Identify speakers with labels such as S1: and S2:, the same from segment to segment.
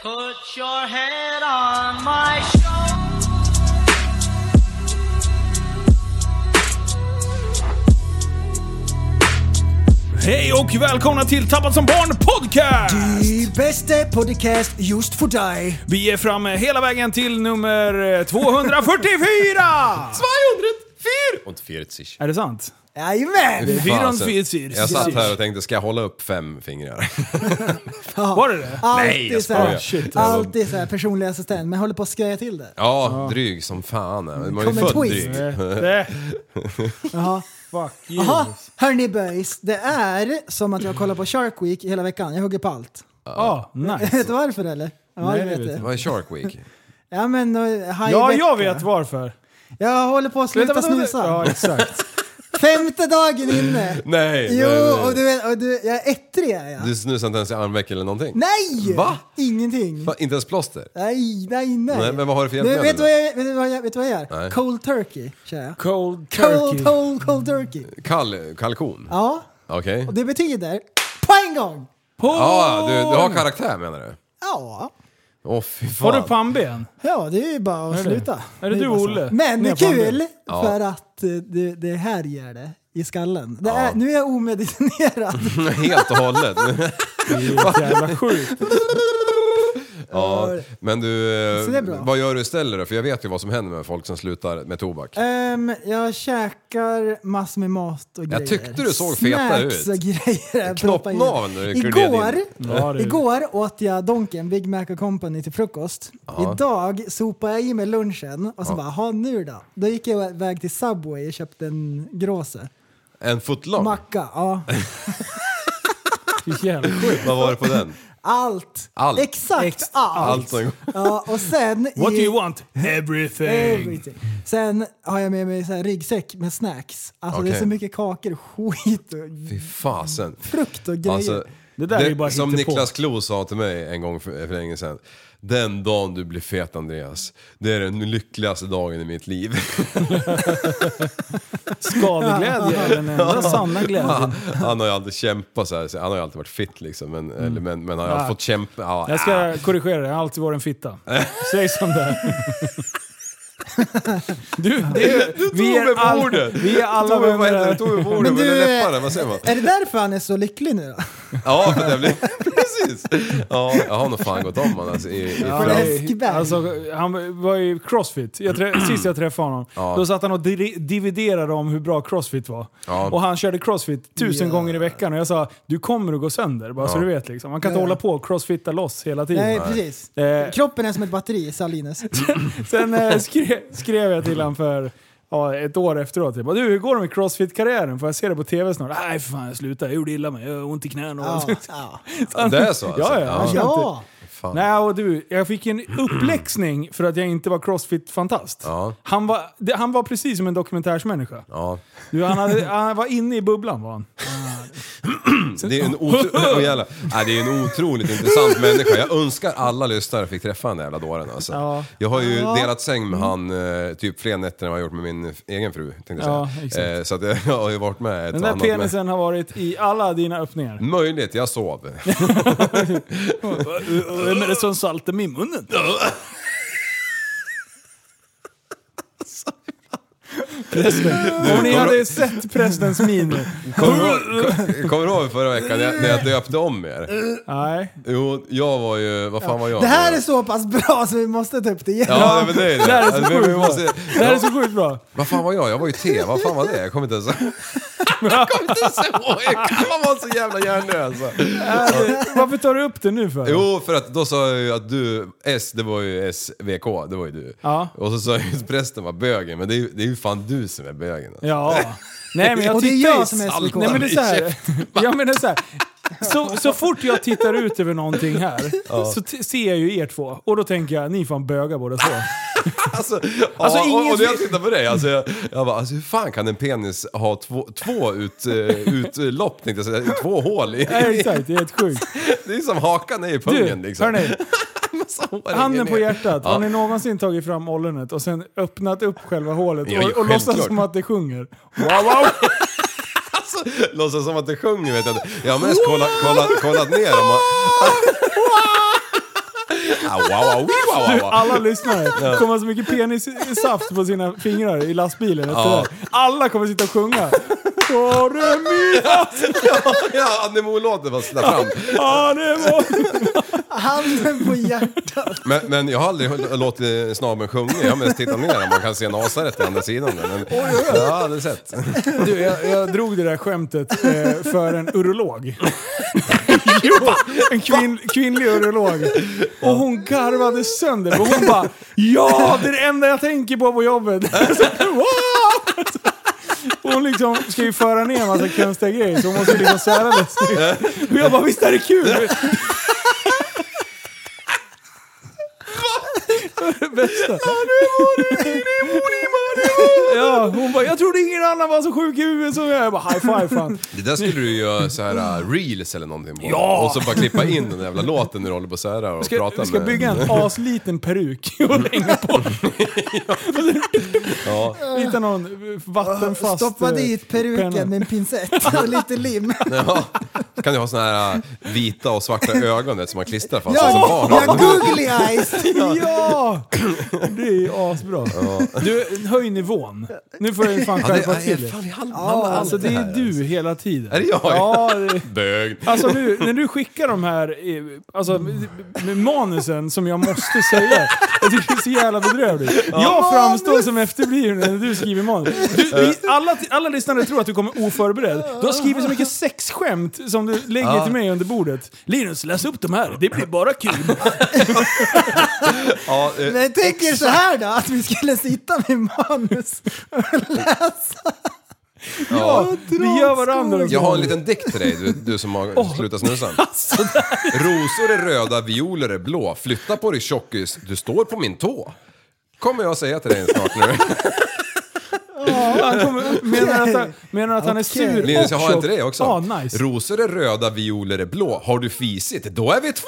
S1: Put your head on my shoulder.
S2: Hej och välkomna till Tappad som barn podcast!
S3: Die bästa podcast just för dig.
S2: Vi är framme hela vägen till nummer eh, 244!
S4: 240.
S2: är det sant?
S3: Jajamän!
S2: Fyra
S4: Fan,
S2: och
S4: så-
S2: fyra, fyra.
S4: Jag satt här och tänkte, ska jag hålla upp fem fingrar?
S2: Var det det?
S4: Nej, jag
S3: Alltid
S4: skojar.
S3: såhär,
S4: Shit.
S3: alltid såhär personlig assistent, men håller på att skraja till det.
S4: Ja, dryg som fan. Man är ju
S3: Kommer
S4: född
S3: twist.
S4: dryg.
S2: Eh, det? Fuck you.
S3: Jaha, hörni boys. Det är som att jag kollar på Shark Week hela veckan. Jag hugger på allt.
S2: Ah, nice.
S3: Vet du varför eller? Ja,
S2: Nej,
S3: det
S2: det
S3: vet
S2: vet
S3: du.
S4: Vad är Shark Week?
S3: Ja, men, eh, haj
S2: Ja,
S3: vecka.
S2: jag vet varför.
S3: Jag håller på att
S2: Vänta,
S3: sluta
S2: vänta, vänta.
S3: snusa.
S2: Ja, exakt.
S3: Femte dagen inne!
S4: Nej,
S3: Jo,
S4: nej, nej.
S3: och du vet, och du, jag är ettrig är jag.
S4: Du snusar inte ens i armveck eller någonting?
S3: Nej!
S4: Va?
S3: Ingenting.
S4: Fan, inte ens plåster?
S3: Nej, nej, nej.
S4: Nej, men vad har du för
S3: du,
S4: hjälpmedel
S3: vet, du
S4: då?
S3: vad jag, vet, du vad jag, vet du vad jag gör?
S4: Nej.
S3: Cold turkey kör jag.
S2: Cold
S3: Cold,
S2: turkey.
S3: cold, cold turkey.
S4: Kall, kalkon?
S3: Ja,
S4: Okej.
S3: och det betyder på en gång.
S4: Ja, du, du har karaktär menar du?
S3: Ja,
S4: Åh fy fan.
S2: Har du pannben?
S3: ja det är ju bara att
S2: Är det?
S3: sluta.
S2: Är det
S3: ju
S2: du,
S3: bara så.
S2: Olle?
S3: Men det
S2: Ner
S3: är
S2: på handen.
S3: kul för att eh, det, det här gör det i skallen. Det är, nu är jag omedicinerad.
S4: Helt och hållet.
S2: Jävla sjukt.
S4: ja. Men du, eh,
S3: Så det är bra.
S4: vad gör du istället då? För jag vet ju vad som händer med folk som slutar med tobak.
S3: Ehm, jag käkar massor med mat och grejer.
S4: tyckte du såg fetare ut.
S3: Snacks och grejer. jag proppar in.
S4: Knoppnaveln när du Mm.
S3: Igår,
S4: kurderade
S2: Ja, det-
S3: igår åt jag Donken, Big Mac och Company till frukost. Idag sopade jag i mig lunchen och så bara, ha nu då? Då gick jag iväg till Subway och köpte en gråse.
S4: En footlong?
S3: Macka, ja.
S2: Fy jävla sjukt.
S4: Vad var det på den?
S3: Allt.
S4: Allt.
S3: Exakt
S2: Ex-
S3: allt.
S4: Allt som-
S3: Ja, och sen...
S2: What do
S3: i-
S2: you want? Everything.
S3: Everything. Sen har jag med mig så här ryggsäck med snacks. Alltså det är
S4: Okej.
S3: så mycket kakor och skit och
S4: Fy fasen.
S3: frukt och grejer.
S4: Alltså,
S2: Det där är ju bara
S4: som
S2: hittepå.
S4: Niklas Klo sa till mig en gång för, för länge sedan. Den dagen du blir fet Andreas, det är den lyckligaste dagen i mitt liv.
S2: Skadeglädje är den enda sanna glädjen.
S4: han har ju alltid kämpat så här, så han har ju alltid varit fit liksom. Men, eller, men, men han har
S2: Ah.
S4: fått kämpa. Ja,
S2: Jag
S4: ah.
S2: ska korrigera dig, jag har alltid varit en fitta. Säg som det är. Du, det är, vi,
S4: mig
S2: är
S4: på
S2: all,
S4: ordet.
S2: vi är alla
S4: Tog mig på
S2: vänner
S4: händerna,
S2: här.
S4: tog mig på orden,
S3: Men
S4: med
S3: du,
S4: läpparna, vad säger man?
S3: Är det därför han är så lycklig nu då?
S4: Ja, för det blir... Precis! Ja, jag har nog fan gått om honom alltså, i, i
S2: Ja,
S3: Från
S4: fram-
S2: det-
S3: Eskberg.
S2: alltså, han var ju crossfit. Jag trä,
S4: Mm.
S2: sist jag träffade honom, då satt han och di- dividerade om hur bra crossfit var.
S4: Ja.
S2: Och han körde crossfit tusen gånger i veckan och jag sa du kommer att gå sönder, bara så du vet. Liksom. Man kan inte
S3: Ja.
S2: hålla på och crossfitta loss hela tiden.
S3: Nej, precis.
S2: Eh.
S3: Kroppen är som ett batteri, sa Linus.
S2: Sen eh, skrev, skrev jag till honom för ja, ett år efteråt. Jag bara, du, hur går det med crossfit-karriären? Får jag se det på tv snart? Nej, för fan jag slutade. Jag gjorde illa mig. Jag har ont i knäna. och
S3: Ja,
S2: allt."
S3: ja.
S4: Det är så alltså?
S2: Ja, ja.
S4: Ja.
S3: ja.
S4: Fan.
S2: Nej, och du, jag fick en uppläxning för att jag inte var crossfit-fantast.
S4: Ja.
S2: Han, var, det, han var precis som en dokumentärsmänniska.
S4: Ja.
S2: Du, han, hade, han var inne i bubblan var han.
S4: Det är en, otro... oh, jävlar. Nej, det är en otroligt intressant människa. Jag önskar alla lyssnare fick träffa den där jävla dåren alltså.
S2: Ja.
S4: Jag har ju delat säng med han eh, typ fler nätter än vad jag gjort med min egen fru. Tänkte jag
S2: Ja, exakt.
S4: säga. Eh, så att jag, jag har ju varit med ett
S2: Den där
S4: annat, men-
S2: penisen har varit i alla dina öppningar.
S4: Möjligt, jag sov.
S2: Vem är det som saltar mig i munnen? Presley. Om ni hade sett Presleys min.
S4: Kommer du ihåg- kommer du ihåg förra veckan när jag, när jag döpte om er?
S2: Nej.
S4: Jo, jag var ju... Vad fan var jag?
S3: Det här är så pass bra så vi måste ta upp det igen.
S4: Ja, men det är det.
S2: Det här är så
S4: Alltså, vi- vi
S2: sjukt
S4: måste-
S2: bra. Det här är så sjukt bra.
S4: Vad fan var jag? Jag var ju T. Vad fan var det? Jag kommer inte ens Jag kommer inte ens ihåg. Man var så jävla hjärndöd alltså.
S2: Varför tar du upp det nu för?
S4: Jo, för att då sa jag ju att du, S, det var ju SVK, det var ju du.
S2: Ja.
S4: Och så sa jag ju att prästen var bögen, men det är, ju- det är ju fan du som är bögen. alltså.
S2: Ja. Nej men jag
S3: Och det är
S2: tittar
S3: jag
S2: ju-
S3: som är
S4: SVK.
S2: Nej men det är så här. Jag menar så här. Så, så fort jag tittar ut över någonting här så t- ser jag ju er två. Och då tänker jag, ni är fan bögar båda två.
S4: Alltså,
S2: Alltså,
S4: ja, och,
S2: ingen-
S4: och när jag tittar på dig, alltså, jag, jag bara, alltså, hur fan kan en penis ha två, två ut, eh, utlopp, tänkte jag säga, två hål i?
S2: Ja, exakt, det är helt sjukt.
S4: Det är som hakan är i
S2: Du,
S4: pungen liksom.
S2: hörni.
S4: Så håret hänger
S2: Handen på
S4: ner.
S2: hjärtat,
S4: Ja.
S2: har ni någonsin tagit fram ollonet och sen öppnat upp själva hålet
S4: Ja, ja,
S2: och, och låtsas
S4: självklart.
S2: som att det sjunger? Wow, wow!
S4: Alltså, Låtsas som att det sjunger vet jag inte. Jag har mest kollat, kollat, kollat ner om man... Ah, wow, wow, wow, wow,
S2: Du,
S4: wow.
S2: alla lyssnare kommer ha så mycket penissaft på sina fingrar i lastbilen efter
S4: Ja.
S2: det här. Alla kommer sitta och sjunga. Har du min
S4: Ja, Annemo-låten var sådär fram.
S2: anemo?
S3: Handen på hjärtat.
S4: Men, men jag har aldrig låtit snabeln sjunga. Jag har mest tittat ner om man kan se Nasaret i andra sidan. där. Men, jag har aldrig sett.
S2: Du, jag, jag drog det där skämtet eh, för en urolog. jo, en kvinn, kvinnlig urolog. Och hon garvade sönder. Och hon bara “Ja, det är det enda jag tänker på på jobbet”. Så, "What?" Och hon liksom ska ju föra ner en massa konstiga grejer så hon måste liksom sära det. Och jag bara “Visst är det kul?” ja, Hon bara “Jag trodde ingen annan var så sjuk i huvudet som jag”. Jag bara “High five fan”.
S4: Det där skulle du ju göra så här uh, reels eller någonting på. Ja! Och så bara klippa in den jävla låten när du håller på så här och
S2: Ska,
S4: pratar
S2: ska
S4: med...
S2: bygga en asliten peruk och hänga på.
S4: Ja.
S2: Hitta någon vattenfast...
S3: Stoppa
S2: eh,
S3: dit
S2: penna.
S3: peruken med en pincett och lite lim.
S4: Ja. Kan du ha såna här uh, vita och svarta ögon vet, som man klistrar fast. och så
S3: Ja,
S4: barn.
S3: ja, googly eyes!
S2: Ja! Det är ju asbra. Du, höj nivån. Nu får du fan
S4: Ja, det,
S2: skärpa
S4: ja,
S2: till
S4: fan,
S2: dig.
S4: vi hann- hann
S2: Ja,
S4: med allt
S2: alltså det
S4: här.
S2: är du hela tiden.
S4: Är det jag?
S2: Ja, det,
S4: Bög.
S2: alltså nu, när du skickar de här eh, alltså, med manusen som jag måste säga. Jag tycker det är så jävla bedrövligt. Jag framstår som efterbliven när du skriver manus. Du, vi, alla, alla lyssnare tror att du kommer oförberedd. Du har skrivit så mycket sexskämt som du lägger till mig under bordet. Linus, läs upp de här. Det blir bara kul.
S4: Ja, eh,
S3: Men jag tänker så här då, att vi skulle sitta med manus.
S4: ja.
S2: Vi gör varandra.
S4: Jag har en liten dikt till dig, du, du som har slutat snusa. Rosor är röda, violer är blå. Flytta på dig tjockis, du står på min tå. Kommer jag säga till dig snart nu.
S2: Han kommer, menar att han, menar att han är sur
S4: Linus, jag
S2: och
S4: har en till
S2: tjock.
S4: dig också.
S2: Ja, Ah, nice.
S4: Rosor är röda, violer är blå. Har du fisit, då är vi två!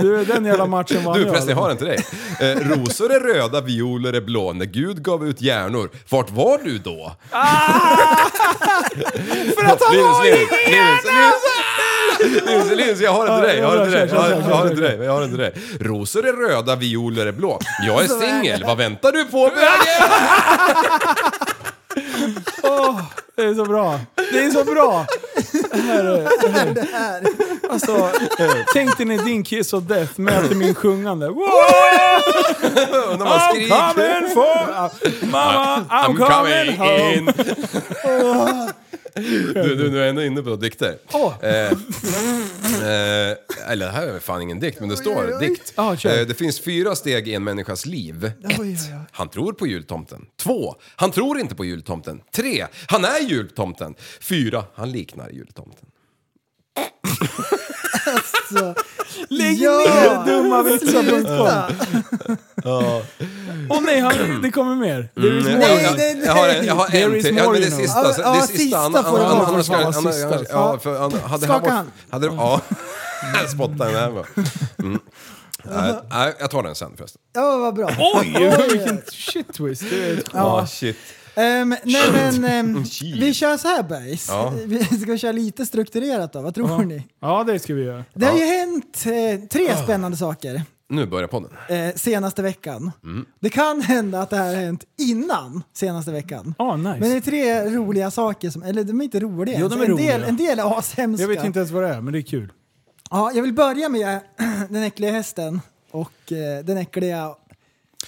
S2: Du, den jävla matchen vann
S4: Du
S2: jag.
S4: förresten, jag har en till dig. Eh, rosor är röda, violer är blå. När Gud gav ut hjärnor, vart var du då? Ah! För att han Linus, Linus, Linus, Linus, Linus, Linus, jag har en till dig, jag har en till dig, jag har- jag har en till dig, jag har en till dig. Rosor är röda, violer är blå. Jag är singel, vad väntar du på bögen?
S2: Åh, det är så bra. Det är så bra. Det här, är- det här. Alltså, tänkte ni din kiss of death möter min sjungande? Wow,
S4: Undrar om man
S2: I'm
S4: skriker.
S2: coming for... Mamma, I'm coming home.
S4: Du, du, du är ändå inne på dikter.
S2: Åh.
S4: Eh, eh, eller det här är fan ingen dikt, men det står dikt.
S2: Ja, kör.
S4: Eh, det finns fyra steg i en människas liv.
S3: oj,
S4: Ett, han tror på jultomten. Två, han tror inte på jultomten. Tre, han är jultomten. Fyra, han liknar jultomten.
S3: Så.
S2: Lägg
S3: Ja.
S2: ner dumma vitsar.com. Åh nej, han, det kommer mer. There is more.
S3: Mm. Nej,
S4: jag,
S3: nej, nej.
S4: jag har en, jag har
S2: There
S4: en
S2: is
S4: till. Ja,
S2: more,
S4: men det är
S2: you know.
S3: Ja,
S4: sista. det är
S3: ja,
S4: sista.
S3: sista
S4: Anna-
S3: får det
S4: Anna-
S3: vara.
S4: Anna-
S2: Fan,
S4: Anna- Anna-
S2: sista.
S4: Ja, för Anna- hade det
S3: Skaka
S4: här varit-
S3: hand.
S4: hade det- Ja. Spotta den här med. Mm. Nej, Nej, jag tar den sen förresten.
S3: Ja, vad bra.
S2: Oj, vilken shit twist. Det är
S4: Ja, Ah, shit.
S3: Ehm, nej, men,
S2: Mm,
S3: ehm,
S4: Shit.
S3: vi kör så här boys.
S4: Ja.
S3: Vi ska köra lite strukturerat då, vad tror ni?
S2: Ja, Ah. det ska vi göra.
S3: Det har ju hänt eh, tre spännande saker
S4: Nu börjar podden.
S3: eh, senaste veckan.
S2: Mm.
S3: Det kan hända att det här har hänt innan senaste veckan.
S2: Ah, nice.
S3: Men det är tre roliga saker, som, eller de är inte roliga.
S2: Jo,
S3: ens.
S2: de är
S3: en, del,
S2: roliga.
S3: en del är ashemska.
S2: Jag vet inte ens vad det är, men det är kul.
S3: Ja, jag vill börja med den äckliga hästen och eh, den äckliga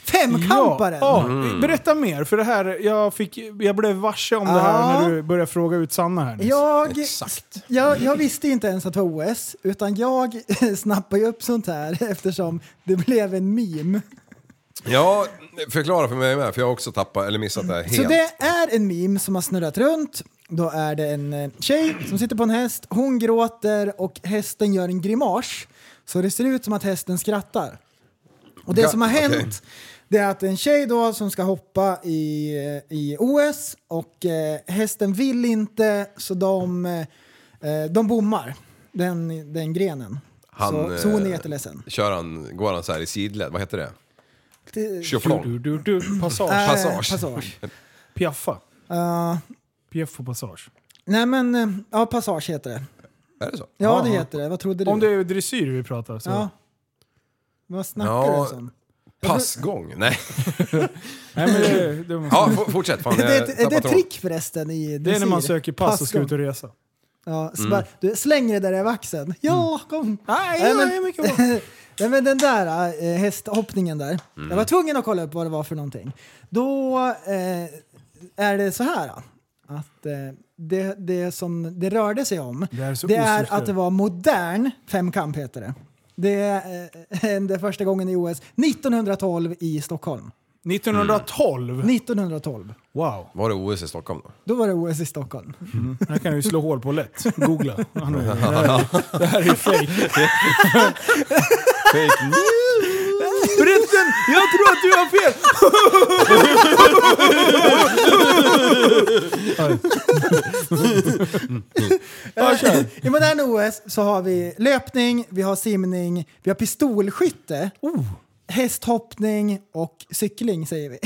S3: femkamparen.
S2: Ja, Ah. ja.
S4: Mm.
S2: Berätta mer, för det här, jag, fick, jag blev varse om det här
S3: Ja.
S2: när du började fråga ut Sanna här nyss.
S3: Jag,
S4: Exakt.
S3: Jag, jag visste inte ens att det var OS, utan jag snappade ju upp sånt här eftersom det blev en meme.
S4: Ja, förklara för mig med, för jag har också tappat eller missat det här helt.
S3: Så det är en meme som har snurrat runt. Då är det en eh, tjej som sitter på en häst, hon gråter och hästen gör en grimas. Så det ser ut som att hästen skrattar. Och
S4: Ja,
S3: det som har
S4: okej.
S3: hänt det är att en tjej då som ska hoppa i, eh, i OS och eh, hästen vill inte så de, eh, de bommar den, den grenen.
S4: Han,
S3: så, så hon är
S4: eh,
S3: jätteledsen.
S4: Kör han, går han så här i sidled, vad heter det?
S3: Det-
S4: Shufflong?
S2: Du, du, du,
S3: Eh,
S2: passage.
S4: Passage.
S3: passage.
S2: Piaffa.
S3: Eh,
S2: Piaff och passage.
S3: nej men, eh, ja passage heter det.
S4: Är det så?
S3: Ja det heter det, vad trodde du?
S2: Om det är dressyr vi pratar så.
S3: Ja. Vad snackar
S4: Ja.
S3: du som?
S4: Passgång? Nej.
S2: Nej, men det, det, måste,
S4: Ja, f- fortsätt. Fan,
S3: Det
S4: jag
S3: är, ett, det är
S4: tappar
S3: ett
S4: tråden.
S3: trick förresten i dressyr.
S2: det är när man söker pass och ska ut och resa.
S3: Ja,
S4: Mm.
S3: så bara, du, släng det där i vaxen. Ja, kom!
S2: Mm. Nej,
S3: Nej,
S2: det är
S3: men,
S2: mycket bra.
S3: Nej, men den där eh, hästhoppningen där. Jag
S4: Mm.
S3: var tvungen att kolla upp vad det var för någonting. Då eh, är det så här då, att eh, det, det som det rörde sig om
S2: Det är så
S3: det är
S2: osyftligt.
S3: att det var modern femkamp heter det. Det eh, hände första gången i OS 1912 i Stockholm.
S2: 1912?
S3: 1912.
S2: Wow.
S4: Var det OS i Stockholm då?
S3: Då var det OS i Stockholm.
S2: Här kan jag ju slå hål på lätt. Googla. Ja, nu, det,
S3: Mm.
S2: här, det här är ju fake.
S4: Fake news!
S2: Britten, jag tror att du har fel!
S3: Eh, I modern OS så har vi löpning, vi har simning, vi har pistolskytte,
S2: Oh.
S3: hästhoppning och cykling säger vi.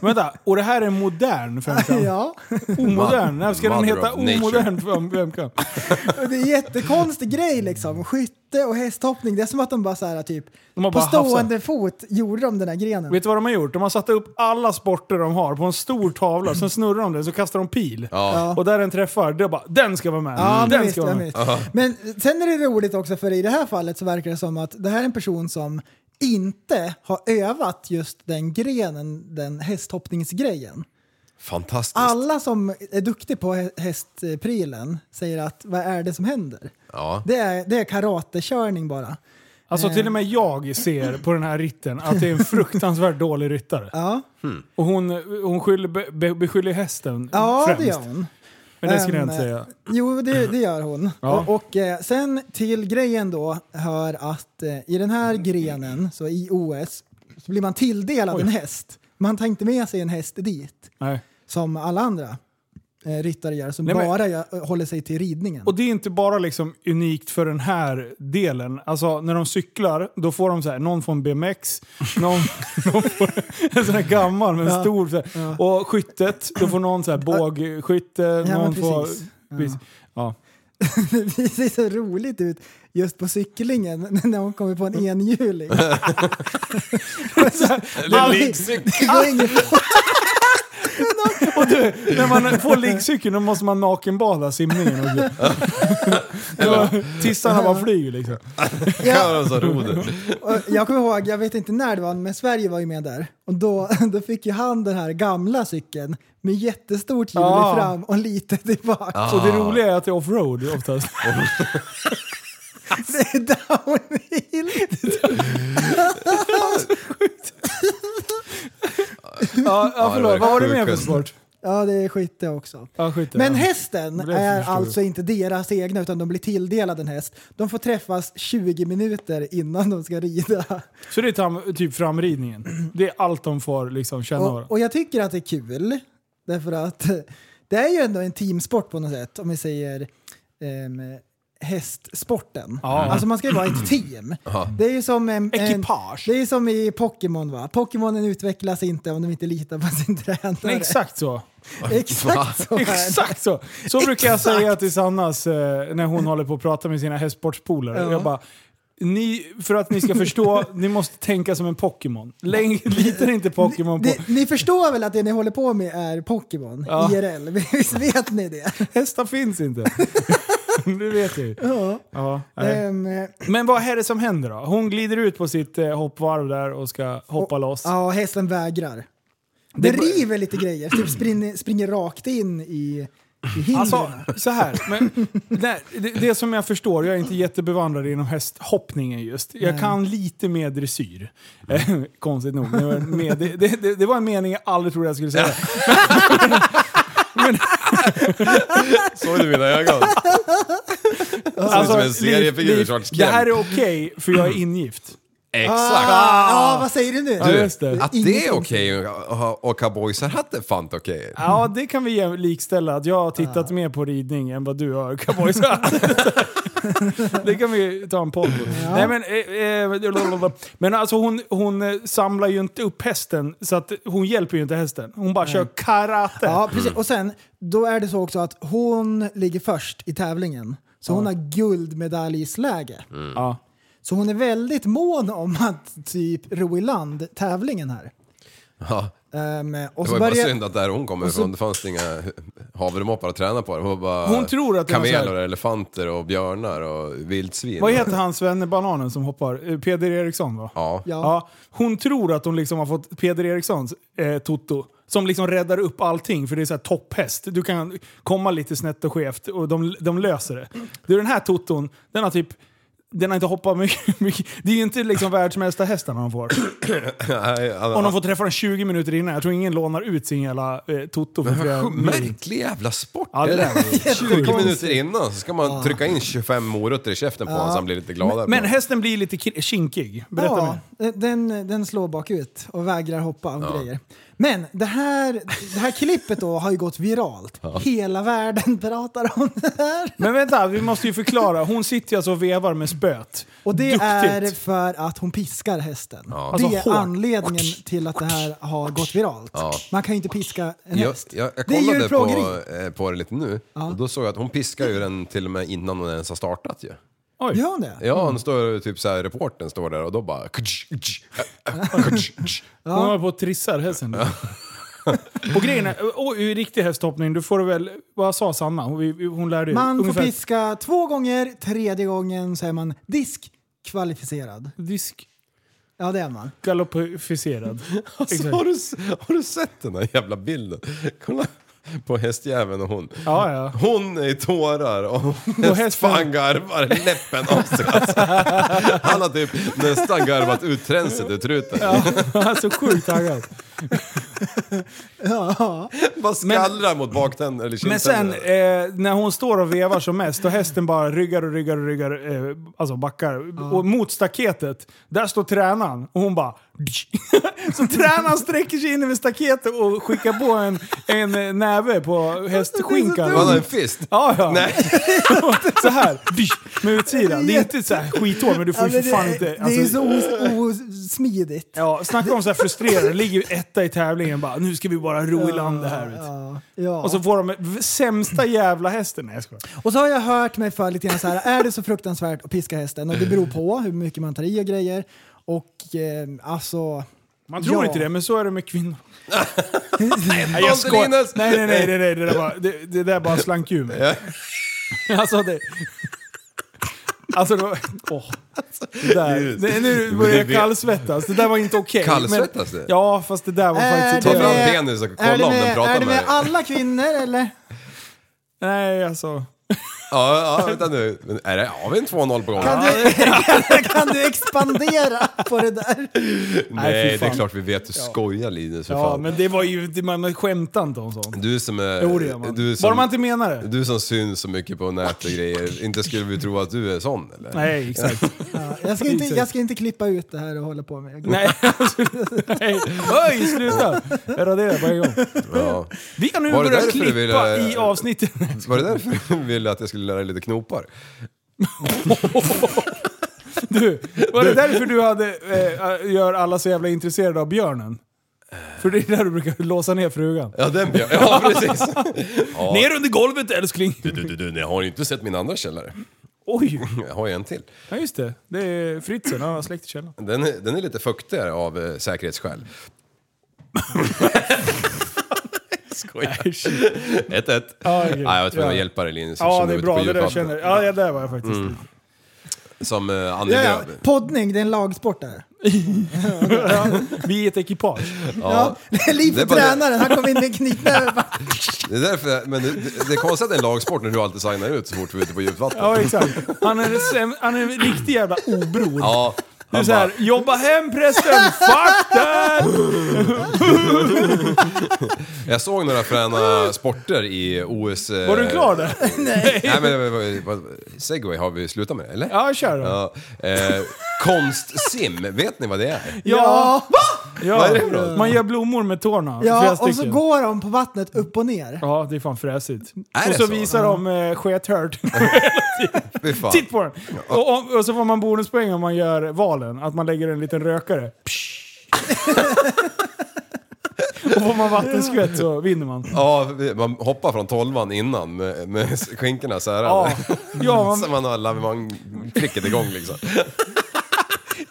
S2: Vänta, och det här är en modern femkamp?
S3: ja,
S2: Omodern? När ska den
S4: Mother
S2: heta
S4: of nature.
S2: omodern fem- femkamp?
S3: och det är en jättekonstig grej liksom. Skytte och hästhoppning, det är som att de bara så här typ
S2: De har
S3: på
S2: bara haft så här-
S3: stående fot gjorde de den här grenen.
S2: Vet du vad de har gjort? De har satt upp alla sporter de har på en stor tavla, sen snurrar de den så kastar de pil.
S4: Ja.
S2: Och där den träffar, det är bara den ska vara med.
S3: Ja, men
S2: den
S3: visst,
S2: ska vara
S3: ja,
S2: med.
S3: visst. Men sen är det roligt också för i det här fallet så verkar det som att det här är en person som inte har övat just den grenen, den hästhoppningsgrejen.
S4: Fantastiskt.
S3: Alla som är duktig på hä- hästprylen säger att vad är det som händer?
S4: Ja.
S3: Det är, det är karatekörning bara.
S2: Alltså till och med jag ser på den här ritten att det är en fruktansvärt dålig ryttare.
S3: Ja,
S2: Och hon, hon skyller, be- be, beskyller hästen
S3: ja
S2: främst.
S3: det gör hon.
S2: Men det skulle jag
S3: Ehm,
S2: inte säga.
S3: Jo, det, det gör hon.
S2: Ja.
S3: Och, och eh, sen till grejen då hör att eh, i den här grenen, så i OS, så blir man tilldelad en häst. Man tar inte med sig en häst dit,
S2: Nej.
S3: som alla andra eh, ryttare gör, som
S2: Nej, men-
S3: bara gör, håller sig till ridningen.
S2: Och det är inte bara liksom unikt för den här delen. Alltså när de cyklar, då får de så här, någon får en BMX, någon, någon får en sån här gammal men stor. Så här. Och skyttet, då får någon så här bågskytte,
S3: men
S2: någon
S3: precis.
S2: får...
S3: Ja.
S2: Precis. Ja.
S3: Det ser så roligt ut just på cyklingen när hon kommer på en enhjuling.
S4: Eller liggcykel.
S3: Det går ingen
S2: När man får liggcykeln då måste man nakenbada simningen. Och så. Då, tissarna bara flyger liksom.
S3: Ja,
S4: Alltså, rodet.
S3: och jag kommer ihåg, jag vet inte när det var, men Sverige var ju med där. Och då, då fick ju han den här gamla cykeln med jättestort hjul
S2: Ja.
S3: fram och lite tillbaka.
S2: Så det roliga är att det är offroad oftast.
S3: Det är downhill.
S2: Ja, ja förlåt. Vad var det mer för sport?
S3: Ja, det är skytte också.
S2: Ja, skit i det.
S3: Men
S2: Men
S3: hästen
S2: det förstår
S3: är
S2: jag.
S3: alltså inte deras egna utan de blir tilldelade en häst. De får träffas 20 minuter innan de ska rida.
S2: Så det är tam, typ framridningen. Det är allt de får liksom känna
S3: Och,
S2: och,
S3: och jag tycker att det är kul. Därför att eh, det är ju ändå en teamsport på något sätt. Om vi säger ehm, hästsporten.
S2: Ja.
S3: Alltså man ska ju vara ett team. Det är ju som en... en
S2: Ekipage.
S3: det är ju som i Pokémon va? Pokémonen utvecklas inte om de inte litar på sin tränare.
S2: Nej, Exakt så.
S3: Exakt så är det.
S2: Exakt så. Så brukar jag säga till Sannas eh, när hon håller på att prata med sina hästsportspolare.
S3: Ja.
S2: Jag bara, Ni, för att ni ska förstå, ni måste tänka som en Pokémon. Läng- Litar inte Pokémon på...
S3: Ni, ni förstår väl att det ni håller på med är Pokémon?
S2: Ja.
S3: IRL? Visst vet ni det?
S2: Hästar finns inte. Det vet jag ju.
S3: Ja.
S2: Ja, nej.
S3: Ehm, eh,
S2: Men vad är det som händer då? Hon glider ut på sitt eh, hoppvarv där och ska hoppa loss.
S3: Ja, hästen vägrar. Det river lite grejer, typ springer, springer rakt in i, i hindren.
S2: Alltså,
S4: Mm.
S2: så här. Men, nej, det, det som jag förstår, jag är inte jättebevandrad inom hästhoppningen just. Jag
S3: Nej.
S2: kan lite mer dressyr. Eh, Konstigt nog. Det var, med, det, det, det, det var en mening jag aldrig trodde jag skulle säga.
S4: Såg du mina ögon?
S2: Alltså,
S4: som en seriefigur,
S2: Liv- Liv,
S4: Charles Kemp.
S2: det här är okej, för jag är ingift.
S4: Exakt!
S3: ja, vad säger du nu?
S2: Ja, just det.
S4: Att det är okej att ha- att ha cowboysarhatt är fan inte okej.
S2: Ja, det kan vi jäm- likställa. Att jag har tittat mer på ridning än vad du har, cowboys. det kan vi ta en podd på. Nej, men, eh, eh, men alltså hon, hon eh, samlar ju inte upp hästen, så att hon hjälper ju inte hästen. Hon bara kör karate.
S3: Ja, precis. Och sen, då är det så också att hon ligger först i tävlingen. Så hon har guldmedaljsläge.
S2: Ja.
S3: Så hon är väldigt mån om att typ ro i land tävlingen här.
S4: Ja.
S3: Ehm, och
S4: Det
S3: så
S4: var ju bara
S3: börjar-
S4: synd att där hon kommer ifrån, det fanns det inga havremoppar att träna på. Det var bara
S2: Hon tror att det var så här-
S4: kameler, elefanter och björnar och vildsvin.
S2: Vad heter han svennebananen som hoppar? Eh, Peder Eriksson va?
S4: Ja.
S3: Ja.
S2: Ja, hon tror att hon liksom har fått Peder Erikssons eh, Toto. Som liksom räddar upp allting, för det är så här topphäst. Du kan komma lite snett och skevt och de, de löser det. Du, den här Toton, den har typ... Den har inte hoppat mycket. mycket. Det är ju inte liksom världsmästa hästen han får.
S4: Nej, han-
S2: Om de får träffa den 20 minuter innan. Jag tror ingen lånar ut sin jävla eh, Toto för flera
S4: Sjuk-
S2: miljoner.
S4: Märklig jävla sport.
S2: Ja, det
S4: eller?
S2: där var ju
S4: 20 minuter innan så ska man trycka in 25 morötter i käften på honom så han blir lite gladare.
S2: Men
S4: på.
S2: hästen blir lite ki- kinkig. Berätta
S3: ja, eh,
S2: mer.
S3: den, den slår bakut och vägrar hoppa och grejer. Men det här, det här klippet då har ju gått viralt. Hela världen pratar om det här.
S2: Men vänta, vi måste ju förklara. Hon sitter ju alltså och vevar med spöet.
S3: Och det
S2: Duktigt.
S3: är för att hon piskar hästen. Det
S2: Alltså,
S3: är
S2: hårt.
S3: anledningen till att det här har gått viralt. Man kan ju inte piska en
S4: Jag,
S3: häst.
S4: jag, jag
S3: det är
S4: kollade
S3: djurplågeri.
S4: på, eh, på det lite nu och då såg jag att hon piskar ju den till och med innan hon ens har startat ju.
S2: Oj.
S3: Gör hon det?
S4: Ja, hon står typ såhär, reportern står där och då bara... kutsch, kutsch, äh, äh, kutsch, kutsch.
S2: Hon håller på och trissar hästen. nu. och grejen är, och i riktig hästhoppning, du får väl, vad sa Sanna? Hon, hon lärde ju
S3: Man
S2: ungefär
S3: får piska två gånger, tredje gången så är man diskkvalificerad. Ja, det är man.
S2: diskgalopificerad.
S4: Alltså, har, du, s- har du sett den där jävla bilden? Kolla på hästjäveln och hon.
S2: Ja, ja.
S4: Hon är i tårar och
S2: Och
S4: hästfan
S2: hästen-
S4: garvar läppen av sig. Alltså. Han har typ nästan garvat ut tränset ur truten.
S2: alltså sjukt taggad.
S4: Bara skallrar mot baktänder eller
S2: Men sen
S4: kindtänderna.
S2: eh, när hon står och vevar som mest och hästen bara ryggar och ryggar och ryggar, eh, alltså backar. Och mot staketet, där står tränaren och hon bara... Så tränaren sträcker sig in över staketet och skickar på en, en eh, näve på hästskinkan.
S4: Var det en fist?
S2: Ja, ja.
S4: Nej.
S2: så här. Med utsidan. Det är inte så här skithårt, men du får
S3: Ja,
S2: ju
S3: men
S2: för fan
S3: det,
S2: inte...
S3: det är ju
S2: alltså-
S3: så os- osmidigt.
S2: Ja, snacka om så här frustrerad. Ligger etta i tävlingen bara, nu ska vi bara ro i land det här. vet du.
S3: Ja.
S2: Och så får de v- sämsta jävla hästen. Nej, jag skojar.
S3: Och så har jag hört mig för lite grann så här, är det så fruktansvärt att piska hästen? Och det beror på hur mycket man tar i och grejer. Och eh, alltså...
S2: Man tror
S3: Ja.
S2: inte det, men så är det med kvinnor. nej,
S4: jag skojar.
S2: Nej, nej, nej, nej, nej det, där bara, det, det där bara slank ur mig. alltså det... Alltså, det var- åh. Det där. Det, nu börjar jag kallsvettas. Det där var inte okej.
S4: Kallsvettas
S2: Men-
S4: du?
S2: Ja, fast det där var
S3: Är
S2: faktiskt
S3: det
S4: Ta fram
S2: inte
S3: med-
S4: penis och kolla
S3: Är det
S4: om den
S3: med,
S4: pratar
S3: är det
S4: med
S3: med
S4: dig.
S3: alla kvinnor eller?
S2: Nej, alltså.
S4: Ja, ja, vänta nu. Men Är det, har vi en 2-0 på gång?
S3: Kan du, kan, du expandera på det där?
S2: Nej,
S4: Nej,
S2: fy
S4: det är
S2: fan.
S4: klart vi vet. Du skojar Linus för
S2: Ja,
S4: fan.
S2: men det var ju... det- Man skämtar inte om sånt.
S4: Du som är...
S2: Jo, det gör man.
S4: Du
S2: Bara
S4: som,
S2: man inte menar det.
S4: du som syns så mycket på nät och grejer. Inte skulle vi tro att du är sån eller?
S2: Nej, exakt.
S3: Ja, jag, ska inte, jag ska inte klippa ut det här och hålla på med.
S2: Nej, alltså, nej. Oj, sluta! Jag raderar på en gång.
S4: Ja.
S2: Vi kan nu
S4: Var det
S2: börja
S4: därför du
S2: klippa
S4: ville-
S2: i avsnittet.
S4: Var det därför du ville att jag skulle lära dig lite knopar?
S2: Du, var det därför du hade, eh, gör alla så jävla intresserade av björnen? För det är där du brukar låsa ner frugan.
S4: Ja, den björ- Ja, precis.
S2: Ner under golvet älskling!
S4: Du, du, du, du, ni har ju inte sett min andra källare.
S2: Oj!
S4: Jag har ju en till.
S2: Ja just det, det är Fritzen, han har släkt i källaren.
S4: Den är, den är lite fuktigare av eh, säkerhetsskäl. Skojar. 1-1.
S2: Ja, okej.
S4: Nej, jag var tvungen
S2: Ja.
S4: att hjälpa dig Linus.
S2: Ja
S4: eftersom
S2: det
S4: du
S2: är
S4: var
S2: bra,
S4: ute
S2: det
S4: på
S2: där
S4: djupvatten.
S2: känner jag. Ja det där var jag faktiskt.
S4: Som eh, Annie
S3: Ja, ja.
S4: Lööf.
S3: Poddning, det är en lagsport där.
S4: Mm.
S2: Vi är ett ekipage.
S3: Ja. Liv
S4: Det är
S3: för
S4: bara det.
S3: tränaren, han kom in med en knytnäve. bara,
S4: Det är därför, men det, det är konstigt att det är en lagsport när du alltid signar ut så fort vi är ute på djupt vatten.
S2: Ja exakt. Han är, en säm- han är en riktig jävla obror.
S4: Ja,
S2: Du är
S4: han
S2: såhär,
S4: bara,
S2: jobba hem prästen, fuck that!
S4: jag såg några fräna sporter i OS... eh,
S2: Var du klar där?
S4: Nej men det var- vad- segway har vi slutat med det, eller?
S2: Ja, kör då. Ja.
S4: Ja, eh, konstsim, vet ni vad det är?
S3: Ja,
S4: Vad är det för något?
S2: Man gör blommor med tårna. flera
S3: ja och så
S2: stycken.
S3: går de på vattnet upp och ner.
S2: Ja, det är fan fräsigt.
S4: Är
S2: och
S4: det
S2: så,
S4: så?
S2: visar de eh, skethörd.
S4: Fy fan.
S2: Titt på den! Och, och, och så får man bonuspoäng om man gör valen. Att man lägger en liten rökare. och får man vattenskvätt så vinner man.
S4: Ja, vi- man hoppar från tolvan innan med, med skinkorna så här.
S2: Ja, ja
S4: Så
S2: man,
S4: man har lavemang-klicket igång liksom.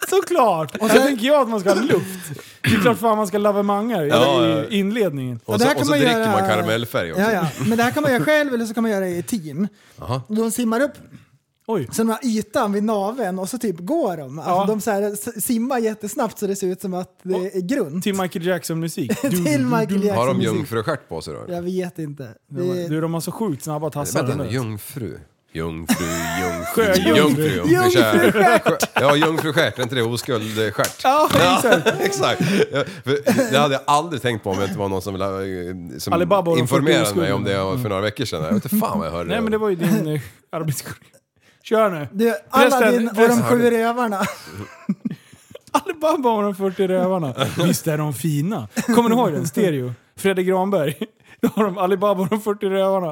S2: såklart! Och sen tänker jag att man ska ha luft. Det är klart fan man ska lavemangar i,
S4: Ja, ja.
S2: i inledningen.
S4: Och
S3: det
S4: så,
S3: här
S4: och
S3: kan
S4: så
S3: man
S4: dricker
S3: göra-
S4: man karamellfärg också.
S3: Ja, ja. Men det här kan man göra själv eller så kan man göra det i team. De simmar upp
S2: Oj.
S3: sen har ytan vid naveln och så typ går de. Alltså,
S2: Ja.
S3: De så här, s- simmar jättesnabbt så det ser ut som att det är grunt.
S2: Till Michael Jackson-musik.
S3: Till Michael Jackson.
S4: Har de
S3: musik.
S4: jungfrustjärt på sig då?
S3: Jag vet inte. Det,
S2: Du, de har så sjukt snabba tassar.
S4: Vänta nu,
S2: nu.
S4: jungfru. Jungfru, jungfru,
S2: Sjöjungfru.
S4: jungfru,
S3: Jungfrustjärt.
S4: Sjö- Ja, jungfrustjärt, är inte det oskuldstjärt?
S2: Ja, exakt.
S4: Exakt. Ja, för Det hade jag aldrig tänkt på om det inte var någon som, ville- eh, som
S2: Alibaba och de fyrtio
S4: informerade mig
S2: oskulderna.
S4: om det för några veckor sedan. Jag vet inte fan vad jag hörde.
S2: Mm. Nej men det var ju din eh, arbetskollega. Kör nu.
S3: du,
S2: Förresten,
S3: Aladdin och de
S2: förresten.
S3: sju rövarna.
S2: Alibaba och de 40 rövarna. Visst är de fina? Kommer ni ihåg den? Stereo. Fredrik Granberg. Då har de Alibaba och de 40 rövarna.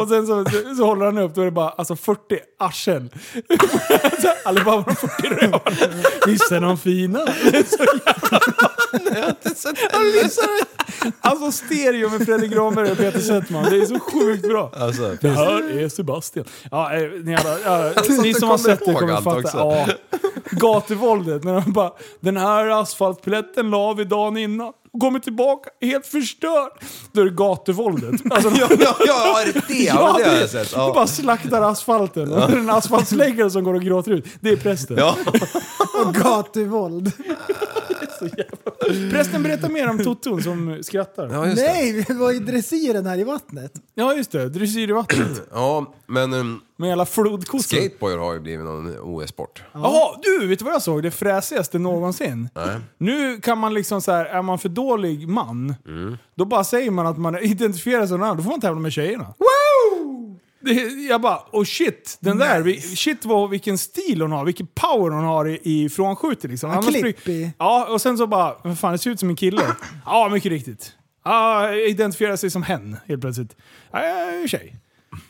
S2: Och sen så, så håller han upp, då är det bara alltså 40 arslen. Så här, Alibaba och de 40 rövarna. Visst är de fina? Det är så jävla... Alltså stereo med Fredrik Granberg och Peter Settman. Det är så sjukt bra.
S4: Alltså,
S2: Det här är Sebastian. Ja, eh, ni, alla, ja, ni
S4: du
S2: som har
S4: kommer
S2: sett det
S4: ihåg
S2: kommer
S4: allt
S2: fatta.
S4: också.
S2: Ja. Gatuvåldet, när de bara “Den här asfaltplätten la vi dagen innan, och kommer tillbaka helt förstörd”. Då är det gatuvåldet. Alltså,
S4: ja, ja, ja, är det det? Ja, det har jag sett.
S2: Du
S4: Ja.
S2: bara slaktar asfalten. Och den asfaltsläggare som går och gråter ut, det är prästen.
S4: Ja.
S3: Och gatuvåld.
S2: Prästen berättar mer om Totton som skrattar. Ja,
S4: ja, just det.
S3: Nej, vi var i dressyren här i vattnet.
S2: just det. Dressyr i vattnet.
S4: Ja, men um,
S2: Med jävla flodkossor.
S4: skateboard har ju blivit någon OS-sport.
S2: Jaha, du, vet du vad jag såg? Det fräsigaste någonsin. Nu kan man liksom så här, är man för dålig man, då bara säger man att man identifierar sig som någon annan. Då får man tävla med tjejerna. Det, jag bara, oh shit, den där, vi, shit vad, vilken stil hon har, vilken power hon har i, i frånskjutet liksom. Annars
S3: klipp
S2: blir-
S3: i.
S2: Ja, och sen så bara, vad fan det ser ut som en kille. ja, mycket riktigt. Ja, identifierar sig som hen helt plötsligt. Ja, jag är tjej.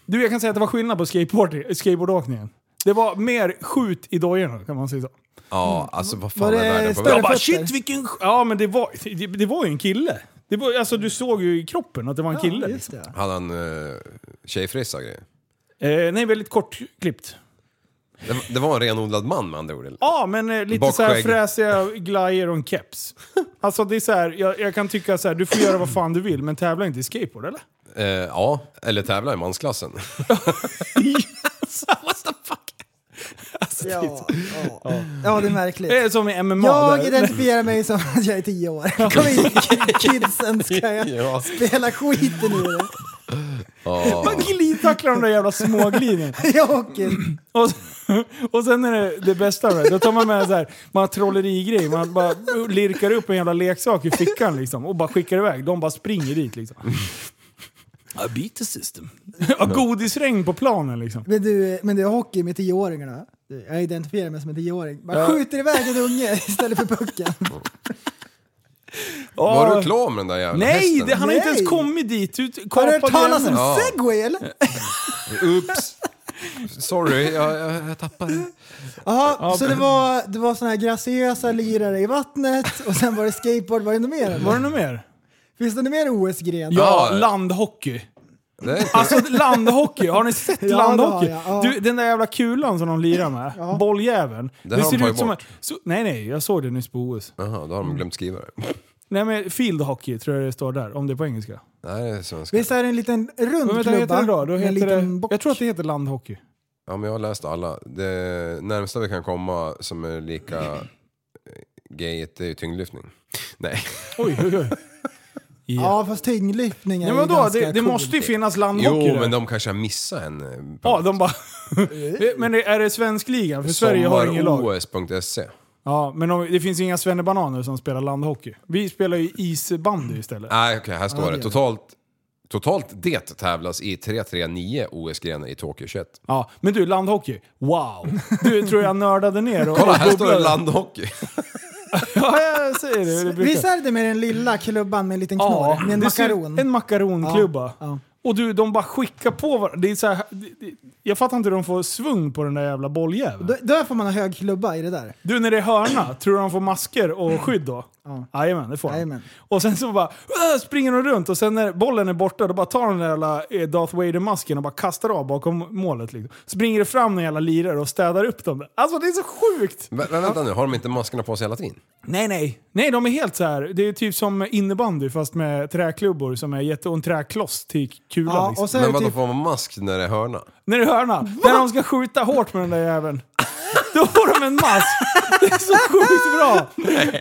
S2: Du, jag kan säga att det var skillnad på skateboard, skateboardåkningen. Det var mer skjut i dojorna kan man säga så.
S4: Ja, alltså vad
S3: Mm. Var
S4: fan
S3: det
S4: är världen på
S3: större
S2: Jag
S4: väg?
S2: bara
S3: fötter?
S2: shit vilken... sk- Ja men det var, det, det var ju en kille. Det var, alltså du såg ju i kroppen att det var en kille.
S3: Ja, just
S2: liksom.
S3: det.
S4: Hade han uh, tjejfrissa och grejer?
S2: eh, nej, väldigt kortklippt.
S4: Det, det var en renodlad man med andra ord? eller?
S2: Ja, men eh, lite
S4: Bakskägg.
S2: så här fräsiga glajjor och en keps. Alltså det är så här, jag, jag kan tycka så här, du får göra vad fan du vill, men tävla inte i skateboard eller?
S4: Eh, ja, eller tävla i mansklassen.
S3: Ja, ja. ja, det är märkligt.
S2: Det är som i MMA.
S3: Jag
S2: där.
S3: identifierar mig som att jag är tio år. Kom in kidsen ska
S4: Ja.
S3: jag spela skiten ur det.
S2: Man glidtacklar de där jävla smågliden.
S3: Jag åker.
S2: Och, och sen är det det bästa med det. Då tar man med så här, man har trollerigrej. Man bara lirkar upp en jävla leksak i fickan liksom och bara skickar iväg. De bara springer dit liksom. I beat the system. Ja, godisregn på planen liksom.
S3: Men du, men du har hockey med tioåringarna. Jag identifierar mig som en tioåring. Bara
S2: Ja.
S3: skjuter iväg en unge istället för pucken.
S4: Var
S2: Ja.
S4: du klar med den där jävla
S2: Nej,
S4: hästen?
S2: det, han har inte ens
S3: Nej.
S2: kommit dit. Du
S3: Har du
S2: kapade
S3: hört talas om
S2: gränsen.
S4: Ja.
S3: segway eller?
S4: Oops! Sorry, jag, jag, jag tappade.
S3: Jaha, så det var, det var såna här graciösa lirare i vattnet och sen var det skateboard. Var det något mer?
S2: Var det
S3: eller?
S2: något mer?
S3: Finns det något mer OS-gren?
S2: Ja,
S4: Ja.
S2: landhockey.
S4: Det är inte-
S2: Alltså landhockey, har ni sett
S3: det har
S2: landhockey?
S3: jag, ja.
S2: Du, den där jävla kulan som de lirar med, bolljäveln.
S4: har de tagit bort.
S2: en- så, nej, nej, jag såg det nyss på OS.
S4: Jaha, då har de glömt skriva det.
S2: Nej men field hockey tror jag det står där, om det är på engelska.
S4: Nej, det är svenska.
S3: Visst är det en liten rund
S2: Men vänta,
S3: klubba?
S2: vad heter det då? då
S3: med
S2: heter
S3: en liten
S2: det,
S3: bock?
S2: jag tror att det heter landhockey.
S4: Ja, men jag har läst alla. Det närmsta vi kan komma som är lika eh, gayet, det är ju tyngdlyftning. Nej.
S2: Oj, oj, oj.
S3: Ja, fast tyngdlyftning är
S2: Ja,
S3: ju
S2: men då,
S3: ganska
S2: det, det
S3: cool. typ.
S2: måste ju finnas landhockey
S4: Jo,
S2: där.
S4: men de kanske har missat en. eh,
S2: Ja, de bara... men är det svenskligan? För Sverige har ingen lag.
S4: Sommar-OS.se.
S2: Ja, men om, det finns inga svennebananer som spelar landhockey. Vi spelar ju isbandy istället.
S4: Nej, okej, här står
S2: det är
S4: det.
S2: det.
S4: Totalt, totalt det tävlas i 339 OS-grenar i Tokyo 21.
S2: Ja, men du, landhockey. Wow! Du tror jag nördade ner och...
S4: Kolla, här
S2: och
S4: står det
S2: bubblade.
S4: landhockey.
S2: Ja, jag säger det. det brukar-
S3: Visst är det med den lilla klubban med en liten knorr?
S2: Ja,
S3: med en
S2: det ser-
S3: makaron?
S2: En makaronklubba.
S3: Ja, ja.
S2: Och du, de bara skickar på varandra. Det är så här, det, det, jag fattar inte hur de får svung på den där jävla bolljäveln.
S3: Då, där får man ha hög klubba i det där.
S2: Du, när det är hörna, tror du de får masker och skydd då? Jajamän, det får de.
S3: Jajamän.
S2: Och sen så bara "Åh!" springer de runt och sen när bollen är borta då bara tar de den där jävla eh, Darth Vader-masken och bara kastar av bakom målet. Liksom. Springer det fram några jävla lirare och städar upp dem. där. Alltså det är så sjukt!
S4: Men, men vänta nu, har de inte maskerna på sig hela tiden?
S2: Nej, nej. Nej, de är helt så här. Det är typ som innebandy fast med träklubbor som är jätte... och en träkloss till kulan
S3: Ja,
S2: liksom.
S3: och så är
S4: Men
S3: det
S4: vadå,
S3: typ,
S4: får man mask när det är hörna?
S2: När det är hörna, när de ska skjuta hårt med den där jäveln. Då får de en mask. Det är så sjukt bra!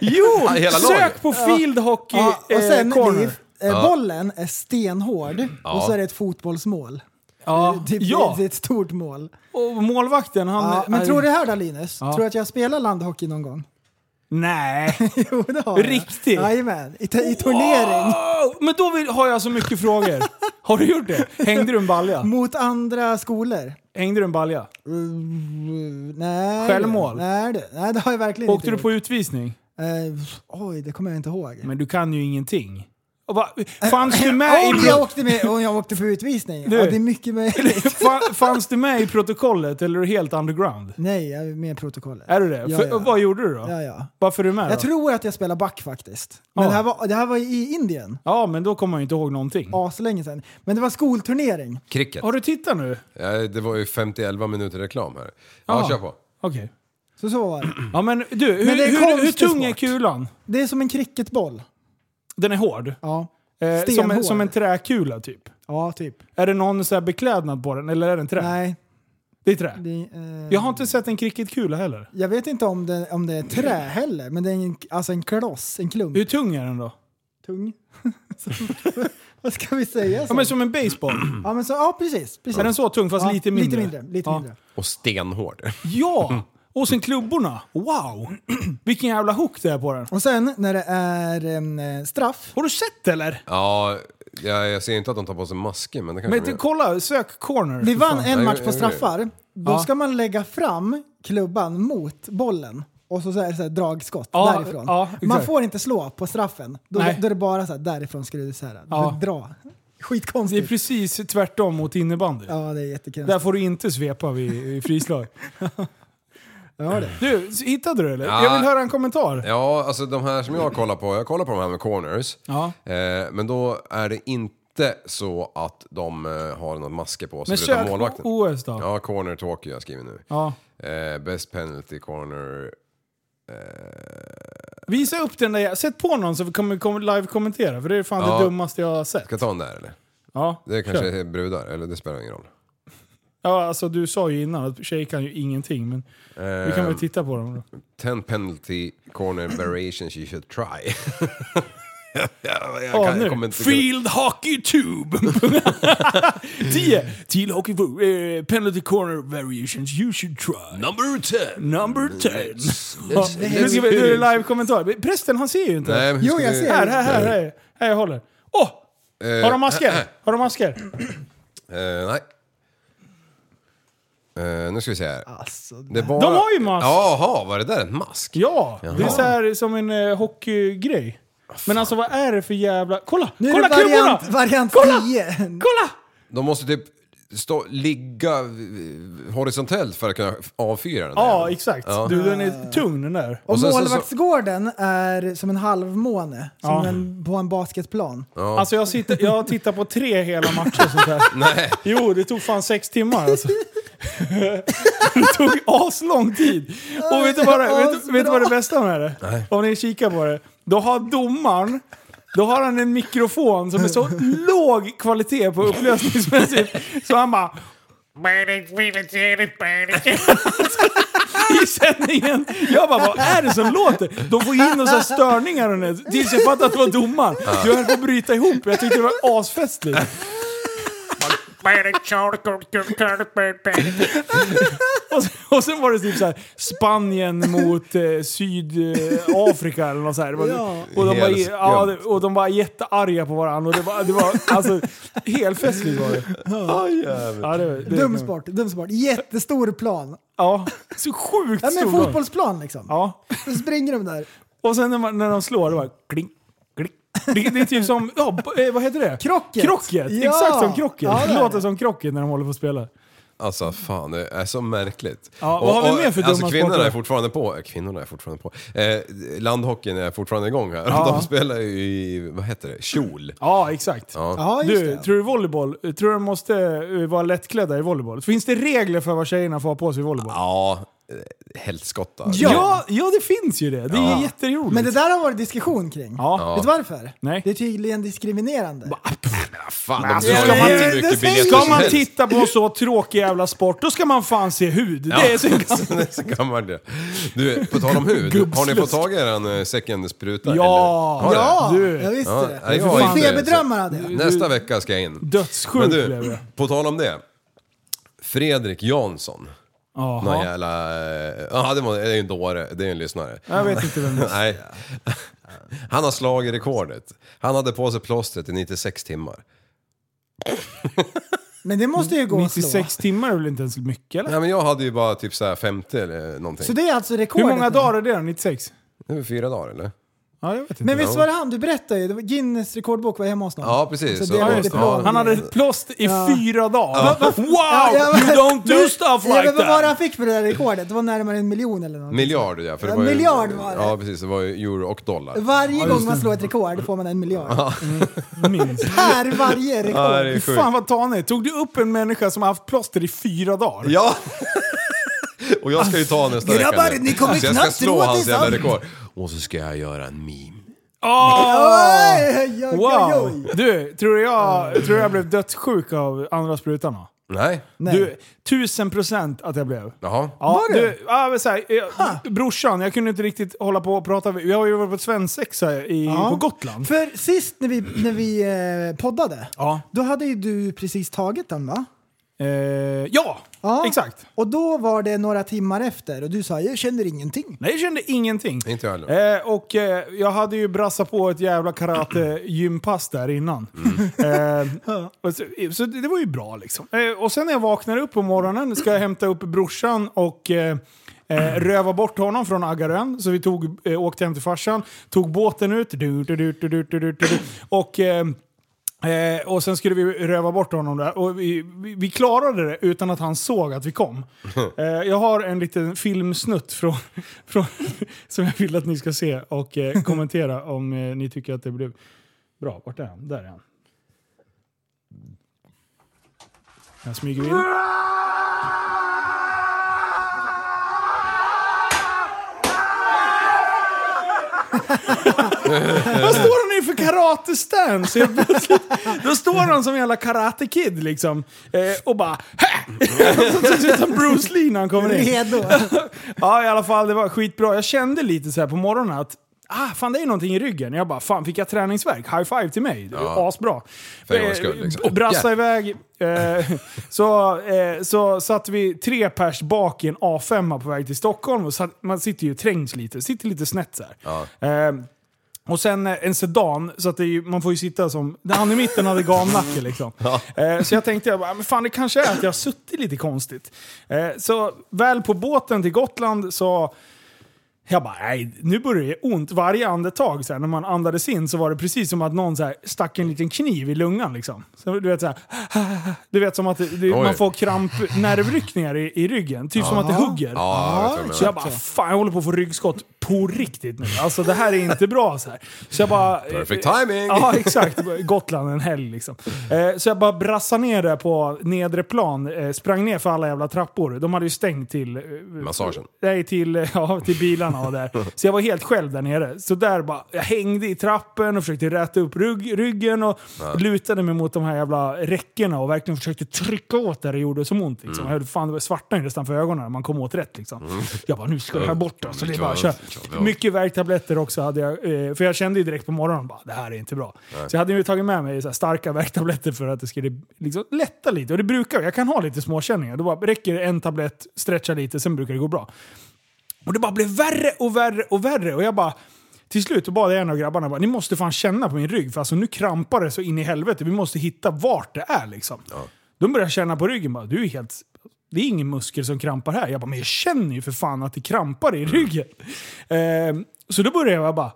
S2: Jo!
S4: Ja, hela
S2: sök
S4: laget.
S2: på field hockey
S3: ja, och sen
S2: eh, corner.
S3: Liv, eh, bollen är stenhård och så är det ett fotbollsmål.
S2: ja.
S3: Typ,
S2: ja.
S3: Det är ett stort mål.
S2: Och målvakten han...
S3: Ja, men
S2: är-
S3: tror du det här då Linus? Tror du att jag spelar landhockey någon gång?
S2: Nej.
S3: Jo det har jag.
S2: Riktigt?
S3: Jajamän, i, te- i turnering.
S2: Wow! Men då vill, har jag så mycket frågor. Har du gjort det? Hängde du en balja?
S3: Mot andra skolor.
S2: Hängde du en balja?
S3: Mm, nej.
S2: Självmål?
S3: Nej, det, nej, det har jag verkligen
S2: Åkte du
S3: inte
S2: på
S3: gjort.
S2: utvisning?
S3: Eh, oj, det kommer jag inte ihåg.
S2: Men du kan ju ingenting. Och bara,
S3: Äh,
S2: fanns du med i...
S3: om, jag
S2: pro-
S3: åkte med, om jag åkte på utvisning?
S2: Du.
S3: Ja, det är mycket möjligt.
S2: Fa- Fanns du med i protokollet eller är du helt underground?
S3: Nej, jag är med i protokollet.
S2: Är du det?
S3: Ja,
S2: För,
S3: ja.
S2: Vad gjorde du då?
S3: Ja, ja.
S2: Varför är du med
S3: Jag
S2: då?
S3: tror att jag spelar back faktiskt. Men
S2: Ja.
S3: det, här var, det här var i Indien,
S2: Ja, men då kommer man ju inte ihåg någonting.
S3: aslänge sedan. Men det var skolturnering.
S4: Cricket.
S2: Har du tittat nu?
S4: Ja, det var ju 50-11 minuter reklam här.
S2: Ah.
S4: Ja, kör på.
S2: Okej.
S3: Så så var det.
S2: Ja men du, hur,
S3: Mm. Men det är
S2: hur, hur
S3: konstig
S2: tung är
S3: sport.
S2: kulan?
S3: Det är som en cricketboll.
S2: Den är hård.
S3: Ja,
S2: Eh, som, en,
S3: Stenhård.
S2: som en träkula typ.
S3: ja typ.
S2: Är det någon så här beklädnad på den eller är den trä?
S3: Nej.
S2: Det är trä.
S3: Det, eh,
S2: Jag har inte sett en cricketkula heller.
S3: jag vet inte om det, om det är trä heller, men det är en, alltså en kloss, en klump.
S2: Hur tung är den då?
S3: Tung. Så- Vad ska vi säga?
S2: Ja
S3: Så?
S2: men som en baseball.
S3: Ja, men så, ja precis. precis.
S2: Är den så tung fast
S3: ja,
S2: lite mindre?
S3: Lite mindre. Lite
S2: ja.
S3: mindre.
S4: Och stenhård.
S2: Ja! Och sen klubborna. Wow! Vilken jävla hook det är på den.
S3: Och sen när det är em, eh, straff.
S2: Har du sett eller?
S4: Ja, jag, jag ser inte att de tar på sig masker, men det kanske
S2: Men
S4: de gör.
S2: du, kolla, sök corner.
S3: Vi vann
S4: Ja,
S3: en match
S4: jag-
S3: på
S4: jag-
S3: straffar. Då
S2: Ja.
S3: ska man lägga fram klubban mot bollen. Och så, så är det så här dragskott
S2: Ja,
S3: därifrån.
S2: ja,
S3: man
S2: exakt.
S3: får inte slå på straffen. Då,
S2: Nej.
S3: då är det bara så här, därifrån ska du så här,
S2: Ja.
S3: dra.
S2: Det är
S3: Skitkonstigt.
S2: precis tvärtom mot innebandy.
S3: ja, det är
S2: Där
S3: jättekonstigt.
S2: får du inte svepa vid, vid frislag.
S3: Ja, det.
S2: Du, s- hittade du det, eller?
S4: Ja.
S2: Jag vill höra en kommentar.
S4: Ja, alltså de här som jag kollar på, jag kollar på de här med corners.
S2: Ja.
S4: Eh, men då är det inte så att de eh, har något maske på sig
S2: Men
S4: förutom
S2: sök
S4: målvakten.
S2: OS då.
S4: Ja, corner Tokyo jag skriver nu.
S2: Ja.
S4: Eh, best penalty corner.
S2: Visa upp den där. Sätt på någon så vi kommer kom, live-kommentera. För det är fan
S4: Ja.
S2: det dummaste jag har sett.
S4: Ska jag ta den där eller?
S2: Ja,
S4: Det är kanske
S2: kör.
S4: är brudar, eller det spelar ingen roll.
S2: Ja, alltså du sa ju innan att tjejer kan ju ingenting. Men vi
S4: Eh,
S2: kan väl titta på dem då.
S4: 10 penalty corner variations you should try. jag, jag, jag,
S2: Ja,
S4: kan- jag kommer
S2: nu.
S4: inte-
S2: Field Hockey Tube! 10. Field Hockey eh, Penalty Corner Variations You Should Try.
S4: Number 10!
S2: Number 10. Ja,
S4: Let's-
S2: nu ska vi, nu är det live-kommentar. Prästen han ser ju inte.
S4: Nej, men hur
S3: Jo,
S4: ska
S3: jag
S4: vi-
S3: ser.
S2: Här, här, här, här. Här jag håller. Åh!
S4: Eh,
S2: Har de masker? Har de masker?
S4: Eh, nej. Eh, nu ska vi se här.
S3: Alltså,
S4: Det var...
S2: De har ju mask!
S4: Jaha, var det där en mask?
S2: Ja! Det är
S4: Jaha.
S2: så här som en eh, hockeygrej. Men alltså vad är det för jävla... Kolla!
S3: nu är
S2: kolla
S3: det
S2: klubborna!
S3: variant, variant
S2: Kolla!
S3: 10.
S2: Kolla!
S4: De måste typ stå, ligga eh, horisontellt för att kunna avfyra den?
S2: Ja,
S4: där?
S2: exakt.
S4: Ja.
S2: Du, den är tung den där.
S3: Och
S4: sen så-
S3: målvaktsgården är som en halvmåne som
S2: Ja.
S3: en, på en basketplan.
S2: Alltså jag, sitter, jag tittar på tre hela matcher sånt här.
S4: Nej.
S2: Jo, det tog fan sex timmar alltså. det tog aslång tid. Och vet du vad det, vet, du- vet du vad det bästa med det är? Om ni kikar på det. Då har domaren då har han en mikrofon som är så låg kvalitet på upplösningsmässigt så han bara i sändningen. Jag bara, vad är det som låter? De får in några störningar och det, tills jag fattade att det var domaren. Jag höll på att bryta ihop. Jag tyckte det var asfestligt. och, sen, och sen var det typ så här, Spanien mot eh, Sydafrika eller något så här. Det var,
S3: Ja.
S2: och, de var,
S4: Helt
S2: ja, det- och de var jättearga på varandra. Och det var, det var alltså, helt festligt var det. Ja, det, det
S3: Dum sport, dum sport. Jättestor plan.
S2: Ja, så sjukt
S3: Ja, men
S2: stor.
S3: fotbollsplan liksom.
S2: Ja,
S3: Så springer de där.
S2: Och sen när, man, när de slår, det bara kling, kling. Det, det är typ som, ja, b- eh, vad heter det?
S3: Krocket.
S2: Krocket!
S3: Ja.
S2: Exakt som krocket.
S3: Ja, det
S2: det
S3: är
S2: låter
S3: det.
S2: som krocket när de håller på att spela.
S4: Alltså fan, det är så märkligt.
S2: Ja, vad har vi mer för
S4: Alltså
S2: dumma
S4: kvinnorna
S2: sporter?
S4: är fortfarande på. eh, Kvinnorna är fortfarande på. Eh, landhockeyn är fortfarande igång här. De spelar ju i, vad heter det, kjol.
S2: Ja, exakt.
S3: Ja, just
S2: Du,
S3: det.
S2: tror du volleyboll, tror du de måste eh, vara lättklädda i volleyboll? Finns det regler för vad tjejerna får ha på sig i volleyboll?
S4: Ja, eh, helskotta.
S2: Ja, ja, det finns ju det. Det är
S4: Ja.
S2: jätteroligt.
S3: Men det där har varit diskussion kring.
S2: Ja.
S3: Vet du varför?
S2: Nej.
S3: Det är tydligen diskriminerande.
S4: Fan, de
S2: alltså, ska
S4: drar
S2: man-
S4: ju hur
S3: det säger-
S4: mycket biljetter
S2: Ska
S4: som
S2: man
S4: helst.
S2: titta på så tråkig jävla sport, då ska man fan se hud.
S4: Ja.
S2: Det är så gammalt.
S4: Det är så gammal det. Du, på tal om hud. Har ni fått tag i er en eh, second spruta?
S2: Ja.
S4: eller? Har det?
S3: Ja,
S2: Du.
S3: jag visste
S4: Ja,
S3: det.
S4: nej, jag har inte det.
S3: Feberdrömmar hade jag.
S4: Nästa vecka ska jag in. Men
S2: Dödssjukt blev
S4: du,
S2: det.
S4: på tal om det. Fredrik Jansson. Någon
S2: Jaha.
S4: jävla... eh, Ja, det var- det är ju en dåre. Det är ju en lyssnare.
S2: Jag vet inte vem det är.
S4: Nej. Han har slagit rekordet. Han hade på sig plåstret i 96 timmar.
S3: Men det måste ju gå att slå.
S2: 96 timmar är väl inte ens mycket eller?
S4: Nej, men jag hade ju bara typ så här 50 eller någonting.
S3: Så det är alltså rekordet.
S2: Hur många
S3: nu.
S2: dagar är det då? 96?
S4: Det är väl fyra dagar eller?
S2: Ja, jag vet inte.
S3: Men visst var det han? Du berättade ju. Det var Guinness rekordbok var hemma hos någon.
S4: Ja, precis.
S3: Så
S4: Så-
S3: det
S4: ja,
S3: var
S4: just det.
S3: diplom.
S4: Ja.
S2: Han hade ett plåster i fyra dagar. Wow!
S3: Ja, jag vet.
S2: You don't do stuff
S3: jag
S2: like
S3: vet vad var det han
S2: that!
S3: fick för det där rekordet? Det var närmare en miljon eller något.
S4: Miljard ja. För det
S3: Ja,
S4: var ju,
S3: miljard var det.
S4: Ja, precis. Det var ju euro och dollar.
S3: Varje gång man slår ett rekord får man en miljard.
S2: Minst.
S3: Per varje
S4: Ja, det
S3: rekord.
S4: är sjukt.
S2: Fan vad tanig. Tog du upp en människa som har haft plåster i fyra dagar?
S4: Ja! Och jag ska ju ta nästa vecka
S3: grabbar,
S4: nu.
S3: ni kommer
S4: Så jag ska
S3: knappt tro att
S4: slå
S3: det är
S4: hans jävla
S3: sant.
S4: rekord. Och så ska jag göra en meme.
S2: Åh!
S3: Oj, oj, oj,
S2: Wow!
S3: oj.
S2: Du, tror du jag, tror du jag blev dödssjuk av andra sprutan? va?
S4: Nej.
S3: Nej.
S2: Du, tusen procent att jag blev.
S4: Jaha.
S2: Ja,
S3: Var det?
S2: Du, ja, men så här, eh, brorsan, jag kunde inte riktigt hålla på och prata. Vi har ju varit på svensexa i,
S3: Ja.
S2: på Gotland.
S3: För sist när vi, när vi eh, poddade,
S2: Ja.
S3: då hade ju du precis tagit den va?
S2: Eh, ja,
S3: Ja.
S2: exakt.
S3: Och då var det några timmar efter och du sa jag känner ingenting.
S2: Nej, jag kände ingenting.
S4: Inte jag heller.
S2: Eh, och eh, jag hade ju brassat på ett jävla karate-gympass där innan.
S4: Mm.
S2: Eh, och så, så det var ju bra liksom. Eh, och sen när jag vaknar upp på morgonen ska jag hämta upp brorsan och eh, Eh, röva bort honom från Aggarön, så vi tog, eh, åkte hem till farsan, tog båten ut, du, du, du, du, du, du, du, du, och eh, Eh, och sen skulle vi röva bort honom där. Och vi, vi, vi klarade det utan att han såg att vi kom. Eh, jag har en liten filmsnutt från, från, som jag vill att ni ska se och eh, kommentera om eh, ni tycker att det blev bra. Vart är han? Där är han. Jag smyger in. Vad står han i för karate-stance? Helt plötsligt. Då står han som en jävla karate-kid liksom. Eh, och bara "Hä!" Så ser ut som Bruce Lee när han kommer in.
S3: Redo.
S2: Ja, i alla fall. Det var skitbra. Jag kände lite så här på morgonen att Ah, fan det är någonting i ryggen. Jag bara, fan fick jag träningsvärk? High five till mig. Det är
S4: Ja.
S2: Asbra.
S4: För en gångs skull, liksom.
S2: Eh, Brassa
S4: Åh,
S2: iväg. Eh, så, eh, så satt vi tre pers bak i en A5 på väg till Stockholm. Och satt, man sitter ju trängs lite, sitter lite snett så här. Eh, och sen eh, en sedan, så att det är ju, man får ju sitta som... Han i mitten hade gamnacke liksom. Eh, så jag tänkte, jag bara, men fan det kanske är att jag har Ehm, suttit lite konstigt. Eh, så väl på båten till Gotland så Jag bara, nej, nu börjar det ont. Varje andetag så här, när man andades in så var det precis som att någon så här, stack en liten kniv i lungan. Liksom. Så, du, vet, så här, du vet som att det, det,
S4: Oj.
S2: man får kramp, nervryckningar i, i ryggen. Typ som att det hugger.
S4: Ja, jag vet vad du menar.
S2: Så jag bara, fan jag håller på att få ryggskott på riktigt nu. Alltså det här är inte bra så här. Så jag bara... eh,
S4: Perfect timing!
S2: Ja, exakt. Gotland en helg liksom. Eh, så jag bara brassade ner där på nedre plan, eh, sprang ner för alla jävla trappor. De hade ju stängt till... eh,
S4: Massagen.
S2: Nej, till, eh, ja, till bilarna och där. Så jag var helt själv där nere. Så där bara, jag hängde i trappen och försökte räta upp rygg, ryggen och lutade mig mot de här jävla räckena och verkligen försökte trycka åt där det gjorde så ont. Liksom. Jag hörde, fan, det var svartnade nästan för ögonen när man kom åt rätt. Liksom. Jag bara, nu ska det här bort. Alltså, det är bara, att köra. Mycket värktabletter också hade jag, eh, för jag kände ju direkt på morgonen bara, det här är inte bra. Så jag hade ju tagit med mig så här starka värktabletter för att det skulle liksom lätta lite. Och det brukar, jag kan ha lite småkänningar. Då bara, räcker det en tablett, stretcha lite, sen brukar det gå bra. Och det bara blev värre och värre och värre. Och jag bara, till slut då bad jag en av grabbarna bara, ni måste fan känna på min rygg för alltså nu krampar det så in i helvete. Vi måste hitta vart det är liksom. De började känna på ryggen bara, du är helt... Det är ingen muskel som krampar här. Jag bara, men jag känner ju för fan att det krampar i ryggen. Ehm, så då började jag bara,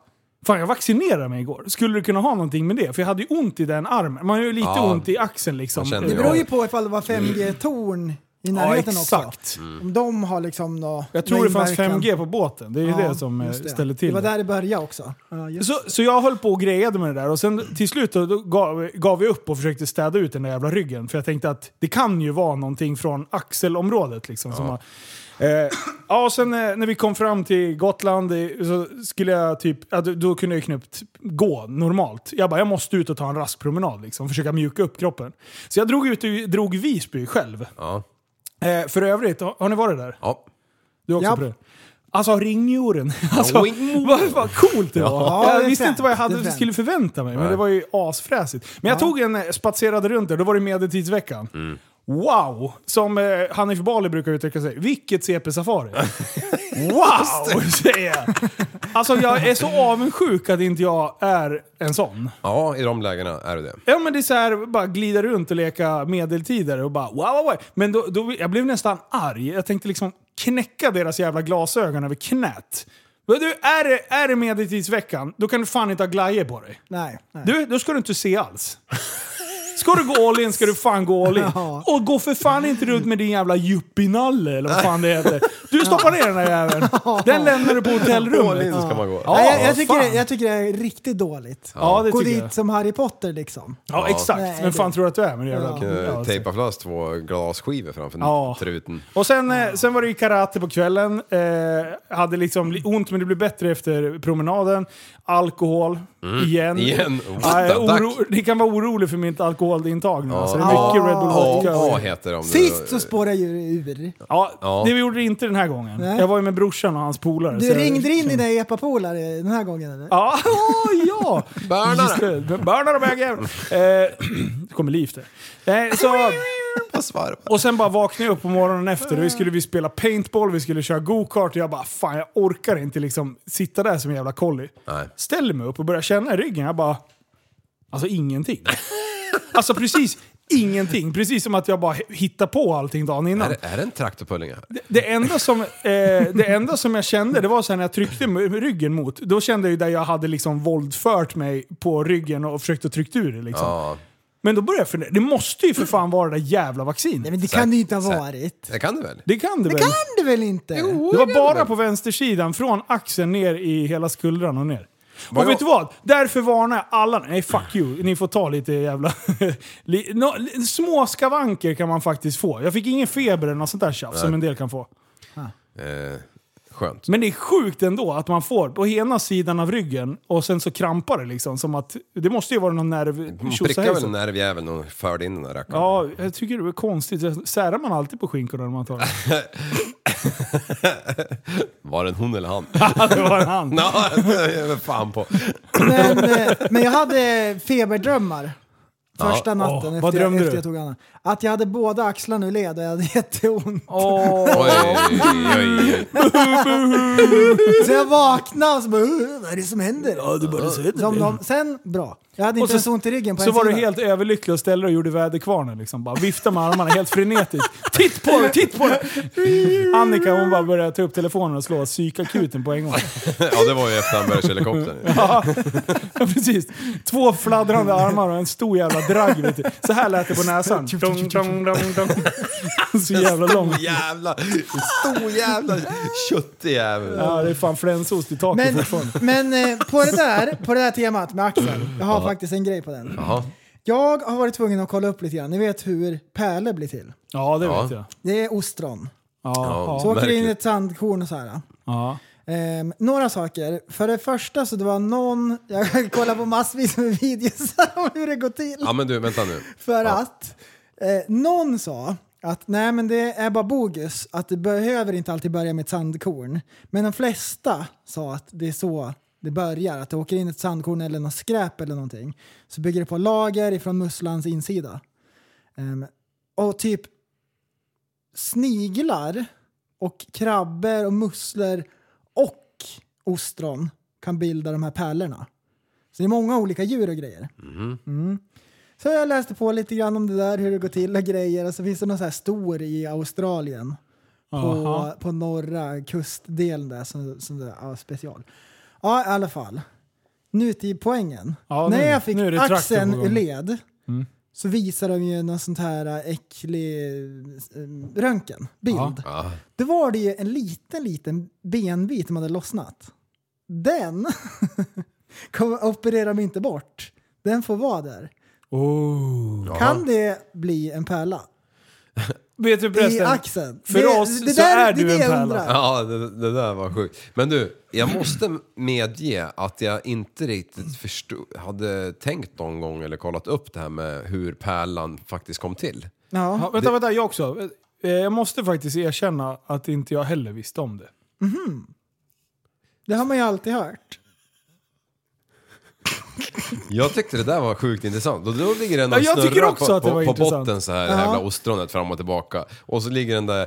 S2: fan jag vaccinerade mig igår. Skulle du kunna ha någonting med det? För jag hade ju ont i den armen. Man har ju lite
S4: Ja.
S2: ont i axeln liksom.
S4: Man känner
S3: Det
S4: ju
S2: Ehm,
S3: beror ju på ifall det var 5G-torn i
S2: Ja,
S3: närheten också.
S2: exakt.
S3: Om de har liksom nå,
S2: Jag tror det fanns
S3: inverkan.
S2: 5G på båten. Det är ju
S3: Ja,
S2: det som eh,
S3: just det.
S2: ställer till
S3: Det var där det började också. Ja, just.
S2: Så, så jag höll på och grejade med det där och sen till slut då, då gav, gav vi upp och försökte städa ut den där jävla ryggen. För jag tänkte att det kan ju vara någonting från axelområdet. Liksom, som har, eh, ja, och sen eh, när vi kom fram till Gotland eh, så skulle jag typ, ja, då, då kunde jag ju knappt gå normalt. Jag bara, jag måste ut och ta en rask promenad liksom, försöka mjuka upp kroppen. Så jag drog ut och drog Visby själv.
S4: Ja.
S2: Eh, för övrigt, har, har ni varit där?
S4: Ja.
S2: Du också
S3: Japp.
S2: på det? Alltså ringmuren. Alltså,
S4: ringmuren.
S2: vad, vad coolt det var.
S3: Ja, det
S2: jag
S3: är
S2: visste
S3: fränt,
S2: inte vad jag
S3: det är
S2: hade
S3: fränt.
S2: skulle förvänta mig, men det var ju asfräsigt. Men jag tog en, eh, spatserade runt där, då var det medeltidsveckan. Wow! Som eh, Hanif Bali brukar uttrycka sig, vilket CP-safari. wow! säger jag. Alltså jag är så avundsjuk att inte jag är en sån.
S4: ja, i de lägena är det det.
S2: Ja men det är så här, bara glida runt och leka medeltidare och bara wow, wow, wow. Men då, då, jag blev nästan arg. Jag tänkte liksom knäcka deras jävla glasögon över knät. Men du, är det, är det medeltidsveckan, då kan du fan inte ha glajjor på dig.
S3: Nej, nej.
S2: Du, då ska du inte se alls. Ska du gå all in ska du fan gå all in.
S3: Ja.
S2: Och gå för fan inte runt med din jävla yuppienalle eller vad fan det heter. Du stoppar ner den där jäveln. Den lämnar du på hotellrummet.
S4: Ska man gå.
S2: Ja,
S3: Nej, jag, jag, tycker
S2: fan.
S3: det, jag tycker det är riktigt dåligt.
S2: Ja, det
S3: Gå
S2: tycker
S3: dit
S2: jag.
S3: som Harry Potter liksom.
S2: Ja, exakt.
S3: Nej,
S2: Men fan
S3: det-
S2: tror du att du är med det jävla...
S4: Eh,
S2: Ja, så.
S4: Tejpa fast två glasskivor framför
S2: Ja.
S4: truten.
S2: Och sen, eh,
S3: Ah.
S2: sen var det ju karate på kvällen. Eh, hade liksom li- ont men det blev bättre efter promenaden. Alkohol, igen.
S4: Igen.
S2: Ja, eh,
S4: Tack.
S2: oro, ni kan vara oroliga för mitt alkoholintag nu. Alltså, det är
S3: Ja.
S2: mycket Red Bull Vodka.
S4: AA heter de.
S3: Sist så spårade ju det ur.
S2: Ja,
S4: Ja.
S2: det gjorde det inte den här gången.
S3: Nej.
S2: Jag var ju med brorsan och hans polare. så
S3: Du
S2: jag- liksom-
S3: ringde in dina epapolare den här gången eller?
S2: Ja, åh, ja!
S4: Börnare.
S2: Just det. Börnare bögjävel! Eh, det kommer liv där. Nej, så... Och sen bara vaknade jag upp på morgonen efter. Vi skulle vi spela paintball, vi skulle köra go-kart och jag bara fan jag orkar inte liksom sitta där som en jävla kolli.
S4: Nej.
S2: Ställer mig upp och börjar känna i ryggen. Jag bara... Alltså ingenting. alltså precis ingenting. Precis som att jag bara hittar på allting dagen innan.
S4: Är det, är det en traktorpulling här?
S2: Det enda, som, eh, det enda som jag kände, det var så här när jag tryckte m- ryggen mot. Då kände jag ju där jag hade liksom våldfört mig på ryggen och försökte trycka ur det liksom.
S4: Ja.
S2: Men då började jag fundera, det måste ju för fan vara det där jävla vaccinet.
S3: Nej men det kan det ju inte ha varit.
S4: Det kan du väl?
S2: Det kan det,
S3: Det
S2: väl?
S3: kan det väl inte? Jo.
S2: Det var bara på vänstersidan, från axeln ner i hela skuldran och ner. Och
S4: jag-
S2: vet du vad? Därför varnar jag alla. Nej, fuck you. Ni får ta lite jävla... li, no, li, små skavanker kan man faktiskt få. Jag fick ingen feber eller något sånt där tjafs som en del kan få.
S4: Eh, skönt.
S2: Men det är sjukt ändå att man får på ena sidan av ryggen och sen så krampar det liksom. Som att, det måste ju vara någon nerv...
S4: Man
S2: tjosahejsan.
S4: prickade väl nervjäveln och förde in den där rackaren.
S2: Ja, jag tycker det är konstigt. Särar man alltid på skinkorna när man tar det?
S4: Var det en hon eller han?
S2: det var en hand.
S4: Ja, det är väl fan på.
S3: Men, eh, men jag hade feberdrömmar. Första natten
S2: Åh, vad
S3: efter,
S2: drömde
S3: jag,
S2: du?
S3: efter jag tog Anna. Att jag hade båda axlarna ur led och jag hade jätteont.
S2: Åh.
S4: Oj, oj, oj, oj.
S3: Så jag vaknade och så bara "Åh, vad är det som händer? Ja, du började se Som de, Sen, bra. Jag hade inte
S2: så-
S3: ens ont i ryggen på
S2: Så
S3: en
S2: var du
S3: sida.
S2: helt överlycklig och ställde dig och gjorde väderkvarnen liksom. Bara viftade med armarna helt frenetiskt. Titt på det, titt på det! Annika hon bara började ta upp telefonen och slå psykakuten på en gång.
S4: Ja, det var ju efter Hamburgshelikoptern.
S2: Ja, precis. Två fladdrande armar och en stor jävla dragg. Vet du. Så här lät det på näsan. Dong, dong, dong, dong. Så jävla lång.
S4: Jävla, stor jävla köttig jävel.
S2: Ja, det är fan flänsost i taket
S3: Men,
S2: fortfarande.
S3: men eh, på, det där, på det där temat med Axel, jag har faktiskt en grej på den.
S4: Jaha.
S3: Jag har varit tvungen att kolla upp lite grann. Ni vet hur pärlor blir till.
S2: Ja, det
S4: Ja.
S2: vet jag.
S3: Det är ostron.
S2: Ja,
S3: Så
S2: ja.
S3: åker det in
S4: verkligen.
S3: ett sandkorn och så här.
S2: ja.
S3: Ehm, några saker. För det första så det var någon, jag kollade på massvis med videos om hur det går till.
S4: Ja men du, vänta nu.
S3: För
S4: Ja.
S3: att eh, någon sa att nej men det är bara bogus, att det behöver inte alltid börja med ett sandkorn. Men de flesta sa att det är så det börjar, att det åker in ett sandkorn eller något skräp eller någonting. Så bygger det på lager ifrån musslans insida. Ehm, och typ sniglar och krabbor och musslor och ostron kan bilda de här pärlorna. Så det är många olika djur och grejer. Mm. Så jag läste på lite grann om det där, hur det går till och grejer. Och så finns det någon så här stor i Australien. På,
S2: Aha.
S3: på norra kustdelen där som, som det, ja, special. Ja, i alla fall. Nu till poängen.
S2: Ja,
S3: När
S2: nu-
S3: jag fick
S2: nu är det traktor
S3: axeln
S2: på gång.
S3: ur led så visade de ju någon sånt här äh, äcklig eh, röntgenbild.
S4: Ja.
S3: Då var det ju en liten, liten benbit som hade lossnat. Den kommer- opererar de inte bort. Den får vara där.
S2: Oh.
S3: Kan det bli en pärla?
S2: Vet du
S3: I
S2: förresten?
S3: axeln?
S2: för oss så är du en
S3: jag
S2: pärla.
S3: undrar.
S4: Ja, det, det där var sjukt. Men du, jag måste medge att jag inte riktigt förstod, hade tänkt någon gång eller kollat upp det här med hur pärlan faktiskt kom till.
S2: Ja,
S3: Ja.
S2: vänta, vänta, jag också. Eh, Jag måste faktiskt erkänna att inte jag heller visste om det.
S3: Det har man ju alltid hört.
S4: Jag tyckte det där var sjukt intressant. Och då ligger den
S2: Ja,
S4: och
S2: jag tycker
S4: snurrar
S2: också
S4: på,
S2: att det var
S4: på, på
S2: intressant.
S4: botten så här, det här jävla ostronet fram och tillbaka. Och så ligger den där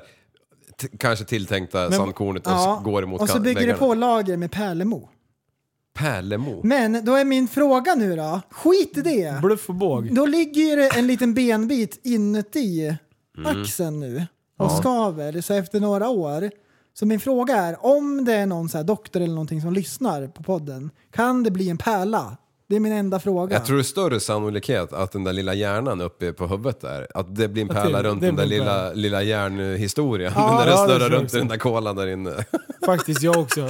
S4: t- kanske tilltänkta sandkornet och
S3: Ja.
S4: s- går emot
S3: och så
S4: kan-
S3: bygger det
S4: väggarna.
S3: på lager med pärlemo.
S4: Pärlemo.
S3: Men då är min fråga nu då. Skit i det.
S2: Bluff och båg.
S3: Då ligger ju det en liten benbit inuti axeln nu och skaver. Så efter några år. Så min fråga är, om det är någon så här doktor eller någonting som lyssnar på podden, kan det bli en pärla? Det är min enda fråga.
S4: Jag tror det är större sannolikhet att den där lilla hjärnan uppe på huvudet där, att det blir en
S2: det-
S4: pärla runt
S2: det
S4: den där
S2: blir en
S4: lilla,
S2: pärla.
S4: lilla hjärnhistorien.
S2: Ja,
S4: när den
S2: ja, det
S4: snurrar
S2: tror jag
S4: runt i den
S2: också.
S4: där kolan där inne.
S2: Faktiskt, jag också.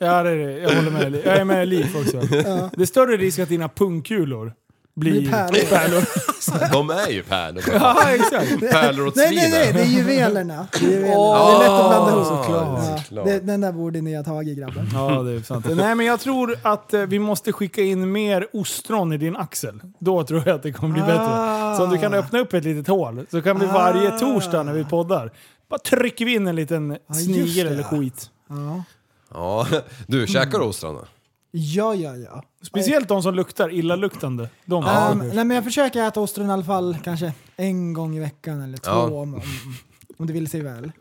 S2: Ja, det är det. Jag håller med dig. Jag är med Liv också. Det är större risk att dina pungkulor blir,
S3: Blir pärlor.
S2: pärlor.
S4: De är ju pärlor.
S2: Ja, exakt.
S4: Pärlor åt
S3: Nej, nej, nej,
S4: svinen.
S3: det är juvelerna. Det är, juvelerna.
S2: Åh,
S3: det är lätt att blanda ihop.
S2: såklart.
S3: Ja,
S4: Såklart.
S3: det, den där borde ni ha tagit grabbar.
S2: Ja, det är sant. Nej, men jag tror att eh, vi måste skicka in mer ostron i din axel. Då tror jag att det kommer bli bättre. Så om du kan öppna upp ett litet hål, så kan vi varje
S3: Ah.
S2: torsdag när vi poddar, bara trycker vi in en liten
S3: just
S2: snigel
S3: det.
S2: eller skit.
S4: Ja. Du, käkar du ostron då?
S3: Ja, ja, ja.
S2: Speciellt de som luktar illaluktande. De
S3: Ehm, nej, men jag försöker äta ostron i alla fall kanske en gång i veckan eller två
S4: Ja.
S3: om, om, om det vill sig väl.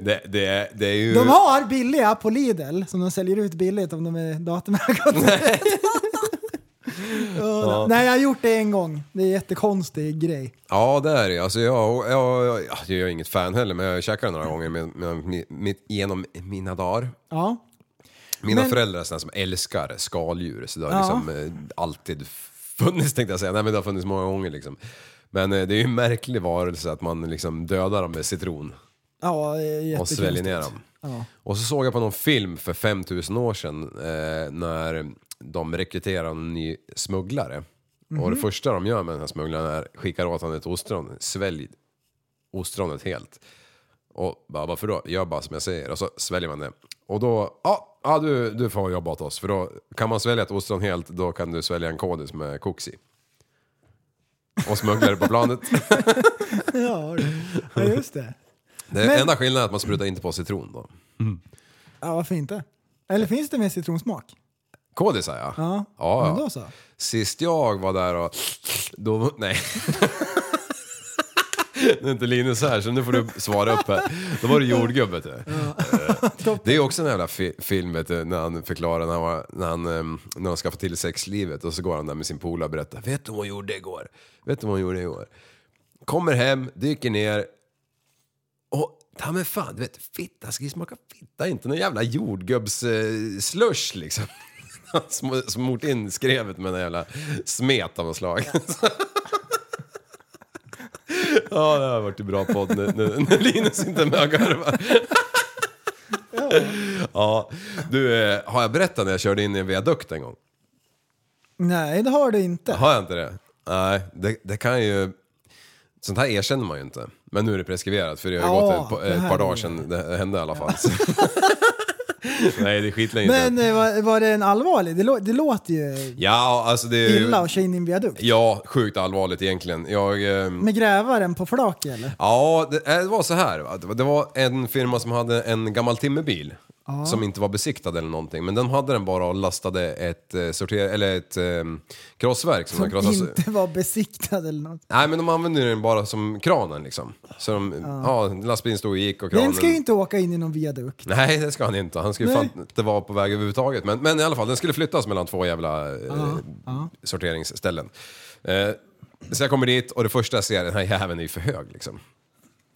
S4: Det, det, är- det är ju...
S3: De har billiga på Lidl som de säljer ut billigt om de är datumärkade. Ja. Nej, jag har gjort det en gång. Det är en jättekonstig grej.
S4: Ja, det är det. Alltså, jag, jag, jag, jag är ju inget fan heller, men jag käkar några gånger med, med, med, genom mina dagar.
S3: Ja.
S4: Mina
S3: Men-
S4: föräldrar är sådana som älskar skaldjur, så det har
S3: Ja.
S4: liksom eh, alltid funnits tänkte jag säga. Nej men det har funnits många gånger liksom. Men eh, det är ju en märklig varelse att man liksom dödar dem med citron
S3: Ja, eh,
S4: och sväljer ner dem.
S3: Ja.
S4: Och så såg jag på någon film för 5000 år sedan eh, när de rekryterar en ny smugglare. Och
S3: Mhm.
S4: det första de gör med den här smugglaren är skickar åt honom ett ostron, svälj ostronet helt. Och bara, varför då? Gör bara som jag säger. Och så sväljer man det. Och då, ja, ja du, du får jobba åt oss. För då kan man svälja ett ostron helt, då kan du svälja en kodis med koks i. Och smuggla det på planet.
S3: Ja, ja, just det.
S4: Det
S3: Men-
S4: enda skillnaden är att man sprutar inte på citron då.
S3: Ja, varför inte? Eller finns det med citronsmak?
S4: Kodisar ja.
S3: Ja,
S4: ja,
S3: men
S4: ja.
S3: då så.
S4: Sist jag var där och... Då, nej. Nu är inte Linus här, så nu får du svara upp här. Då var det jordgubbe. vet du. Eh, Det är också en jävla fi film vet du, när han förklarar när han, var, när han, ehm, när han ska få till sexlivet och så går han där med sin polare och berättar. Vet du vad hon gjorde igår? Vet du vad hon gjorde igår? Kommer hem, dyker ner, och ta mig fan, du vet, fitta ska ju smaka fitta, inte någon jävla jordgubbs-slush liksom. Han sm- Smort in skrevet med en jävla smet av något slag. ja, det har varit en bra podd nu, nu, när Linus inte är med och garvar. ja, du, eh, har jag berättat när jag körde in i en viadukt en gång?
S3: Nej, det har du inte.
S4: Har jag inte det? Nej, det, det kan ju... Sånt här erkänner man ju inte. Men nu är det preskriberat för det har ju
S3: Ja,
S4: gått ett,
S3: det
S4: ett
S3: här
S4: par
S3: är-
S4: dagar sedan det hände i alla fall. Så. Nej, det är skitlänge
S3: Men
S4: sedan.
S3: eh, var, var det en allvarlig? Det, lå, det låter ju
S4: Ja, alltså det är ju...
S3: illa att köra in i en viadukt.
S4: Ja, sjukt allvarligt egentligen. Jag... ehm,
S3: Med grävaren på flak eller?
S4: Ja, det, eh, det var så här. va. Det var- Det var en firma som hade en gammal timmerbil. Som inte var besiktad eller någonting. Men den hade den bara och lastade ett, eh, sorter, eller ett eh, krossverk. Som,
S3: Som
S4: de krossade-
S3: inte var besiktad eller något.
S4: Nej men de använder den bara som kranen liksom. Så de, ja. lastbilen stod och gick och kranen...
S3: Den ska ju inte åka in i någon viadukt.
S4: Nej det ska han inte. Han skulle fan inte vara på väg överhuvudtaget. Men, men i alla fall, den skulle flyttas mellan två jävla eh, sorteringsställen. Eh, så jag kommer dit och det första jag ser, den här jäveln är ju för hög liksom.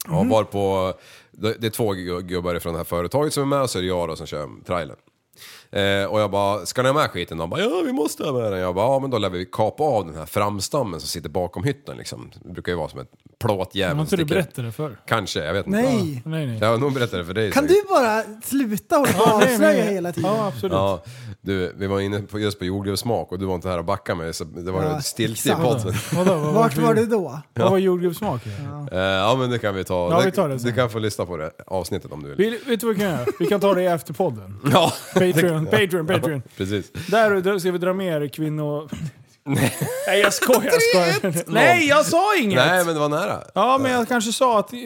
S4: Ja,
S2: Mhm.
S4: var på, det det är två gu- gubbar från det här företaget som är med och så är det jag då som kör trailern. Eh, och jag bara, ska ni ha med skiten? De bara, ja vi måste ha med den. Jag bara, ja men då lär vi kapa av den här framstammen som sitter bakom hytten liksom. Det brukar ju vara som ett plåtjävel.
S2: Har
S4: som
S2: inte du
S4: sticker-
S2: berättat det förr?
S4: Kanske, jag vet inte.
S3: Nej!
S2: Nej, nej.
S4: Jag har nog berättat det för dig.
S3: Kan
S4: säkert.
S3: du bara sluta hålla på och avslöja hela tiden?
S2: Ja, absolut.
S4: Ja, du, vi var inne på, just på jordgubbssmak och du var inte här och backade mig så det var
S3: Ja,
S4: stiltje i
S3: exakt.
S4: podden.
S2: Vadå, vad
S3: Vart var du då?
S2: Vad var jordgubbssmak?
S4: Eh, ja men det kan vi ta.
S2: Ja, vi tar det sen.
S4: du kan få lyssna på det avsnittet om du vill.
S2: Vi, vet du vad vi kan göra? Vi kan ta det efter podden.
S4: Ja,
S2: Patreon, Patreon, Patreon.
S4: precis.
S2: Där där ska vi dra mer kvinno... Nej jag skojar, jag skojar. Nej jag sa inget!
S4: Nej men det var nära.
S2: Ja men jag kanske sa att eh,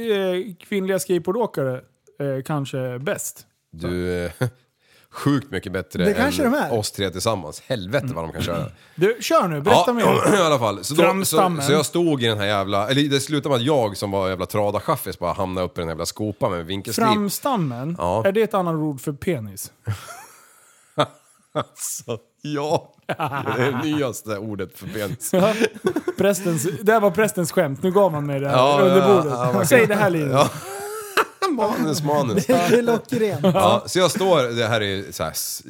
S2: kvinnliga skateboardåkare eh, kanske är bäst.
S4: Du, eh, sjukt mycket bättre
S3: Det kanske
S4: än
S3: de är.
S4: oss tre tillsammans. Helvete vad de kan köra.
S2: Du, kör nu, Mm. berätta mer.
S4: i alla fall. Så, då, så,
S2: Framstammen.
S4: så jag stod i den här jävla, eller det slutade med att jag som var jävla tradachaffis bara hamnade upp i den här jävla skopan med en vinkelslip.
S2: Framstammen,
S4: Ja.
S2: är det ett annat ord för penis?
S4: Alltså, ja. Det är det nyaste ordet för penis.
S2: Prästens, det här var prästens skämt, nu gav han mig det här
S4: Ja,
S2: under
S4: ja,
S2: bordet.
S4: ja, verkligen.
S2: Säg det här Linus.
S4: Ja. Manus, manus.
S3: Det är Lockren.
S4: Ja, så jag står, det här är ju så här, s-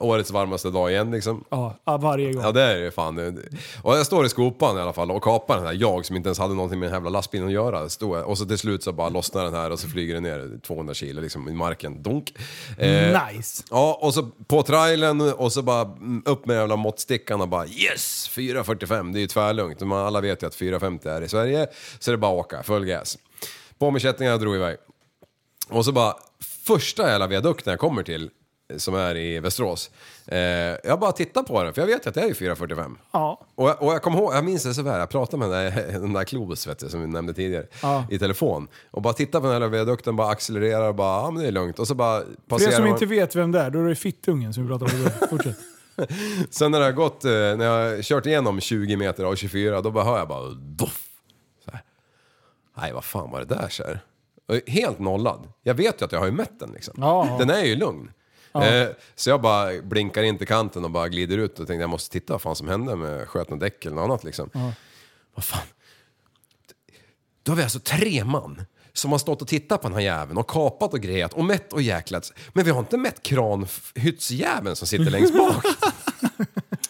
S4: årets varmaste dag igen liksom.
S2: Ja, ja, varje gång.
S4: Ja det är det fan. Och jag står i skopan i alla fall och kapar den här jag som inte ens hade någonting med den här jävla lastbilen att göra. Står jag. Och så till slut så bara lossnar den här och så flyger den ner 200 kilo liksom i marken. Dunk. Eh,
S2: Nice.
S4: Ja, och så på trailern och så bara mm, upp med jävla måttstickan och bara yes! 4.45, det är ju tvärlugnt. Man, alla vet ju att 4.50 är i Sverige, så det är bara att åka, full gas. På med kättingarna drog iväg. Och så bara, första jävla viadukten jag kommer till, som är i Västerås, eh, jag bara tittar på den, för jag vet ju att det är ju 4.45.
S2: Ja.
S4: Och jag, och jag kommer ihåg, jag minns det så väl, jag pratade med den där, den där Klobus vet du, som vi nämnde tidigare,
S2: Ja.
S4: i telefon. Och bara tittar på den här jävla viadukten, bara accelererar och bara, ja men det är lugnt. Och så bara
S2: För
S4: passerar
S2: er som
S4: man-
S2: inte vet vem det är, då är det fittungen som vi pratar om. idag. Fortsätt.
S4: Sen när det har gått, eh, när jag har kört igenom 20 meter av 24, då bara hör jag bara doff. Så här. Nej, vad fan var det där kär? Och Helt nollad. Jag vet ju att jag har ju mätt den liksom.
S2: Ja.
S4: Den är ju lugn. Eh, så jag bara blinkar in till kanten och bara glider ut och tänkte jag måste titta vad fan som hände med sköt och däck eller något annat liksom. Vad fan? Då har vi alltså tre man som har stått och tittat på den här jäveln och kapat och grejat och mätt och jäklats. Men vi har inte mätt kranhyttsjäveln som sitter längst bak.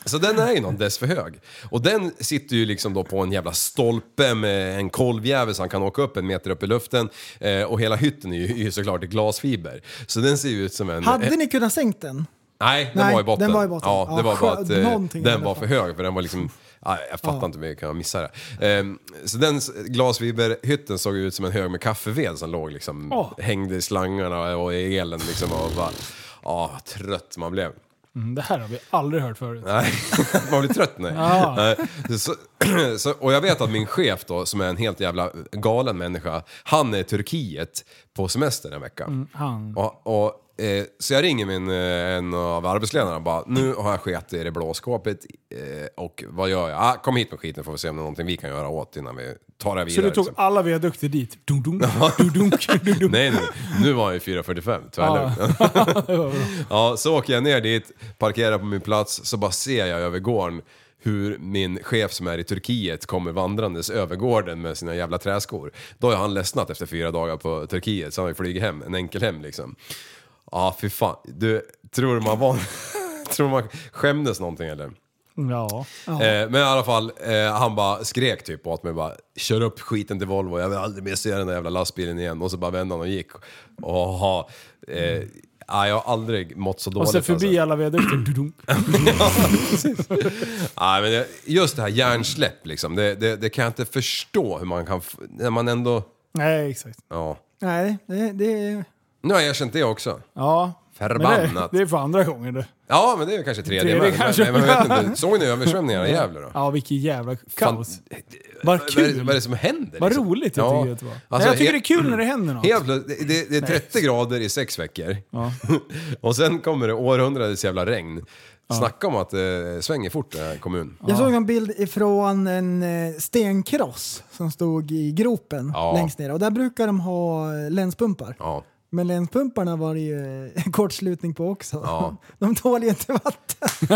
S4: Så den är ju någon dess för hög. Och den sitter ju liksom då på en jävla stolpe med en kolvjävel så han kan åka upp en meter upp i luften. Eh, och hela hytten är ju, är ju såklart i glasfiber. Så den ser ju ut som en...
S3: Hade ni kunnat sänkt den?
S4: Nej, den
S3: Nej,
S4: var i botten.
S3: den var i botten.
S4: Ja, det
S3: Ja,
S4: var bara att
S3: skö-
S4: eh,
S3: någonting i
S4: den
S3: alla
S4: var för
S3: fall.
S4: hög för den var liksom... Ah, jag fattar inte hur jag kan missa det. Ehm, så den s- glasfiberhytten såg ut som en hög med kaffeved som låg liksom
S2: Åh.
S4: hängde i slangarna och i elen liksom och bara... Ja, vad trött man blev.
S2: Mm, Det här har vi aldrig hört förut.
S4: Nej, man blir trött nej.
S2: Ja.
S4: Nej. Så, så, och jag vet att min chef då, som är en helt jävla galen människa, han är i Turkiet på semester en vecka.
S2: Mm, han.
S4: Och, och Eh, så jag ringer min, eh, en av arbetsledarna och bara, nu har jag sket i det blå skåpet eh, och vad gör jag? Ah, kom hit med skiten får vi se om det är någonting vi kan göra åt innan vi tar det här
S2: Så
S4: vidare.
S2: du tog
S4: liksom.
S2: alla viadukter dit? Dun, dun, dun, dun, dun, dun.
S4: Nej, nej, nu var jag ju 4.45, tvärlugnt. ja, så åker jag ner dit, parkerar på min plats, så bara ser jag över gården hur min chef som är i Turkiet kommer vandrandes över gården med sina jävla träskor. Då har han ledsnat efter fyra dagar på Turkiet, så han har ju flugit hem, en enkel hem liksom. Ja, fy fan. Du, tror man var... tror man skämdes någonting eller?
S2: Mm, Ja.
S4: Eh, men i alla fall, eh, han bara skrek typ åt mig bara kör upp skiten till Volvo, jag vill aldrig mer se den där jävla lastbilen igen. Och så bara vände han och gick. Oha, eh, nej, jag har aldrig mått så dåligt. alltså.
S2: Och sen förbi alla viadukter. Dun, dun.
S4: Nej, Ah, men det- just det här hjärnsläpp liksom, det, det, det kan jag inte förstå hur man kan, f- när man ändå,
S2: Nej, exakt.
S4: ja.
S3: Nej, det, det,
S4: Nu har jag erkänt det också.
S2: Ja. Men det,
S4: Förbannat.
S2: det är för andra gången det.
S4: Ja, men det är kanske tredje,
S2: Tredje
S4: med.
S2: kanske.
S4: Men, men, jag vet inte. Såg ni översvämningarna i Gävle då?
S2: Ja, vilket jävla
S4: Fan,
S2: kaos. Vad
S4: Vad, är det-
S2: kul.
S4: vad är det som händer?
S2: Vad
S4: liksom?
S2: roligt jag tycker att det var. Nej,
S4: Alltså,
S2: jag tycker det
S4: he-
S2: är kul när det händer något.
S4: Helt plötsligt, det, det är 30 grader i sex veckor. och sen kommer det århundradets jävla regn. Snacka om att det svänger fort den här kommunen.
S3: jag såg en bild ifrån en eh, stenkross som stod i gropen
S4: Ja.
S3: längst ner och där brukar de ha eh, länspumpar.
S4: Ja.
S3: Men länspumparna var det ju eh, kortslutning på också.
S4: Ja.
S3: De tål ju inte vatten.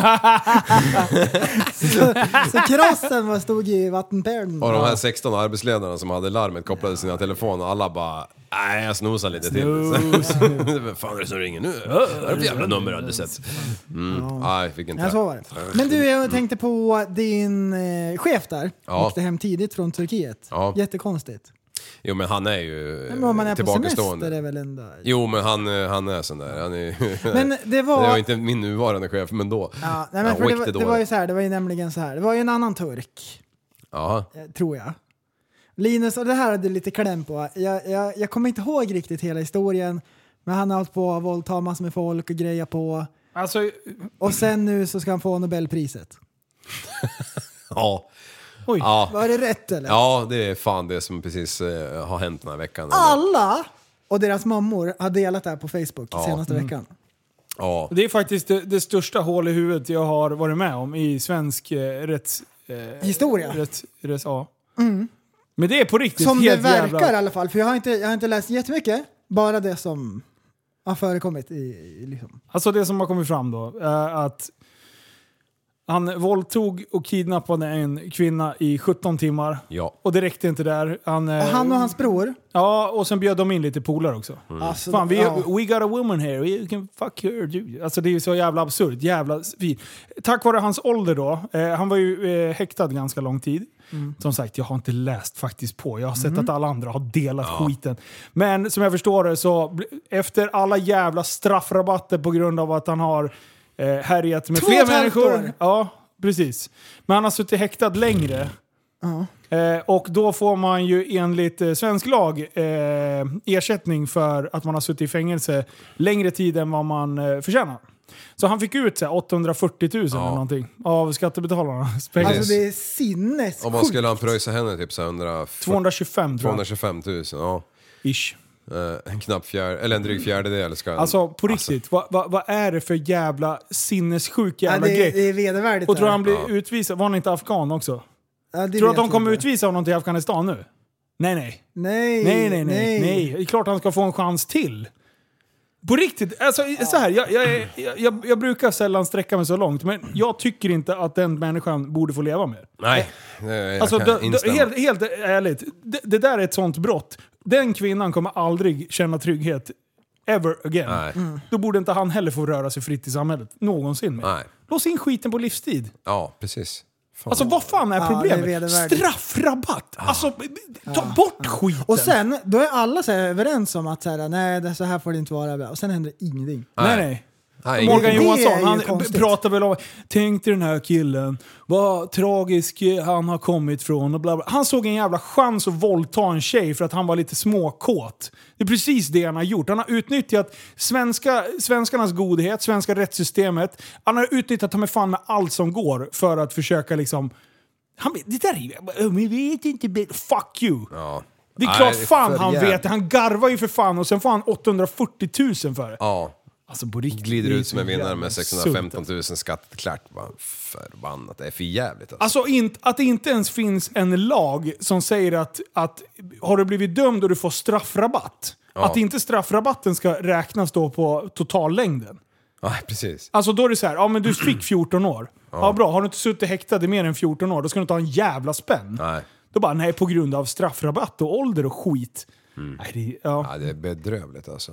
S3: så, så krossen var, stod i vattenpölen.
S4: Och de här 16 arbetsledarna som hade larmet kopplade till sina telefoner och alla bara Nej, jag snosar lite till. Vem fan är det som ringer nu? Vad är det för jävla nummer hade sett? Mm. Nej, fick inte.
S3: Ja, så var det. Men du, jag tänkte på din eh, chef där.
S4: Mm. Ja.
S3: Åkte hem tidigt från Turkiet.
S4: Ja. Eh,
S3: Jättekonstigt.
S4: Jo, men han är ju
S3: Men om man är på semester är
S4: tillbakastående.
S3: väl ändå...
S4: Jo, men han, eh, han är sån där. Han är,
S3: Men det var-
S4: Det var inte min nuvarande chef, men då.
S3: Ja, nej, men för det, var, det var ju så här, det var ju nämligen så här. Det var ju en annan turk,
S4: Jaha.
S3: eh, tror jag. Linus, och det här hade du lite kläm på. Jag, jag, jag kommer inte ihåg riktigt hela historien. Men han har hållit på att våldta massor med folk och greja på.
S2: Alltså,
S3: Och sen nu så ska han få Nobelpriset.
S4: Ja.
S2: oj.
S4: Ja.
S3: Var det rätt eller?
S4: Ja, det är fan det som precis eh, har hänt den här veckan.
S2: Ah.
S3: Alla och deras mammor har delat det här på Facebook senaste
S2: mm.
S3: veckan.
S4: Ja.
S2: Det är faktiskt det, det största hål i huvudet jag har varit med om i svensk eh, rätts... Eh,
S3: Historia.
S2: Rätts, rätts, ja. Men det är på riktigt
S3: Mm. Som det
S2: helt
S3: verkar i
S2: jävla...
S3: alla fall, för jag har, inte, jag har inte läst jättemycket. Bara det som har förekommit i... i liksom.
S2: Alltså det som har kommit fram då är att han våldtog och kidnappade en kvinna i 17 timmar.
S4: Ja.
S2: Och det räckte inte där. Han, eh,
S3: Och han och hans bror.
S2: Ja, och sen bjöd de in lite polare också.
S3: Alltså,
S2: Fan, vi,
S3: ja.
S2: we got a woman here, you can fuck her. dude. Alltså det är ju så jävla absurt. Jävla svin. Tack vare hans ålder då, eh, han var ju eh, häktad ganska lång tid. Som sagt, jag har inte läst faktiskt på. Jag har sett att alla andra har delat skiten. Men som jag förstår det så, bl- efter alla jävla straffrabatter på grund av att han har eh, härjat med
S3: Två och
S2: fler
S3: ett halvt
S2: människor.
S3: år.
S2: Ja, precis. Men han har suttit häktad längre. Eh, och då får man ju enligt eh, svensk lag eh, ersättning för att man har suttit i fängelse längre tid än vad man eh, förtjänar. Så han fick ut så här, 840 000 eller någonting av skattebetalarnas pengar.
S3: Alltså det är sinnessjukt.
S4: Om man skulle ha en pröjsa henne typ så här 140
S2: 225 tror jag.
S4: 225 000, ja.
S2: Ish.
S4: Eh, En knapp fjärde, eller en dryg fjärdedel ska han-
S2: Alltså på riktigt, vad vad- vad är det för jävla sinnessjuk
S3: Ja,
S2: jävla
S3: det, är-
S2: grej?
S3: det är vedervärdigt.
S2: Och tror
S3: det här.
S2: han blir utvisad? Var han inte afghan också?
S3: Ja, det
S2: Tror du
S3: vet
S2: att de
S3: jag
S2: kommer
S3: inte.
S2: utvisa honom till Afghanistan nu? Nej, nej.
S3: Nej,
S2: Nej, nej, nej. nej. Det är klart han ska få en chans till. På riktigt, alltså, så här, jag, jag, är- jag, jag, jag brukar sällan sträcka mig så långt, men jag tycker inte att den människan borde få leva mer.
S4: Nej, det- jag
S2: Alltså,
S4: kan
S2: dö- dö-
S4: instämma.
S2: helt, helt ärligt, det, det där är ett sånt brott. Den kvinnan kommer aldrig känna trygghet ever again.
S4: Nej.
S2: Då borde inte han heller få röra sig fritt i samhället någonsin mer.
S4: Nej.
S2: Lås in skiten på livstid.
S4: Ja, precis. Fan.
S2: Alltså vad fan är
S3: det är
S2: problemet?
S3: vedervärdigt. Ah.
S2: Straffrabatt! Alltså,
S4: Ah.
S2: ta bort skiten!
S3: Och sen, då är alla så här överens om att så här, nej, det- så här får det inte vara. bla. Och sen händer ingenting.
S2: nej, nej.
S4: Nej,
S2: Morgan
S3: Det är ju
S2: Johansson, han
S3: konstigt.
S2: b- pratar väl om... Tänk dig den här killen, vad tragisk eh, han har kommit från och bla bla. Han såg en jävla chans att våldta en tjej för att han var lite småkåt. Det är precis det han har gjort. Han har utnyttjat svenska, svenskarnas godhet, svenska rättssystemet. Han har utnyttjat ta mig fan med allt som går för att försöka liksom... Han, vet- det där är ju... "Äh, men Vi vet inte bättre." Fuck you!
S4: Ja.
S2: Det är
S4: Nej,
S2: klart fan
S4: för
S2: han
S4: jävligt.
S2: vet det. Han garvar ju för fan och sen får han 840 000 för det.
S4: Ja.
S2: Alltså på riktigt.
S4: Glider
S2: det är
S4: ut som en
S2: så
S4: vinnare
S2: jävla
S4: med
S2: sunt,
S4: 615
S2: alltså.
S4: 000 skatt klart. Vad förbannat, det är för jävligt alltså.
S2: Alltså inte, att det inte ens finns en lag som säger att, att har du blivit dömd och du får straffrabatt, att inte straffrabatten ska räknas då på totallängden.
S4: Nej, precis.
S2: Alltså då är det så här, ja men du fick 14 år. Ja, bra, har du inte suttit häktad i mer än 14 år, då ska du inte ha en jävla spänn.
S4: Nej.
S2: Då bara, nej på grund av straffrabatt och ålder och skit.
S4: Mm.
S2: Nej, det, ja.
S4: Ja, det är bedrövligt alltså.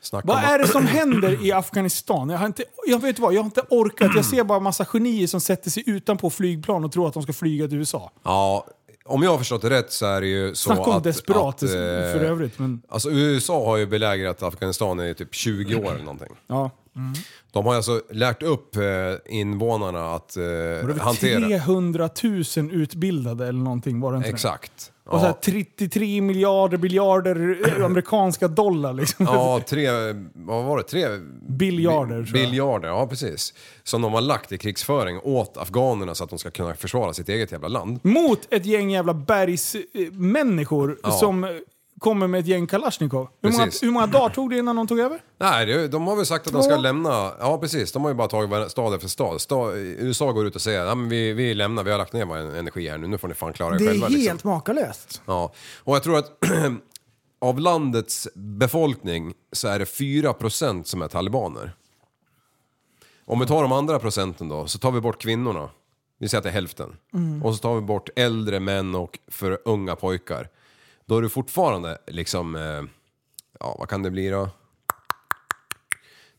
S4: Snacka
S2: Vad
S4: om
S2: är
S4: att-
S2: det som händer i Afghanistan? Jag, har inte, jag vet vad, jag har inte orkat. Jag ser bara massa genier som sätter sig utanpå flygplan och tror att de ska flyga till USA.
S4: Ja, om jag har förstått det rätt så är det ju så
S2: Snacka om
S4: att...
S2: desperat
S4: att, eh,
S2: för övrigt. Men,
S4: Alltså USA har ju belägrat Afghanistan i typ 20 år eller någonting.
S2: ja. Mm.
S4: De har ju alltså lärt upp eh, invånarna att eh,
S2: Det var
S4: hantera...
S2: 300 000 utbildade eller någonting var det inte det?
S4: Exakt.
S2: Och så här
S4: Ja.
S2: 33 miljarder biljarder eh, amerikanska dollar liksom.
S4: Ja, tre, vad var det? Tre
S2: Biljarder,
S4: bi-
S2: tror jag.
S4: Biljarder, ja precis. Som de har lagt i krigsföring åt afghanerna så att de ska kunna försvara sitt eget jävla land.
S2: Mot ett gäng jävla bergsmänniskor
S4: Ja.
S2: som eh, kommer med ett gäng Kalashnikov. Hur många,
S4: Precis.
S2: hur många dagar tog det innan de tog över?
S4: Nej, det- de har väl sagt att de ska
S2: Två.
S4: lämna... Ja, precis. De har ju bara tagit varje- stad efter stad. stad USA går ut och säger att vi, vi lämnar, vi har lagt ner vår energi här nu, nu får ni fan klara er
S3: Det är
S4: själva.
S3: helt
S4: Liksom.
S3: makalöst.
S4: Ja. Och jag tror att av landets befolkning så är det 4% som är talibaner. Om vi tar de andra procenten då, så tar vi bort kvinnorna. Vi säger att det är hälften. Och så tar vi bort äldre män och för unga pojkar. Då är det fortfarande liksom, eh, ja vad kan det bli då?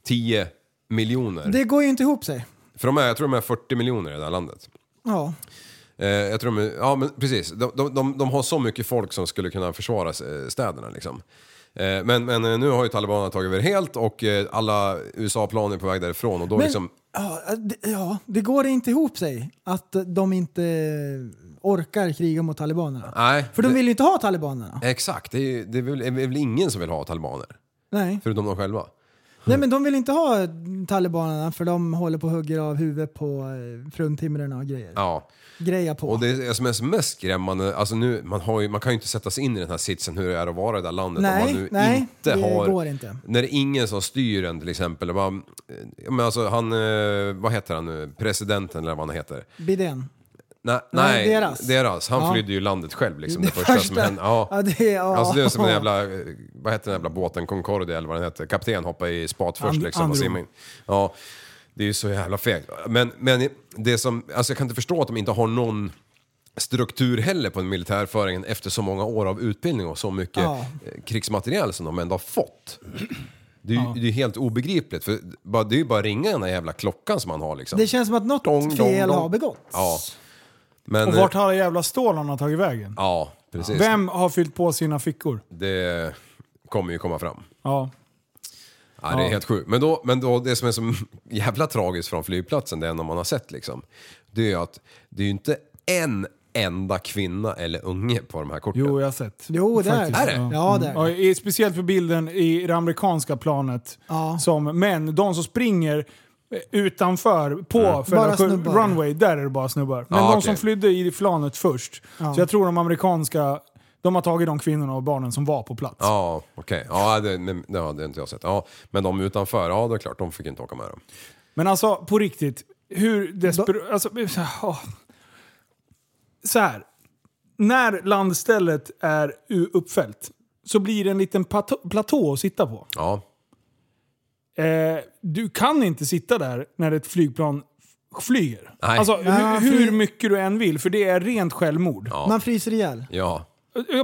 S4: 10 miljoner.
S3: Det går ju inte ihop sig.
S4: För de är, jag tror de är 40 miljoner i det här landet.
S3: Ja.
S4: Eh, jag tror de, ja men precis. De, de, de, de har så mycket folk som skulle kunna försvara eh, städerna liksom. Eh, Men, men eh, nu har ju talibanerna tagit över helt och eh, alla USA-plan är på väg därifrån och då
S3: Men,
S4: liksom...
S3: ja, det- ja, det går inte ihop sig att de inte orkar kriga mot talibanerna.
S4: Nej.
S3: För de
S4: det-
S3: vill ju inte ha talibanerna.
S4: Exakt, det är, ju- det, är väl, det är väl ingen som vill ha talibaner.
S3: Nej.
S4: Förutom de själva.
S3: Nej, men de vill inte ha talibanerna för de håller på och hugger av huvudet på eh, fruntimren och grejer.
S4: Ja.
S3: Greja på.
S4: Och det som är mest skrämmande, alltså nu, man, har ju, man kan ju inte sätta sig in i den här sitsen hur det är att vara i det där landet om
S3: Nej,
S4: man nu
S3: nej,
S4: inte
S3: det
S4: har...
S3: går inte.
S4: När det är ingen som styr en till exempel. Man, men alltså han, eh, vad heter han nu, presidenten eller vad han heter.
S3: Bidén.
S4: Nej,
S3: Nej,
S4: nej
S3: deras.
S4: deras. Han
S3: Ja.
S4: flydde ju landet själv liksom. Det, första, som hände. Ja.
S3: Ja, det är, ja.
S4: Alltså det är som en jävla, eh, vad heter den jävla båten, Concordia eller vad den heter. Kapten hoppar i spat först
S2: And-
S4: liksom och
S2: Andro.
S4: simmar in. Ja, det är ju så jävla fegt. Men, men det som, alltså jag kan inte förstå att de inte har någon struktur heller på den militärföringen efter så många år av utbildning och så mycket
S3: Ja.
S4: eh, krigsmateriel som de ändå har fått. Det är ju det är helt obegripligt för bara- det är ju bara att ringa den här jävla klockan som man har liksom.
S3: Det känns som att något
S4: Dong, dong,
S3: fel
S4: dong.
S3: har begåtts.
S4: Ja. Men,
S2: Och vart har alla jävla stålarna tagit vägen?
S4: Ja, precis.
S2: Vem har fyllt på sina fickor?
S4: Det kommer ju komma fram.
S2: Ja.
S4: Ja, det är helt sjukt. Men, då, men då, det som är så jävla tragiskt från flygplatsen, det enda man har sett liksom, det är ju att det är ju inte en enda kvinna eller unge på de här korten.
S2: Jo, jag har sett.
S3: Jo, det är
S2: Faktiskt.
S3: det.
S2: Ja. Mm.
S3: Ja, det är
S2: Ja,
S3: det.
S2: i- speciellt för bilden i det amerikanska planet.
S3: Ja.
S2: Som, men de som springer eh, utanför på
S3: Mm. Bara
S2: själva
S3: snubbar.
S2: runway, där är det bara snubbar. Men
S4: Ja,
S2: de
S4: okej.
S2: som flydde i planet först,
S3: Ja.
S2: så jag tror de amerikanska, de har tagit de kvinnorna och barnen som var på plats.
S4: Ja, okej. Ja, det, men- det hade inte jag sett. Ja, men de utanför, ja det är klart, de fick inte åka med dem.
S2: Men alltså, på riktigt. Hur desperat... Alltså, åh. så här. När landstället är u- uppfällt så blir det en liten pato- platå att sitta på.
S4: Ja,
S2: Eh, du kan inte sitta där när ett flygplan f- flyger.
S4: Nej.
S2: Alltså
S3: Ja,
S2: hur, hur
S3: fly-
S2: mycket du än vill, för det är rent självmord. Ja,
S3: Man fryser ihjäl.
S4: ja.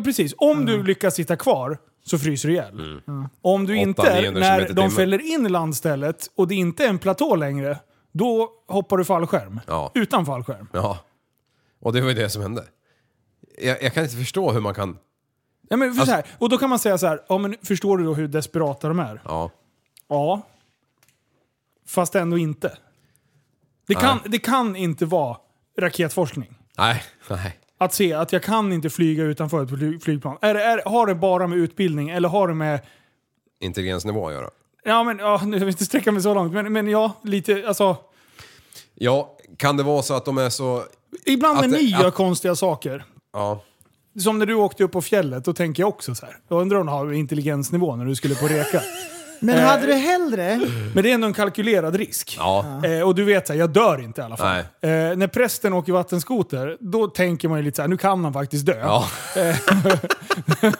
S2: precis. Om du lyckas sitta kvar så fryser du ihjäl. Om du
S4: Mm. Åtta,
S2: inte,
S4: 900
S2: när
S4: kilometer
S2: de
S4: timmen.
S2: fäller in landstället och det inte är en platå längre, då hoppar du fallskärm.
S4: Ja.
S2: Utan fallskärm.
S4: ja. Och det var ju det som hände. Jag, jag kan inte förstå hur man kan...
S2: Ja, men för
S4: Alltså-
S2: så här, och då kan man säga så här, ja, men förstår du då hur desperata de är?
S4: Ja,
S2: Ja. Fast ändå inte. Det kan, det kan inte vara raketforskning.
S4: nej, nej.
S2: Att se att jag kan inte flyga utanför ett fly- flygplan. Är, det- är, har det bara med utbildning eller har det med...
S4: Intelligensnivå att göra.
S2: Ja, men ja, nu vill jag inte sträcka mig så långt, men, men ja, lite alltså...
S4: Ja, kan det vara så att de är så...
S2: Ibland
S4: Att
S2: när
S4: det-
S2: ni gör
S4: att-
S2: konstiga saker,
S4: Ja,
S2: som när du åkte upp på fjället, då tänker jag också så här. Jag undrar om du har intelligensnivå när du skulle på reka.
S3: Men hade du hellre...
S2: Men det är ändå en kalkylerad risk.
S4: Mm. Ja.
S2: Eh, och du vet, så här, jag dör inte i alla fall.
S4: Nej.
S2: Eh, när prästen åker vattenskoter, då tänker man ju lite så här, nu kan han faktiskt dö.
S4: Ja.
S2: Eh,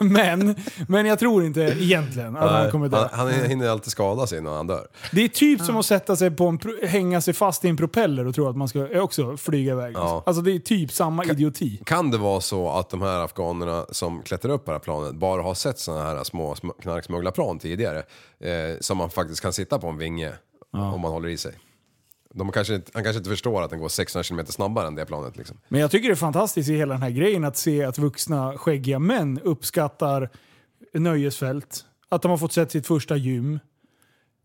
S2: men, men jag tror inte egentligen att han kommer dö.
S4: Han, han hinner alltid skada sig innan han dör.
S2: Det är typ som att sätta sig på en, pro- hänga sig fast i en propeller och tro att man ska eh, också flyga iväg.
S4: Ja.
S2: Alltså det är typ samma idioti.
S4: Kan det vara så att de här afghanerna som klättrar upp på det här planet bara har sett sådana här små sm- knarksmugglarplan tidigare? Eh, som man faktiskt kan sitta på en vinge om man håller i sig. De kanske inte, han kanske inte förstår att den går 600 km snabbare än det planet liksom.
S2: Men jag tycker det är fantastiskt i hela den här grejen att se att vuxna skäggiga män uppskattar nöjesfält. Att de har fått sett sitt första gym.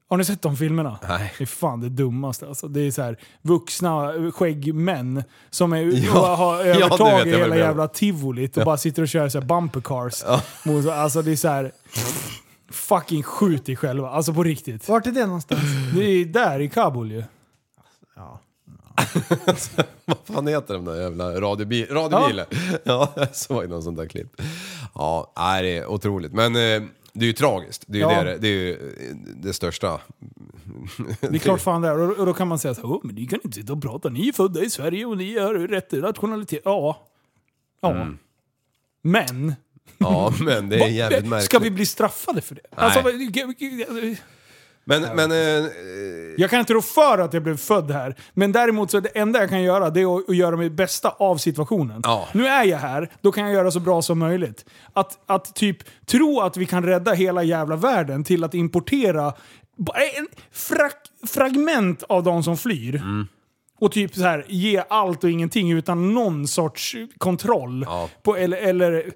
S2: Har ni sett de filmerna?
S4: Nej.
S2: Det är fan det dummaste alltså. Det är så här vuxna eh, skäggmän som är,
S4: Ja.
S2: och har
S4: Ja, du
S2: övertag
S4: vet, jag
S2: i
S4: vad du
S2: hela
S4: menar.
S2: jävla tivolit och bara sitter och kör så här bumper cars. Mot- Alltså det är så här... Fucking skjut dig själva. Alltså på riktigt.
S3: Vart är det någonstans?
S2: Det är där i Kabul ju.
S4: Vad fan heter de där jävla radiobil, radiobilen? Ja. jag såg någon sån där klipp. Ja, nej, det är otroligt. Men eh, det är ju tragiskt. Det är ju
S2: Ja.
S4: det, det, är ju eh, det största.
S2: Det är klart fan det är. Och, och då kan man säga så här, "Åh, men ni kan inte sitta och prata, ni är födda i Sverige och ni har rätt till nationalitet. Ja. Ja. Men,
S4: Ja, men Mm. det är jävligt märkligt.
S2: ska vi bli straffade för det? Alltså,
S4: Men, men... eh,
S2: jag kan inte rå för att jag blev född här, men däremot så det enda jag kan göra det är att, att göra mitt bästa av situationen.
S4: Ja.
S2: Nu är jag här, då kan jag göra så bra som möjligt. Att, att typ tro att vi kan rädda hela jävla världen till att importera bara en frak- fragment av de som flyr.
S4: Mm.
S2: Och typ så här, ge allt och ingenting utan någon sorts kontroll.
S4: Ja.
S2: På, eller, eller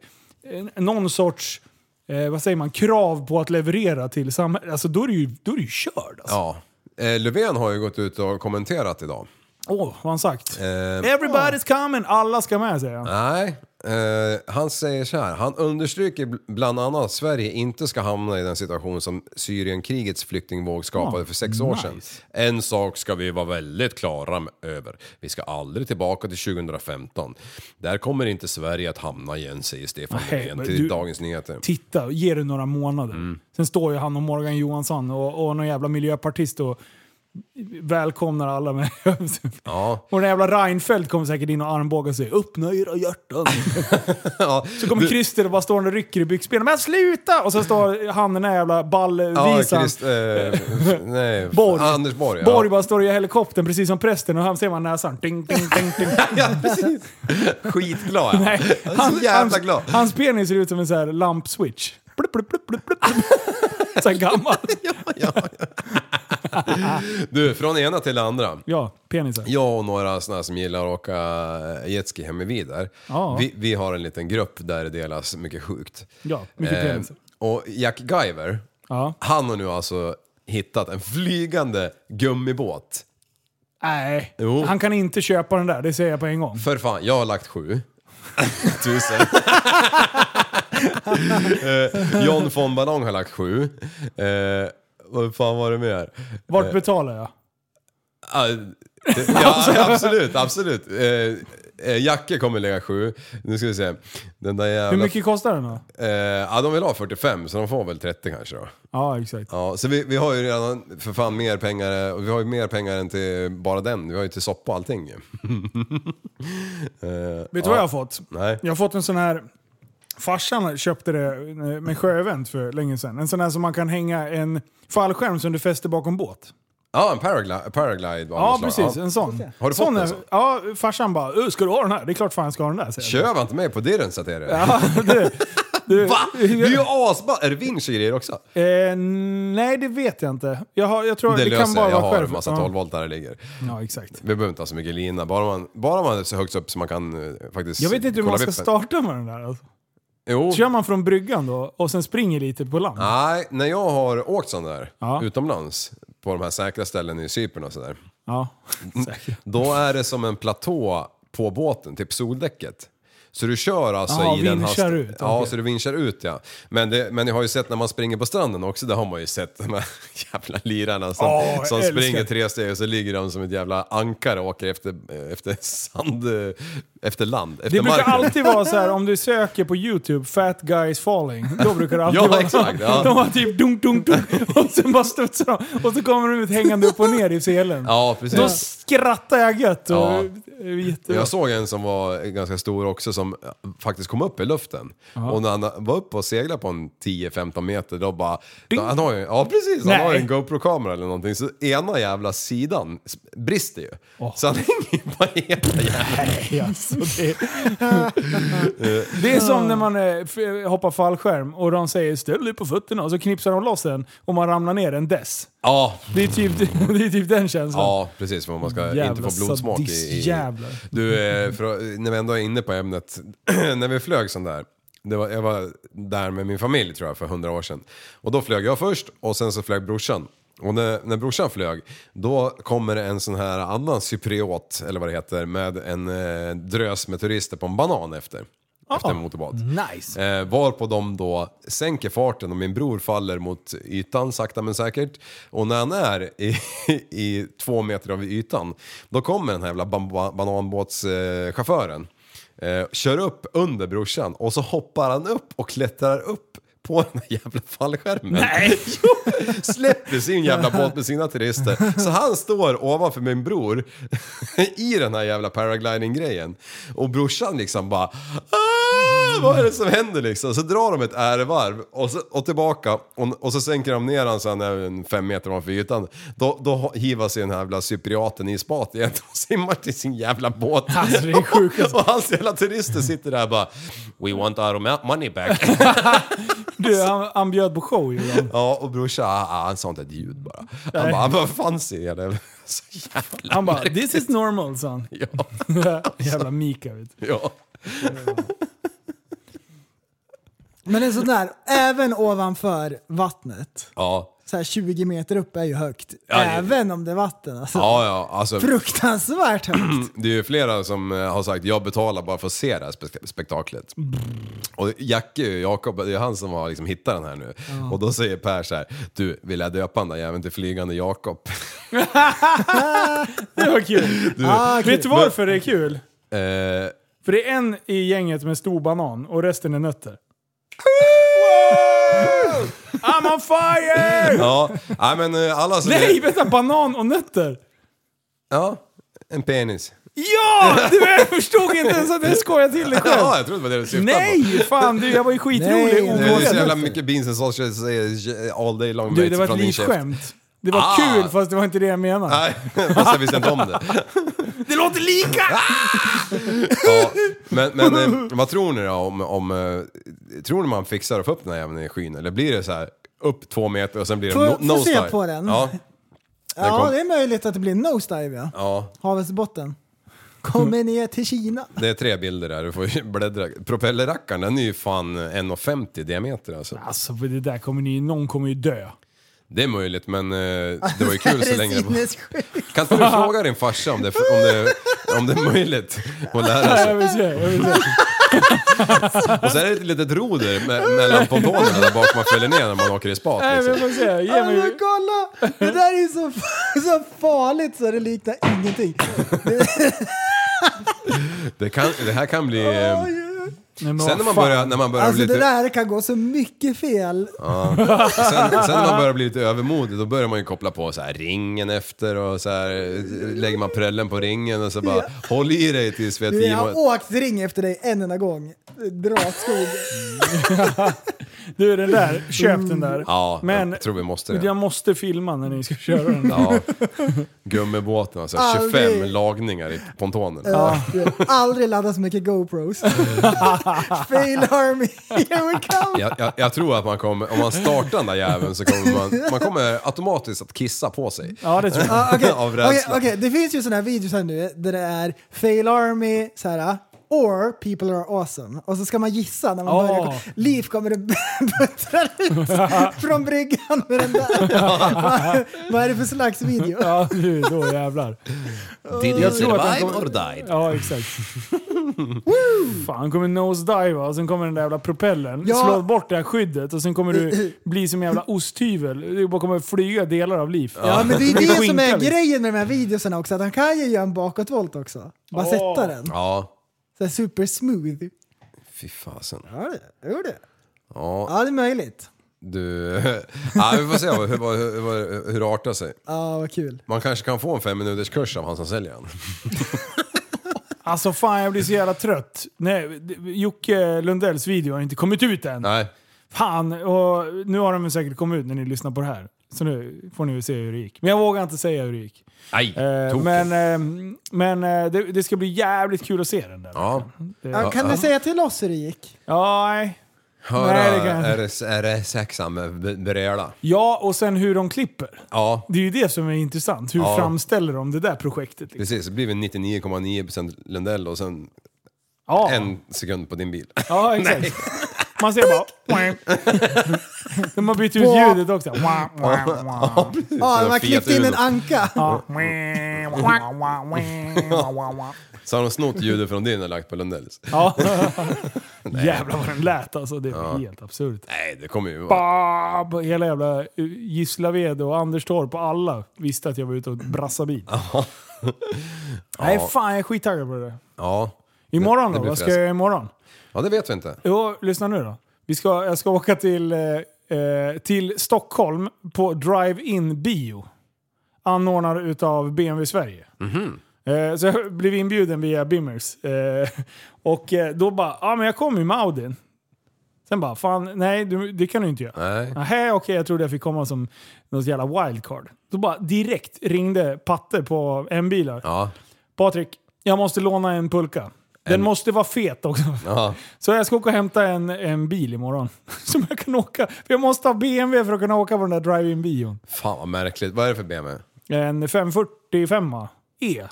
S2: eh, någon sorts, eh, vad säger man, krav på att leverera till samhället. Alltså då är du ju, då är du ju körd. Alltså.
S4: ja. Eh, Löfven har ju gått ut och kommenterat idag.
S2: Åh, vad har han sagt?
S4: Eh,
S2: Everybody's coming, alla ska med säger han.
S4: Nej, eh, han säger så här. Han understryker bl- bland annat att Sverige inte ska hamna i den situation som Syrienkrigets flyktingvåg skapade
S2: Ja,
S4: för sex år sedan.
S2: nice.
S4: En sak ska vi vara väldigt klara m- över. Vi ska aldrig tillbaka till 2015. Där kommer inte Sverige att hamna igen, säger Stefan
S2: Nej,
S4: Löfven
S2: men
S4: till
S2: du-
S4: Dagens Nyheter.
S2: Titta, ge det några månader.
S4: Mm.
S2: Sen står ju han och Morgan Johansson och, och någon jävla miljöpartist och välkomnar alla med
S4: Ja,
S2: Och den jävla Reinfeldt kommer säkert in och armbågar sig. Öppna era hjärtan.
S4: ja.
S2: Så kommer Christer och bara står och rycker i byxbenen. Men sluta! Och så står han den där jävla
S4: Ja,
S2: ballvisan.
S4: Christ, eh, f- nej,
S2: Borg.
S4: Anders Borg. ja.
S2: Borg bara står i helikoptern precis som prästen och han ser man näsan. Ding, ding, ding, ding.
S4: Ja, precis. Skitglad
S2: Nej,
S4: Han är så jävla glad.
S2: Hans, hans penis ser ut som en sån här lamp-switch. Blup, blup, blup, blup, blup. Så här gammal.
S4: Du, från ena till det andra.
S2: Ja, penisar.
S4: Jag och några sådana som gillar att åka eh, jetski hemmavid där.
S2: Ja.
S4: Vi, vi har en liten grupp där det delas mycket sjukt. Eh,
S2: Ja, mycket penisar.
S4: och Jack Guyver,
S2: Ja.
S4: han har nu alltså hittat en flygande gummibåt.
S2: Nej,
S4: Jo.
S2: han kan inte köpa den där. Det säger jag på en gång.
S4: För fan, jag har lagt sju. Tusen. eh, John von Ballong har lagt sju. Eh, vad fan var det mer?
S2: Vart
S4: Eh.
S2: betalar jag?
S4: Ja, det-
S2: Alltså-
S4: ja, absolut, absolut. Eh, Eh, Jacke kommer lägga sju. Nu ska vi se. Den där jävla...
S2: Hur mycket kostar den då?
S4: Eh, ja, de vill ha 45 så de får väl 30 kanske då.
S2: Ja, exakt.
S4: Ja, så vi, vi har ju redan för fan mer pengar, eh, och vi har ju mer pengar än till bara den. Vi har ju till soppa och allting ju. Eh,
S2: Vet du
S4: ja.
S2: vad jag har fått?
S4: Nej.
S2: Jag har fått en sån här... Farsan köpte det eh, med sjöevent för länge sedan. En sån här som man kan hänga en fallskärm som du fäster bakom båt.
S4: Ja, en paraglide. paraglide av
S2: Ja,
S4: något slag.
S2: precis. En sån.
S4: Har du fått alltså?
S2: sån
S4: en
S2: är-
S4: sån?
S2: Ja, farsan bara "Ö, “Ska du ha den här?” Det är klart fan jag ska ha den där, säger jag.
S4: Köp inte mig på dirren så att det är det.
S2: du, du,
S4: Va? Det är ju asball. Är det vinsch i grejer också?
S2: Eh, nej, det vet jag inte. Jag, har, jag tror
S4: Det,
S2: det, kan
S4: löser
S2: bara
S4: jag. Jag
S2: vara
S4: har
S2: själv.
S4: en massa
S2: Ja.
S4: 12 volt där det ligger.
S2: Ja, exakt.
S4: Vi behöver inte ha så mycket lina. Bara man, bara man är så högt upp så man kan eh, faktiskt
S2: Jag vet inte hur
S4: kolla
S2: man ska
S4: vippen.
S2: starta med den där. Alltså.
S4: Jo.
S2: Kör man från bryggan då och sen springer lite på land?
S4: Nej, när jag har åkt sån där
S2: Ja.
S4: utomlands på de här säkra ställen i Cypern och sådär.
S2: Ja.
S4: Då är det som en platå på båten, typ soldäcket. Så du kör alltså
S2: Jaha,
S4: i den
S2: vinschar
S4: hastigheten.
S2: ut,
S4: Ja,
S2: okej.
S4: så du vinschar ut ja. Men, det, men jag har ju sett när man springer på stranden också, där har man ju sett de här jävla lirarna som,
S2: Ja, jag
S4: som
S2: älskar.
S4: springer tre steg och så ligger de som ett jävla ankare och åker efter, eh, efter sand, eh, efter land, efter
S2: Det brukar
S4: marken.
S2: alltid vara så här om du söker på YouTube, fat guys falling. Då brukar det alltid
S4: Ja,
S2: vara
S4: exakt, ja.
S2: De har typ dunk, dunk, dunk och sen bara studsar de. Och så kommer de ut hängande upp och ner i selen.
S4: Ja, precis.
S2: Då skrattar jag gött. Och,
S4: Ja.
S2: det är jättebra.
S4: Jag såg en som var ganska stor också som faktiskt kom upp i luften. Och när han var uppe och seglade på en 10-15 meter då bara...
S2: Ding.
S4: Han har ju, ja precis,
S2: Nej.
S4: han har ju en GoPro-kamera eller någonting så ena jävla sidan s- brister ju. Så han hänger ju på ena jävla...
S2: Alltså, det, det är som när man eh, f- hoppar fallskärm och de säger ställ dig på fötterna och så knipsar de loss den och man ramlar ner en dess.
S4: Ja,
S2: Det är typ, det är typ den känslan.
S4: ja precis för man ska inte få blodsmak i... i
S2: sadistjävlar.
S4: Du, eh, för, när vi ändå är inne på ämnet, när vi flög sån där. Det var, jag var där med min familj tror jag för hundra år sedan. Och då flög jag först och sen så flög brorsan. Och när, när brorsan flög, då kommer det en sån här annan cypriot, eller vad det heter, med en eh, drös med turister på en banan efter. Efter en motorbåt.
S2: Nice.
S4: Eh, varpå de då sänker farten och min bror faller mot ytan sakta men säkert. Och när han är i, i två meter av ytan, då kommer den här jävla ban- bananbåtschauffören. Eh, chauffören, eh, kör upp under brorsan och så hoppar han upp och klättrar upp på den här jävla fallskärmen. Nej! Släpper sin jävla båt med sina turister. Så han står ovanför min bror i den här jävla paragliding-grejen. Och brorsan liksom bara "Ah, vad är det som händer liksom? Så drar de ett ärevarv och, så, och tillbaka och, och så sänker de ner han så han är en fem meter ovanför ytan. Då, då hivar sig den här jävla cypriaten i spat igen och simmar till sin jävla båt.
S2: Alltså, det är sjukt.
S4: och hans jävla turister sitter där bara We want our ma- money back.
S2: Du, han, han bjöd på show ju. Han,
S4: Ja, och brorsan, ah, ah, han sa inte ett ljud bara. Han
S2: Nej.
S4: bara, han bara, vad fan ser jag det? Så jävla
S2: han bara
S4: märkligt.
S2: “This is normal” sa han.
S4: Ja,
S2: Jävla Mika vet du.
S4: ja.
S3: Men en sån där, även ovanför vattnet,
S4: Ja,
S3: så här 20 meter upp är ju högt.
S4: Ja, det-
S3: även om det är vatten alltså.
S4: ja, ja alltså.
S3: Fruktansvärt högt.
S4: Det är ju flera som eh, har sagt jag betalar bara för att se det här spek- spektaklet. Och Jacke, Jakob, det är han som har liksom hittat den här nu. Och då säger Per så här, du vill jag döpa den där jäveln till Flygande Jakob?
S2: Det var kul.
S3: Ah, okej.
S2: Vet du varför det är kul?
S4: eh,
S2: För det är en i gänget med stor banan och resten är nötter. I'm on fire!
S4: ja, nej men eh, alla som...
S2: Nej, vänta! Banan och nötter!
S4: Ja, en penis.
S2: Ja! Du, jag förstod inte ens att du skojade till dig
S4: Ja,
S2: själv.
S4: jag trodde det var det du syftade på.
S2: Nej! Fan du, jag var ju skitrolig och
S3: Nej,
S4: Det är så jävla
S2: vågade
S4: mycket beans and sausage eh, all day long
S2: Du,
S4: mate,
S2: det var ett
S4: från din käft.
S2: likskämt. Det var
S4: Ah.
S2: kul fast det var inte det jag menade.
S4: Nej, fast jag visste inte om det.
S2: Det låter lika!
S4: Ja, men men eh, vad tror ni då om, om... eh, Tror ni man fixar att få upp den här jäveln i skyn? Eller blir det så här upp två meter och sen blir det
S3: Får-
S4: no,
S3: får
S4: nose
S3: se
S4: dive?
S3: på den.
S4: Ja,
S3: Ja,
S4: kom-
S3: det är möjligt att det blir nosedive ja.
S4: ja,
S3: Havets botten. Kommer ner till Kina.
S4: det är tre bilder där. Du får ju bläddra. Propellerrackaren, den är ju fan 1,50 i diameter alltså.
S2: Alltså det där kommer ni, någon kommer ju dö.
S4: Det är möjligt, men eh, det var ju kul så länge det var.
S3: sinnessjukt.
S4: Kan inte du fråga din farsa om det, om det, om det är möjligt att lära sig?
S2: Jag vill se, jag vill se.
S4: Och så är det ett litet roder me- mellan pontonerna där bak man fäller ner när man åker i spat.
S2: Nej, men jag
S4: Liksom.
S2: får se. Ge
S3: Ja, men
S2: mig...
S3: kolla! Det där är ju så, så farligt så det liknar ingenting.
S4: Det, kan, det här kan bli... eh,
S2: Nej, men
S4: Sen när
S2: vad
S4: man
S2: fan.
S4: börjar, när man börjar
S3: Alltså
S4: bli
S3: det
S4: lite,
S3: där kan gå så mycket fel.
S4: sen, sen när man börjar bli lite övermodig då börjar man ju koppla på så här ringen efter och så här eh, lägger man prällen på ringen och så bara håll i dig tills vi har
S3: Du, jag
S4: teamat.
S3: har åkt ring efter dig en enda gång. Dra åt skogen.
S2: Du den där, köp den där.
S4: Ja,
S2: men
S4: jag tror vi måste det.
S2: jag måste filma när ni ska köra den där.
S4: Ja. Gummibåten alltså, 25
S3: Aldrig.
S4: lagningar i pontonen.
S3: Du, Aldrig laddat så mycket GoPros. Fail army, here we come!
S4: Jag, jag, jag tror att man kommer, om man startar den där jäveln så kommer man, man kommer automatiskt att kissa på sig.
S2: Ja, det tror jag.
S3: Ja, Ah, Okej,
S4: Av
S3: Okej,
S4: rädsla.
S3: okej. det finns ju sådana här videos här nu där det är fail army, så här, Or people are awesome. Och så ska man gissa när man
S2: Ah.
S3: börjar. Liv kommer och buttrar ut från bryggan med den där. vad, vad är det för slags video?
S2: Ja, nu, då jävlar.
S4: Did you
S2: Jag tror att han
S4: survive or
S2: kommer-
S4: died?
S2: Ja, exakt. Fan, kommer nosediva och sen kommer den där jävla propellern.
S3: Ja.
S2: Slå bort det här skyddet och sen kommer du bli som en jävla osthyvel. Du bara kommer flyga delar av liv.
S3: Ja, men det är det som
S2: Skinka
S3: är
S2: lite.
S3: grejen med de här videorna också, att han kan ju göra en bakåtvolt också. Bara sätta den.
S4: Ja,
S3: Så här super smooth.
S4: fy fasen.
S3: Ja, det gjorde det.
S4: Ja,
S3: Ja, det är möjligt.
S4: du... Ja, vi får se hur, hur, hur, hur det artar sig.
S3: Ja, vad kul.
S4: Man kanske kan få en fem minuters kurs av han som säljer den.
S2: Alltså fan, jag blir så jävla trött. Nej, det- Jocke Lundells video har inte kommit ut än.
S4: Nej.
S2: Fan, och nu har de säkert kommit ut när ni lyssnar på det här. Så nu får ni väl se hur det gick. Men jag vågar inte säga hur det gick.
S4: Nej,
S2: Eh,
S4: token.
S2: men eh, men eh, det, det ska bli jävligt kul att se den där.
S4: Ja,
S3: Ja, kan du säga till oss hur det gick?
S2: Ja, nej.
S4: höra
S2: Nej, det kan jag
S4: är det, är det sexan med b- bröla.
S2: Ja, och sen hur de klipper.
S4: Ja,
S2: Det är ju det som är intressant. Hur
S4: Ja.
S2: framställer de det där projektet? Liksom?
S4: precis. Det blir väl 99,9% Lundell och sen
S2: Ja.
S4: en sekund på din bil.
S2: ja, exakt. Man ser bara... de har bytt ut ljudet också. Wah, wah, wah.
S3: Ja,
S4: Så
S3: de har
S4: fet
S3: klippt in
S4: ljud.
S3: en anka.
S2: Ja. Wah, wah, wah, wah, wah.
S4: Så har de snott ljudet från din och lagt på Lundells.
S2: Ja. Jävlar vad den lät alltså. Det var helt absurt.
S4: Nej, det kommer ju vara...
S2: Bab, hela jävla eh, Gislaved och Anderstorp och alla visste att jag var ute och brassade bil. Nej fan, jag är skittaggad på det där.
S4: Ja.
S2: Imorgon
S4: Det
S2: då?
S4: blir
S2: Vad ska
S4: fräs.
S2: jag göra imorgon?
S4: ja, det vet vi inte.
S2: Jo, lyssna nu då. Vi ska, jag ska åka till, eh, eh, till Stockholm på Drive-In Bio. Anordnad utav BMW Sverige.
S4: Mhm.
S2: Eh, så jag blev inbjuden via Bimmers. Eh, och eh, då bara, ja ah, men jag kommer ju med Audin. Sen bara, fan nej du, det kan du inte göra.
S4: Nej.
S2: Nähä, okej, jag trodde jag fick komma som något jävla wildcard. Då bara direkt ringde Patte på M-bilar.
S4: Ja.
S2: Patrik, jag måste låna en pulka. Den måste vara fet också.
S4: Ja.
S2: Så jag ska åka och hämta en, en bil imorgon. Som jag kan åka. För jag måste ha BMW för att kunna åka på den där drive-in bion.
S4: Fan vad märkligt. Vad är det för BMW?
S2: En 545 E.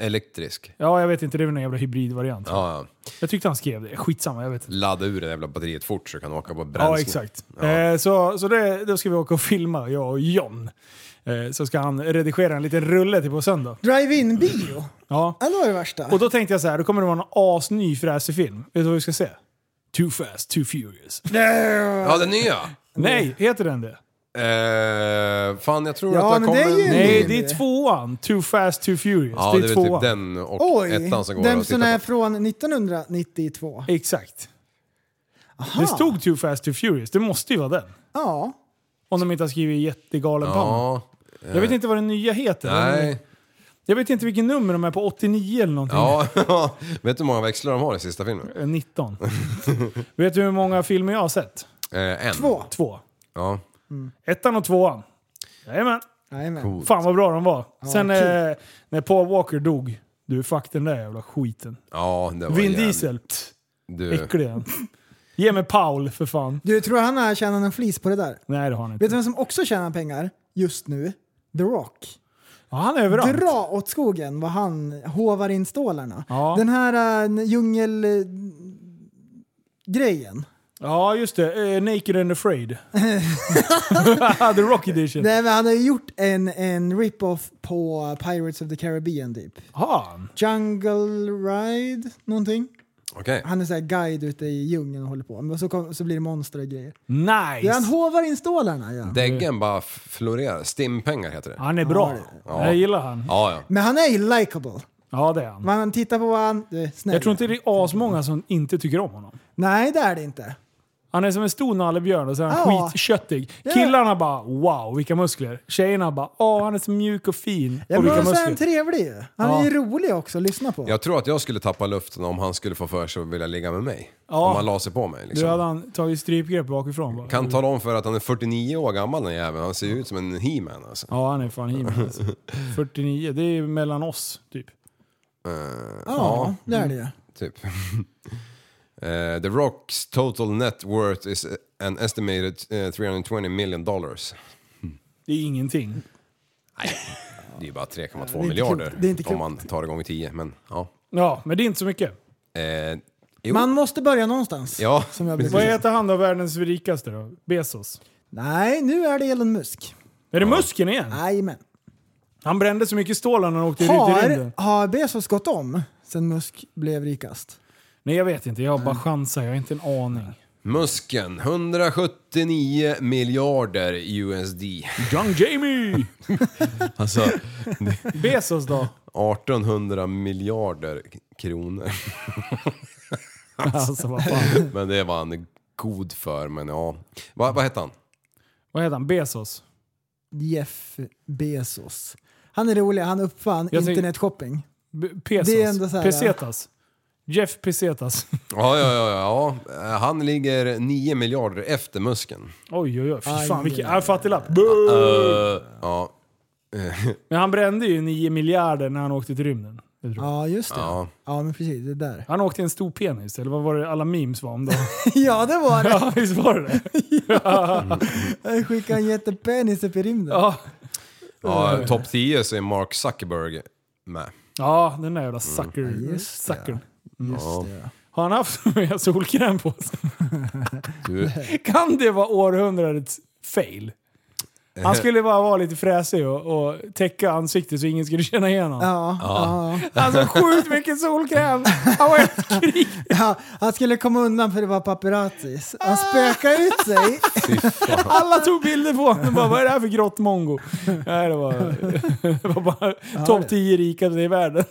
S4: Elektrisk.
S2: Ja, jag vet inte. Det är väl någon jävla hybridvariant.
S4: Ja, ja.
S2: Jag tyckte han skrev det. Skitsamma, jag vet inte.
S4: Ladda ur det jävla batteriet fort så du kan åka på bränsle.
S2: Ja, exakt. Eh, så så det, då ska vi åka och filma, jag och John. Eh, så ska han redigera en liten rulle till på söndag.
S3: Drive-in bio.
S2: Ja.
S3: Ja, det var det värsta.
S2: Och då tänkte jag så här, då kommer det vara en asny fräsig film. Vet du vad vi ska se? Too fast, too furious.
S4: Ja, den nya!
S2: Nej, heter den det?
S4: Eh, fan, jag tror
S3: Ja,
S4: att det
S3: men
S4: kommer...
S3: det är ju-
S2: Nej,
S3: Mm.
S2: det är tvåan. Too fast, too furious.
S4: Ja,
S2: det
S4: det
S2: är,
S4: är väl
S2: tvåan.
S4: typ den och
S3: Oj,
S4: ettan som går
S3: den
S4: att
S3: som
S4: titta
S3: är
S4: på.
S3: från 1992.
S2: Exakt. Det stod Too fast, too furious. Det måste ju vara den.
S3: Ja.
S2: Om de inte har skrivit jättegalen ja.
S4: Ja,
S2: Jag vet inte vad den nya heter.
S4: nej.
S2: Jag vet inte vilken nummer de är på, 89 eller någonting.
S4: Ja, vet du hur många växlar de har i sista filmen?
S2: Eh, 19. vet du hur många filmer jag har sett?
S4: Eh, en.
S3: Två.
S2: Två.
S4: Ja.
S2: Ettan och tvåan. Jajamän.
S3: Jajamän.
S2: Fan vad bra de var. Sen
S3: kul.
S2: eh, när Paul Walker dog. Du, fuck den där jävla skiten.
S4: ja, det var
S2: Vin
S4: jävligt-
S2: Diesel. Pst,
S4: Du,
S2: äcklig han. Ge mig Paul för fan.
S3: Du, tror han har tjänat en flis på det där?
S2: Nej det har han inte.
S3: Vet du vem som också tjänar pengar just nu? The Rock.
S2: Ja, han är överallt.
S3: Dra åt skogen vad han hovar in stålarna.
S2: Ja.
S3: Den här äh, djungelgrejen.
S2: Ja just det. Eh, Naked and Afraid. The Rock Edition.
S3: Nej, men han har ju gjort en, en rip-off på Pirates of the Caribbean typ.
S2: Har han?
S3: Jungle Ride, någonting.
S4: okej.
S3: Han är så här guide ute i djungeln och håller på. Men så, kom, så blir det monster och grejer. Ja, han
S2: Nice!
S3: hovar in stålarna ja.
S4: Däggen bara florerar. Stimpengar heter det.
S2: Han är bra.
S4: Ja.
S2: Jag gillar han.
S4: Ja, ja.
S3: Men han är ju likable.
S2: Ja det är han.
S3: Man tittar på vad han... Du är snäll.
S2: Jag tror inte det är asmånga som inte tycker om honom.
S3: Nej, det är det inte.
S2: Han är som en stor nallebjörn och så är han
S3: Ja.
S2: skitköttig. Killarna bara wow vilka muskler. Tjejerna bara åh han är så mjuk och fin.
S3: Ja,
S2: och
S3: men
S2: vilka
S3: så är han
S2: muskler.
S3: trevlig ju. Han
S2: Ja.
S3: är ju rolig också att lyssna på.
S4: Jag tror att jag skulle tappa luften om han skulle få för sig att vilja ligga med mig.
S2: Ja.
S4: Om han la sig på mig
S2: Du hade
S4: liksom.
S2: han tagit strypgrepp bakifrån bara.
S4: Kan tala om för att han är 49 år gammal den jäveln. Han ser ju ut som en He-Man alltså.
S2: Ja han är fan himmel alltså. 49, det är mellan oss typ.
S3: Ja, det är det ju.
S4: Typ. Eh, the Rocks total net worth is an estimated eh, 320 million dollars.
S2: Det är ingenting.
S4: Det är ju bara 3,2
S3: inte
S4: miljarder
S3: klokt. Det är inte
S4: om
S3: klokt.
S4: man tar det gånger 10. Men, ja.
S2: Ja, men det är inte så mycket.
S4: Eh, jo.
S3: Man måste börja någonstans.
S4: ja,
S3: Som jag
S4: precis.
S2: Vad heter han då, världens rikaste då? Bezos?
S3: Nej, nu är det Elon Musk.
S2: Är det muskeln igen?
S3: Jajamän.
S2: Han brände så mycket stål när han åkte ut i rymden.
S3: Har, har Bezos gått om sen Musk blev rikast?
S2: Nej, jag vet inte. Jag bara chansar. Jag har inte en aning.
S4: Musken, 179 miljarder USD.
S2: Young Jamie!
S4: Alltså,
S2: Bezos då?
S4: 1800 miljarder k- kronor.
S2: Alltså vad fan.
S4: Men det var han god för, men ja. Va, vad hette han?
S2: Vad heter han? Bezos?
S3: Jeff Bezos. Han är rolig, han uppfann
S2: Jag tycker-
S3: internetshopping.
S2: B- Pesos?
S3: Det är ändå så här,
S2: Pesetas? Jeff Pesetas?
S4: Ja, ja, ja, ja. ja. Han ligger 9 miljarder efter muskeln.
S2: Oj, oj, oj. Fy
S3: Aj,
S2: fan vilken
S3: aj, aj.
S2: äh, fattiglapp. Boo!
S4: Eh, Ja,
S2: Men han brände ju 9 miljarder när han åkte till rymden. Det tror jag.
S3: Ja, just det.
S4: Ja.
S3: Ja, men precis. Det där.
S2: Han åkte i en stor penis, eller vad var det alla memes var om då?
S3: ja, det var det.
S2: ja, visst var det det?
S3: Mm. Jag skickade en jättepenis upp i rymden.
S2: Ja.
S4: ja topp 10 så är Mark Zuckerberg med.
S2: ja, den där jävla sucker.
S3: Mm. just det.
S2: sucker.
S3: Just det. ja.
S2: Har han haft mer solkräm på sig?
S4: Du,
S2: Kan det vara århundradets fail? Han skulle bara vara lite fräsig och, och täcka ansiktet så ingen skulle känna igen honom.
S3: Ja, ja.
S2: Alltså sjukt mycket solkräm! Han var ett krig.
S3: Ja, han skulle komma undan för det var paparazzis. Han spökade ut sig.
S2: Alla tog bilder på honom och bara vad är det här för grått mongo? Nej, det var, det var bara topp 10 rikaste i världen.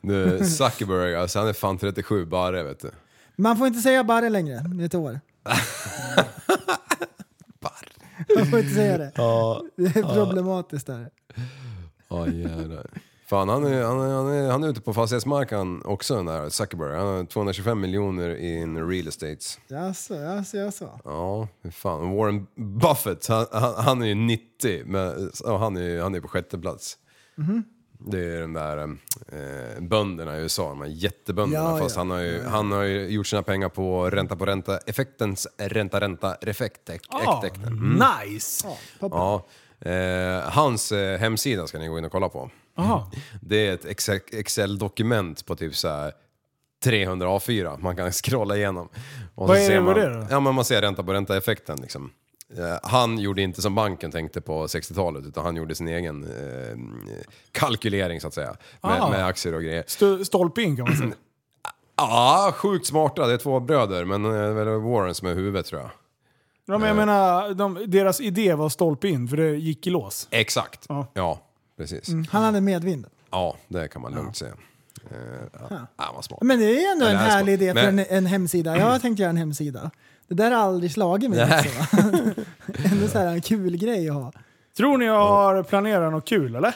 S4: du, Zuckerberg, alltså han är fan 37 bara vet du.
S3: Man får inte säga barre längre, det är ett år. Man får inte säga det. Det är problematiskt där.
S4: Ja, jävlar. Fan, han är, han, är, han, är, han är ute på fastighetsmarknaden också den där Zuckerberg. Han har 225 miljoner in real estates.
S3: Jaså, jaså, jaså.
S4: Ja, hur fan. Warren Buffett, han, han, han är ju 90, men ja, han är ju han är på sjätte plats.
S3: Mhm.
S4: Det är den där eh, bönderna i USA, de här jättebönderna.
S3: Ja,
S4: fast
S3: ja.
S4: han, har ju, han har ju gjort sina pengar på ränta på ränta-effektens ränta-ränta-effekt.
S2: Ah,
S3: Mm.
S2: nice!
S4: Ja. Eh, hans eh, hemsida ska ni gå in och kolla på.
S2: Aha.
S4: Det är ett Excel- Excel-dokument på typ så här 300 A4 man kan scrolla igenom. Och
S2: Vad
S4: så
S2: är
S4: ser
S2: det-
S4: man,
S2: vad är det då?
S4: Ja, men man ser ränta på ränta-effekten. Liksom. Eh, Han gjorde inte som banken tänkte på 60-talet, utan han gjorde sin egen eh, kalkylering så att säga. Med,
S2: Ah.
S4: med aktier och grejer.
S2: St- Stolpe in kan man säga.
S4: Ja, sjukt smarta. Det är två bröder, men eh, det är väl Warren som är huvudet tror jag.
S2: Ja,
S4: Eh.
S2: men jag menar, de, deras idé var stolpe in för det gick i lås.
S4: Exakt.
S2: Ja. Mm.
S4: Ja, precis.
S3: Han hade medvind.
S4: Ja, det kan man lugnt säga. Eh, ja, ja, vad smart.
S3: Men det är ändå
S4: Ja,
S3: en
S4: det här är
S3: härlig
S4: smart.
S3: idé för
S4: Men-
S3: en, en hemsida. Jag har tänkt göra en hemsida. Det där har aldrig slagit mig.
S4: Nej.
S3: Alltså. ändå så här en kul grej att ha.
S2: Tror ni jag har planerat något kul eller?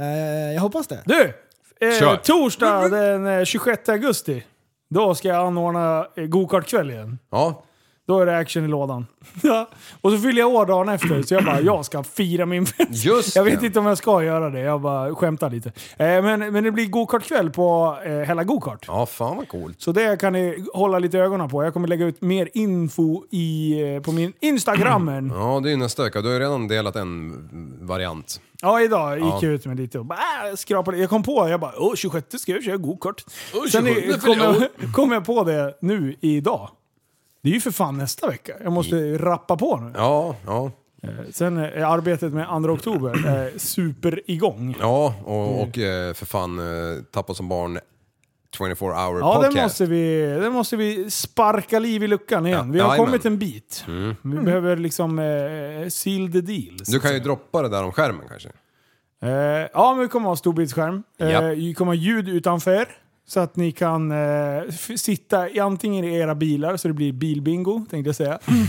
S3: Eh, jag hoppas det.
S2: Du! Eh,
S4: Kör.
S2: torsdag den eh, 26 augusti. Då ska jag anordna eh, gokartkväll igen.
S4: Ja,
S2: Då är det action i lådan. Ja. Och så fyller jag år dagen efter, så jag bara, jag ska fira min fest.
S4: just
S2: Jag vet
S4: det.
S2: inte om jag ska göra det, jag bara skämtar lite. Eh, men, men det blir gokartkväll på eh, Hälla Gokart.
S4: Ja, fan vad coolt.
S2: Så det kan ni hålla lite ögonen på. Jag kommer lägga ut mer info i, eh, på min Instagram.
S4: Ja, det är ju nästa vecka. Du har ju redan delat en variant.
S2: Ja, idag gick jag ut med lite och bara, äh, skrapade. Jag kom på, jag bara åh, 26 ska jag köra gokart. Sen eh,
S4: 27,
S2: kom jag,
S4: förlåt.
S2: kom jag på det nu idag. Det är ju för fan nästa vecka. Jag måste rappa på nu.
S4: Mm. Ja, ja.
S2: Sen är arbetet med 2 oktober eh, super igång.
S4: Ja, och, och eh, för fan eh, Tappa som barn 24 hour
S2: Ja,
S4: podcast.
S2: den måste, vi, den måste vi sparka liv i luckan igen.
S4: Ja,
S2: vi har
S4: jajamän. Mm.
S2: kommit en bit. Vi behöver liksom eh, seal the deal. så
S4: Du
S2: att
S4: kan ju droppa det där om skärmen kanske.
S2: Eh, ja, men vi kommer ha storbildsskärm. Eh,
S4: Japp.
S2: vi kommer ha ljud utanför. Så att ni kan eh, f- sitta i antingen i era bilar, så det blir bilbingo, tänkte jag säga.
S4: Mm.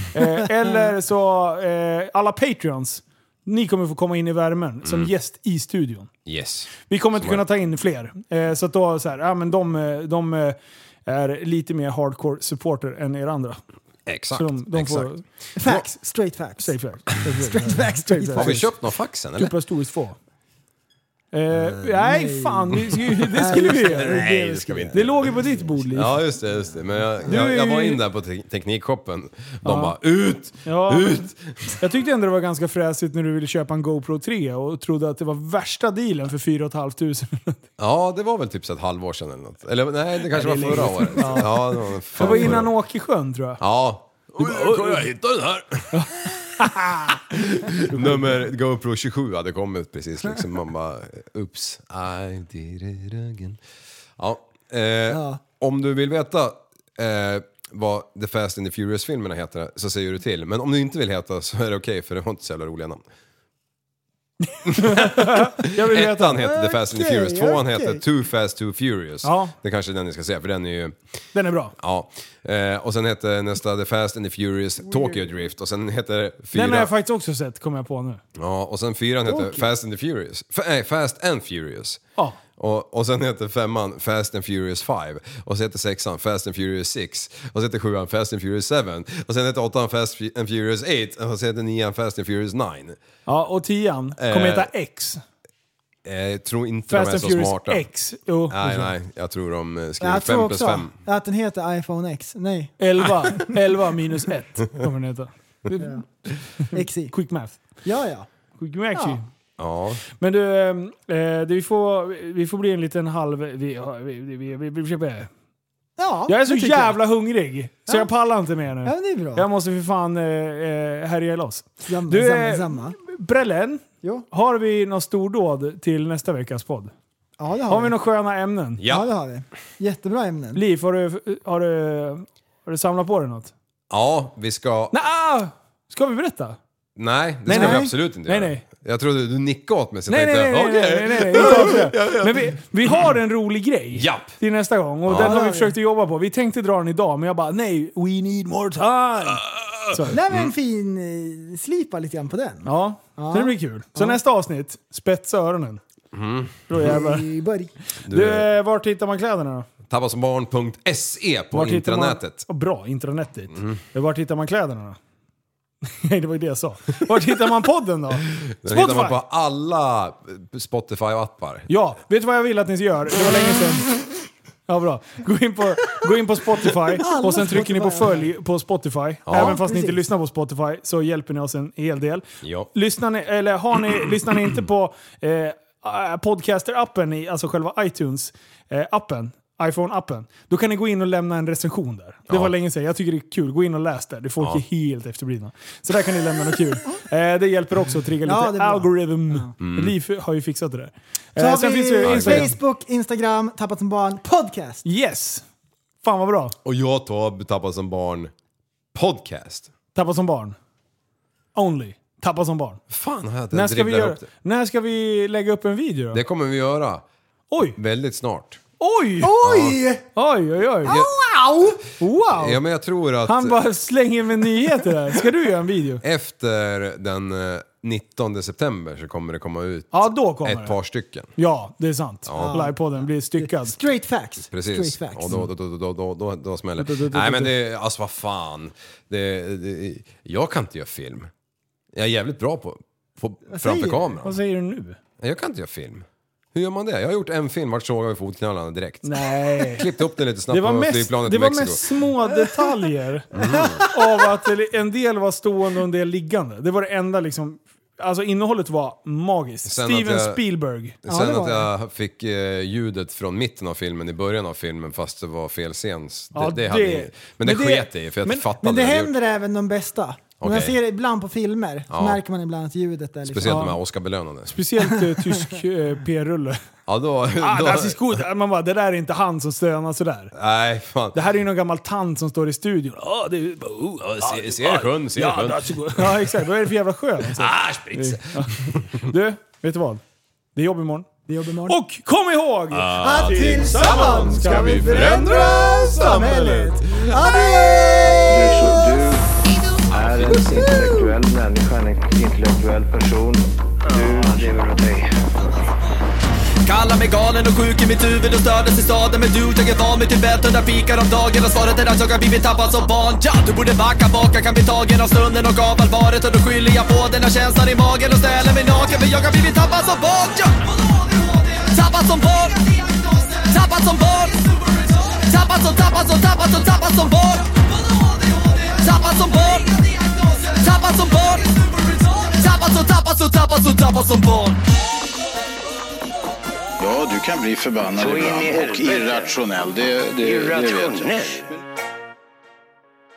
S2: Eh, eller så, eh, alla Patreons, ni kommer få komma in i värmen som gäst i studion.
S4: Yes.
S2: Vi kommer inte
S4: Mm. Så
S2: kunna
S4: är
S2: ta in fler. Eh, så att då, så här, ja, men de, eh, de eh, är lite mer hardcore supporter än er andra.
S4: Exakt.
S2: Så de, de
S4: exakt.
S2: får...
S3: Facts, straight facts.
S2: Safe fact. Safe fact.
S3: Straight facts, straight
S2: Straight
S4: Har vi
S2: facts.
S4: köpt någon fax än eller?
S2: Superstoriskt få. Eh, nej, fan. Vi, skulle- det skulle vi göra.
S4: Nej, det ska vi inte.
S2: Det låg ju på ditt bord, Liv.
S4: Ja, just det. Just det. Men jag,
S2: Du är
S4: jag, jag var
S2: ju-
S4: in där på te- Teknikshoppen. De bara ut!
S2: Ja.
S4: Ut!
S2: Jag tyckte ändå det var ganska fräsigt när du ville köpa en GoPro 3 och trodde att det var värsta dealen för 4 500.
S4: Ja, det var väl typ så ett halvår sedan eller något. Eller nej, det kanske var förra året. Ja. det var
S2: Det
S4: fan
S2: var innan
S4: förra året.
S2: Åkersjön tror jag.
S4: Ja. Du bara, "Oj, kolla, jag hittade den här! Nummer GoPro 27 hade kommit precis liksom. Man bara, oops, I did it again. Ja, eh, om du vill veta eh, vad The Fast and the Furious-filmerna heter så säger du till. Men om du inte vill heta så är det okej för det var inte så jävla roliga namn.
S2: Jag vill veta.
S4: Ettan heter The Fast and the
S3: Okej,
S4: Furious, tvåan
S3: okej.
S4: heter Too Fast Too Furious.
S2: Ja.
S4: Det är kanske är den ni ska se för den är ju...
S2: Den är bra.
S4: Ja. Eh, och sen hette nästa The Fast and the Furious Tokyo Drift och sen hette det
S2: Den har
S4: fyra...
S2: jag faktiskt också sett, kommer jag på nu.
S4: Ja, och sen fyran hette Fast and the Furious. F- nej, Fast and Furious.
S2: Ja.
S4: Och, och sen hette femman Fast and Furious 5. Och så hette sexan Fast and Furious 6. Och så hette sjuan Fast and Furious 7. Och sen hette åttan Fast Fu- and Furious 8. Och så hette nian Fast and Furious 9.
S2: Ja, och tian kommer heta X.
S4: Eh, jag tror inte
S2: Fast
S4: de är
S2: and
S4: så
S2: Furious
S4: smarta.
S2: X. Jo,
S4: Nej, nej. Jag tror de eh, skriver
S3: Jag tror
S4: 5 plus
S3: också
S4: 5.
S3: att den heter iPhone X. Nej,
S2: 11, 11 minus 1 kommer den heta. Mm.
S3: XI.
S2: Quick math.
S3: Ja, ja.
S2: Quick math.
S3: Ja.
S4: Ja.
S2: Men du, ehm, eh, det, vi, får, vi får bli en liten halv... Vi, har- vi, vi, vi, vi, vi, vi.
S3: ja
S2: Jag är så
S3: det tycker
S2: jävla hungrig, så
S3: Ja.
S2: jag pallar inte mer nu.
S3: Ja, men det är bra.
S2: Jag måste för fan eh, eh, härja loss.
S3: Samma,
S2: Du,
S3: samma,
S2: eh,
S3: samma.
S2: Brellen,
S3: Jo,
S2: har vi någon stordåd till nästa veckas podd?
S3: ja det har,
S2: Har
S3: vi.
S2: vi några sköna ämnen?
S3: Ja,
S4: Ja.
S3: det har vi. Jättebra ämnen.
S2: Liv, har du, har, du, har du samlat på dig något?
S4: ja, vi ska...
S2: Nej! ah! Ska vi berätta?
S4: Nej, det
S2: Nej,
S4: ska
S2: nej.
S4: vi absolut inte
S2: Nej,
S4: göra.
S2: nej.
S4: Jag trodde du nickade åt mig så
S2: Nej,
S4: jag
S2: nej, nej,
S4: tänkte,
S2: nej,
S4: okej.
S2: nej, nej, nej, inte avslöja. Men vi, vi har en rolig grej
S4: Japp.
S2: till nästa gång och den har vi försökt att jobba på. Vi tänkte dra den idag, men jag bara nej, we need more time.
S3: Nej
S4: Mm.
S3: men fin eh, slipa lite grann på den.
S2: Ja, så det blir kul. Så nästa avsnitt, spetsa öronen. Då jävlar.
S3: I början.
S2: Du, eh, vart hittar man kläderna då?
S4: Tabbasbarn.se E på
S2: Vart hittar
S4: intranätet.
S2: Man, oh, bra, intranätet. Vart hittar man kläderna då? Nej, det var ju det jag sa. Vart hittar man podden då?
S4: Den hittar
S2: Spotify.
S4: man på alla eh, Spotify-appar.
S2: Ja, vet du vad jag vill att ni gör? Det var länge sedan. Ja, bra. Gå in på, gå in på Spotify och sen trycker ni på följ på Spotify. Även fast ni inte
S3: Precis.
S2: lyssnar på Spotify så hjälper ni oss en hel del.
S4: Ja.
S2: Lyssnar ni, eller har ni, lyssnar ni inte på eh, Podcaster-appen, i- alltså själva iTunes-appen, iPhone-appen, då kan ni gå in och lämna en recension där. Det var länge sedan, jag tycker det är kul. Gå in och läs där, det folk är helt efterblivna. Så där kan ni lämna något kul. Eh, det hjälper också att trigga
S3: Ja, det är
S2: lite
S3: bra.
S2: algorithm. Liv har ju fixat det där.
S3: Så
S2: Eh,
S3: har
S2: sen
S3: vi
S2: finns ju Instagram.
S3: Facebook, Instagram, Tappat som barn, podcast.
S2: Yes! Fan vad bra.
S4: Och jag tar Tappa som barn podcast.
S2: Tappa som barn. Only. Tappa som barn.
S4: Fan har jag
S2: När
S4: inte
S2: ska, vi
S4: dribblat
S2: göra,
S4: upp det.
S2: när ska vi lägga upp en video då?
S4: Det kommer vi göra
S2: Oj!
S4: väldigt snart.
S2: Oj!
S3: Oj!
S2: Oj, oj, oj.
S3: Wow!
S2: Wow!
S4: Ja men jag tror att
S2: Han bara slänger med nyheter där. Ska du göra en video?
S4: efter den eh, 19 september så kommer det komma ut
S2: Ja, då kommer
S4: ett
S2: det.
S4: par stycken.
S2: Ja, det är sant. Livepodden blir styckad.
S3: Straight facts.
S4: Precis.
S3: Straight facts.
S4: Och då, då, då, då, då, då, då smäller
S2: Då, då, då,
S4: det.
S2: då,
S4: Nej
S2: då.
S4: men det, alltså vad fan. Det, det, jag kan inte göra film. Jag är jävligt bra på, på framför
S3: säger du?
S4: kameran.
S2: Vad säger du nu?
S4: Jag kan inte göra film. Hur gör man det? Jag har gjort en film, vart sågade vi fotknallarna direkt.
S2: Nej.
S4: Klippte upp den lite snabbt
S2: Det var
S4: på
S2: mest,
S4: flygplanet
S2: det
S4: till
S2: var
S4: Mexiko.
S2: mest
S4: Mm.
S2: små detaljer av att det- en del var stående och en del liggande. Det var det enda liksom. Alltså innehållet var magiskt.
S4: Sen att
S2: Steven
S4: jag-
S2: Spielberg.
S3: Ja,
S4: Sen
S3: det var
S4: att jag fick eh, ljudet från mitten av filmen i början av filmen fast det var fel scen. Det,
S2: Ja,
S4: det hade
S2: det-
S4: jag, men det
S2: men det-
S4: sket jag i för jag
S2: men-
S4: fattade
S3: Men det
S4: vad jag hade gjort.
S3: händer även de bästa. När
S4: Okej.
S3: jag ser det ibland på filmer så
S4: Ja.
S3: märker man ibland att ljudet är liksom...
S4: Speciellt
S2: Ja.
S4: de här Oscarsbelönade.
S2: Speciellt eh, tysk eh, P-rulle.
S4: Ja, då,
S2: Ah,
S4: då,
S2: das ist gut. Man bara, det där är inte han som stönar sådär.
S4: nej, fan.
S2: Det här är ju någon gammal tant som står i studion. Ja, det är...
S4: Se- Ser sjön, ser sjön.
S2: Ja, exakt. Vad är det för jävla sjö? Alltså?
S4: Ah, spritz.
S2: Du, vet du vad? Det är jobb imorgon.
S3: Det jobbar imorgon.
S2: Och kom ihåg!
S3: Att tillsammans
S2: ska vi
S3: förändra samhället.
S5: Du,
S3: Adé!
S5: är så- du är en intellektuell människa, en intellektuell person. Du lever av dig.
S6: Kallar mig galen och sjuk i mitt huvud och stördes i staden Men du, jag är van vid Tibet och där fikar om dagen Och svaret är att jag har blivit tappad som barn ja, Du borde backa bak, jag kan bli tagen av stunden och av allvaret Och då skyller jag på den här känslan i magen och ställer mig naken För jag har blivit tappad som barn ja. Tappad som barn Tappad som barn Tappad som, tappad som, tappad som, tappad som barn Tappad som barn Tappad som barn Tappad som, tappad som, tappad som, tappad som barn
S7: Ja, du kan bli förbannad
S5: Så in i
S7: ibland och
S5: helvete.
S7: irrationell. Det, det, det vet jag.
S5: Irrationell.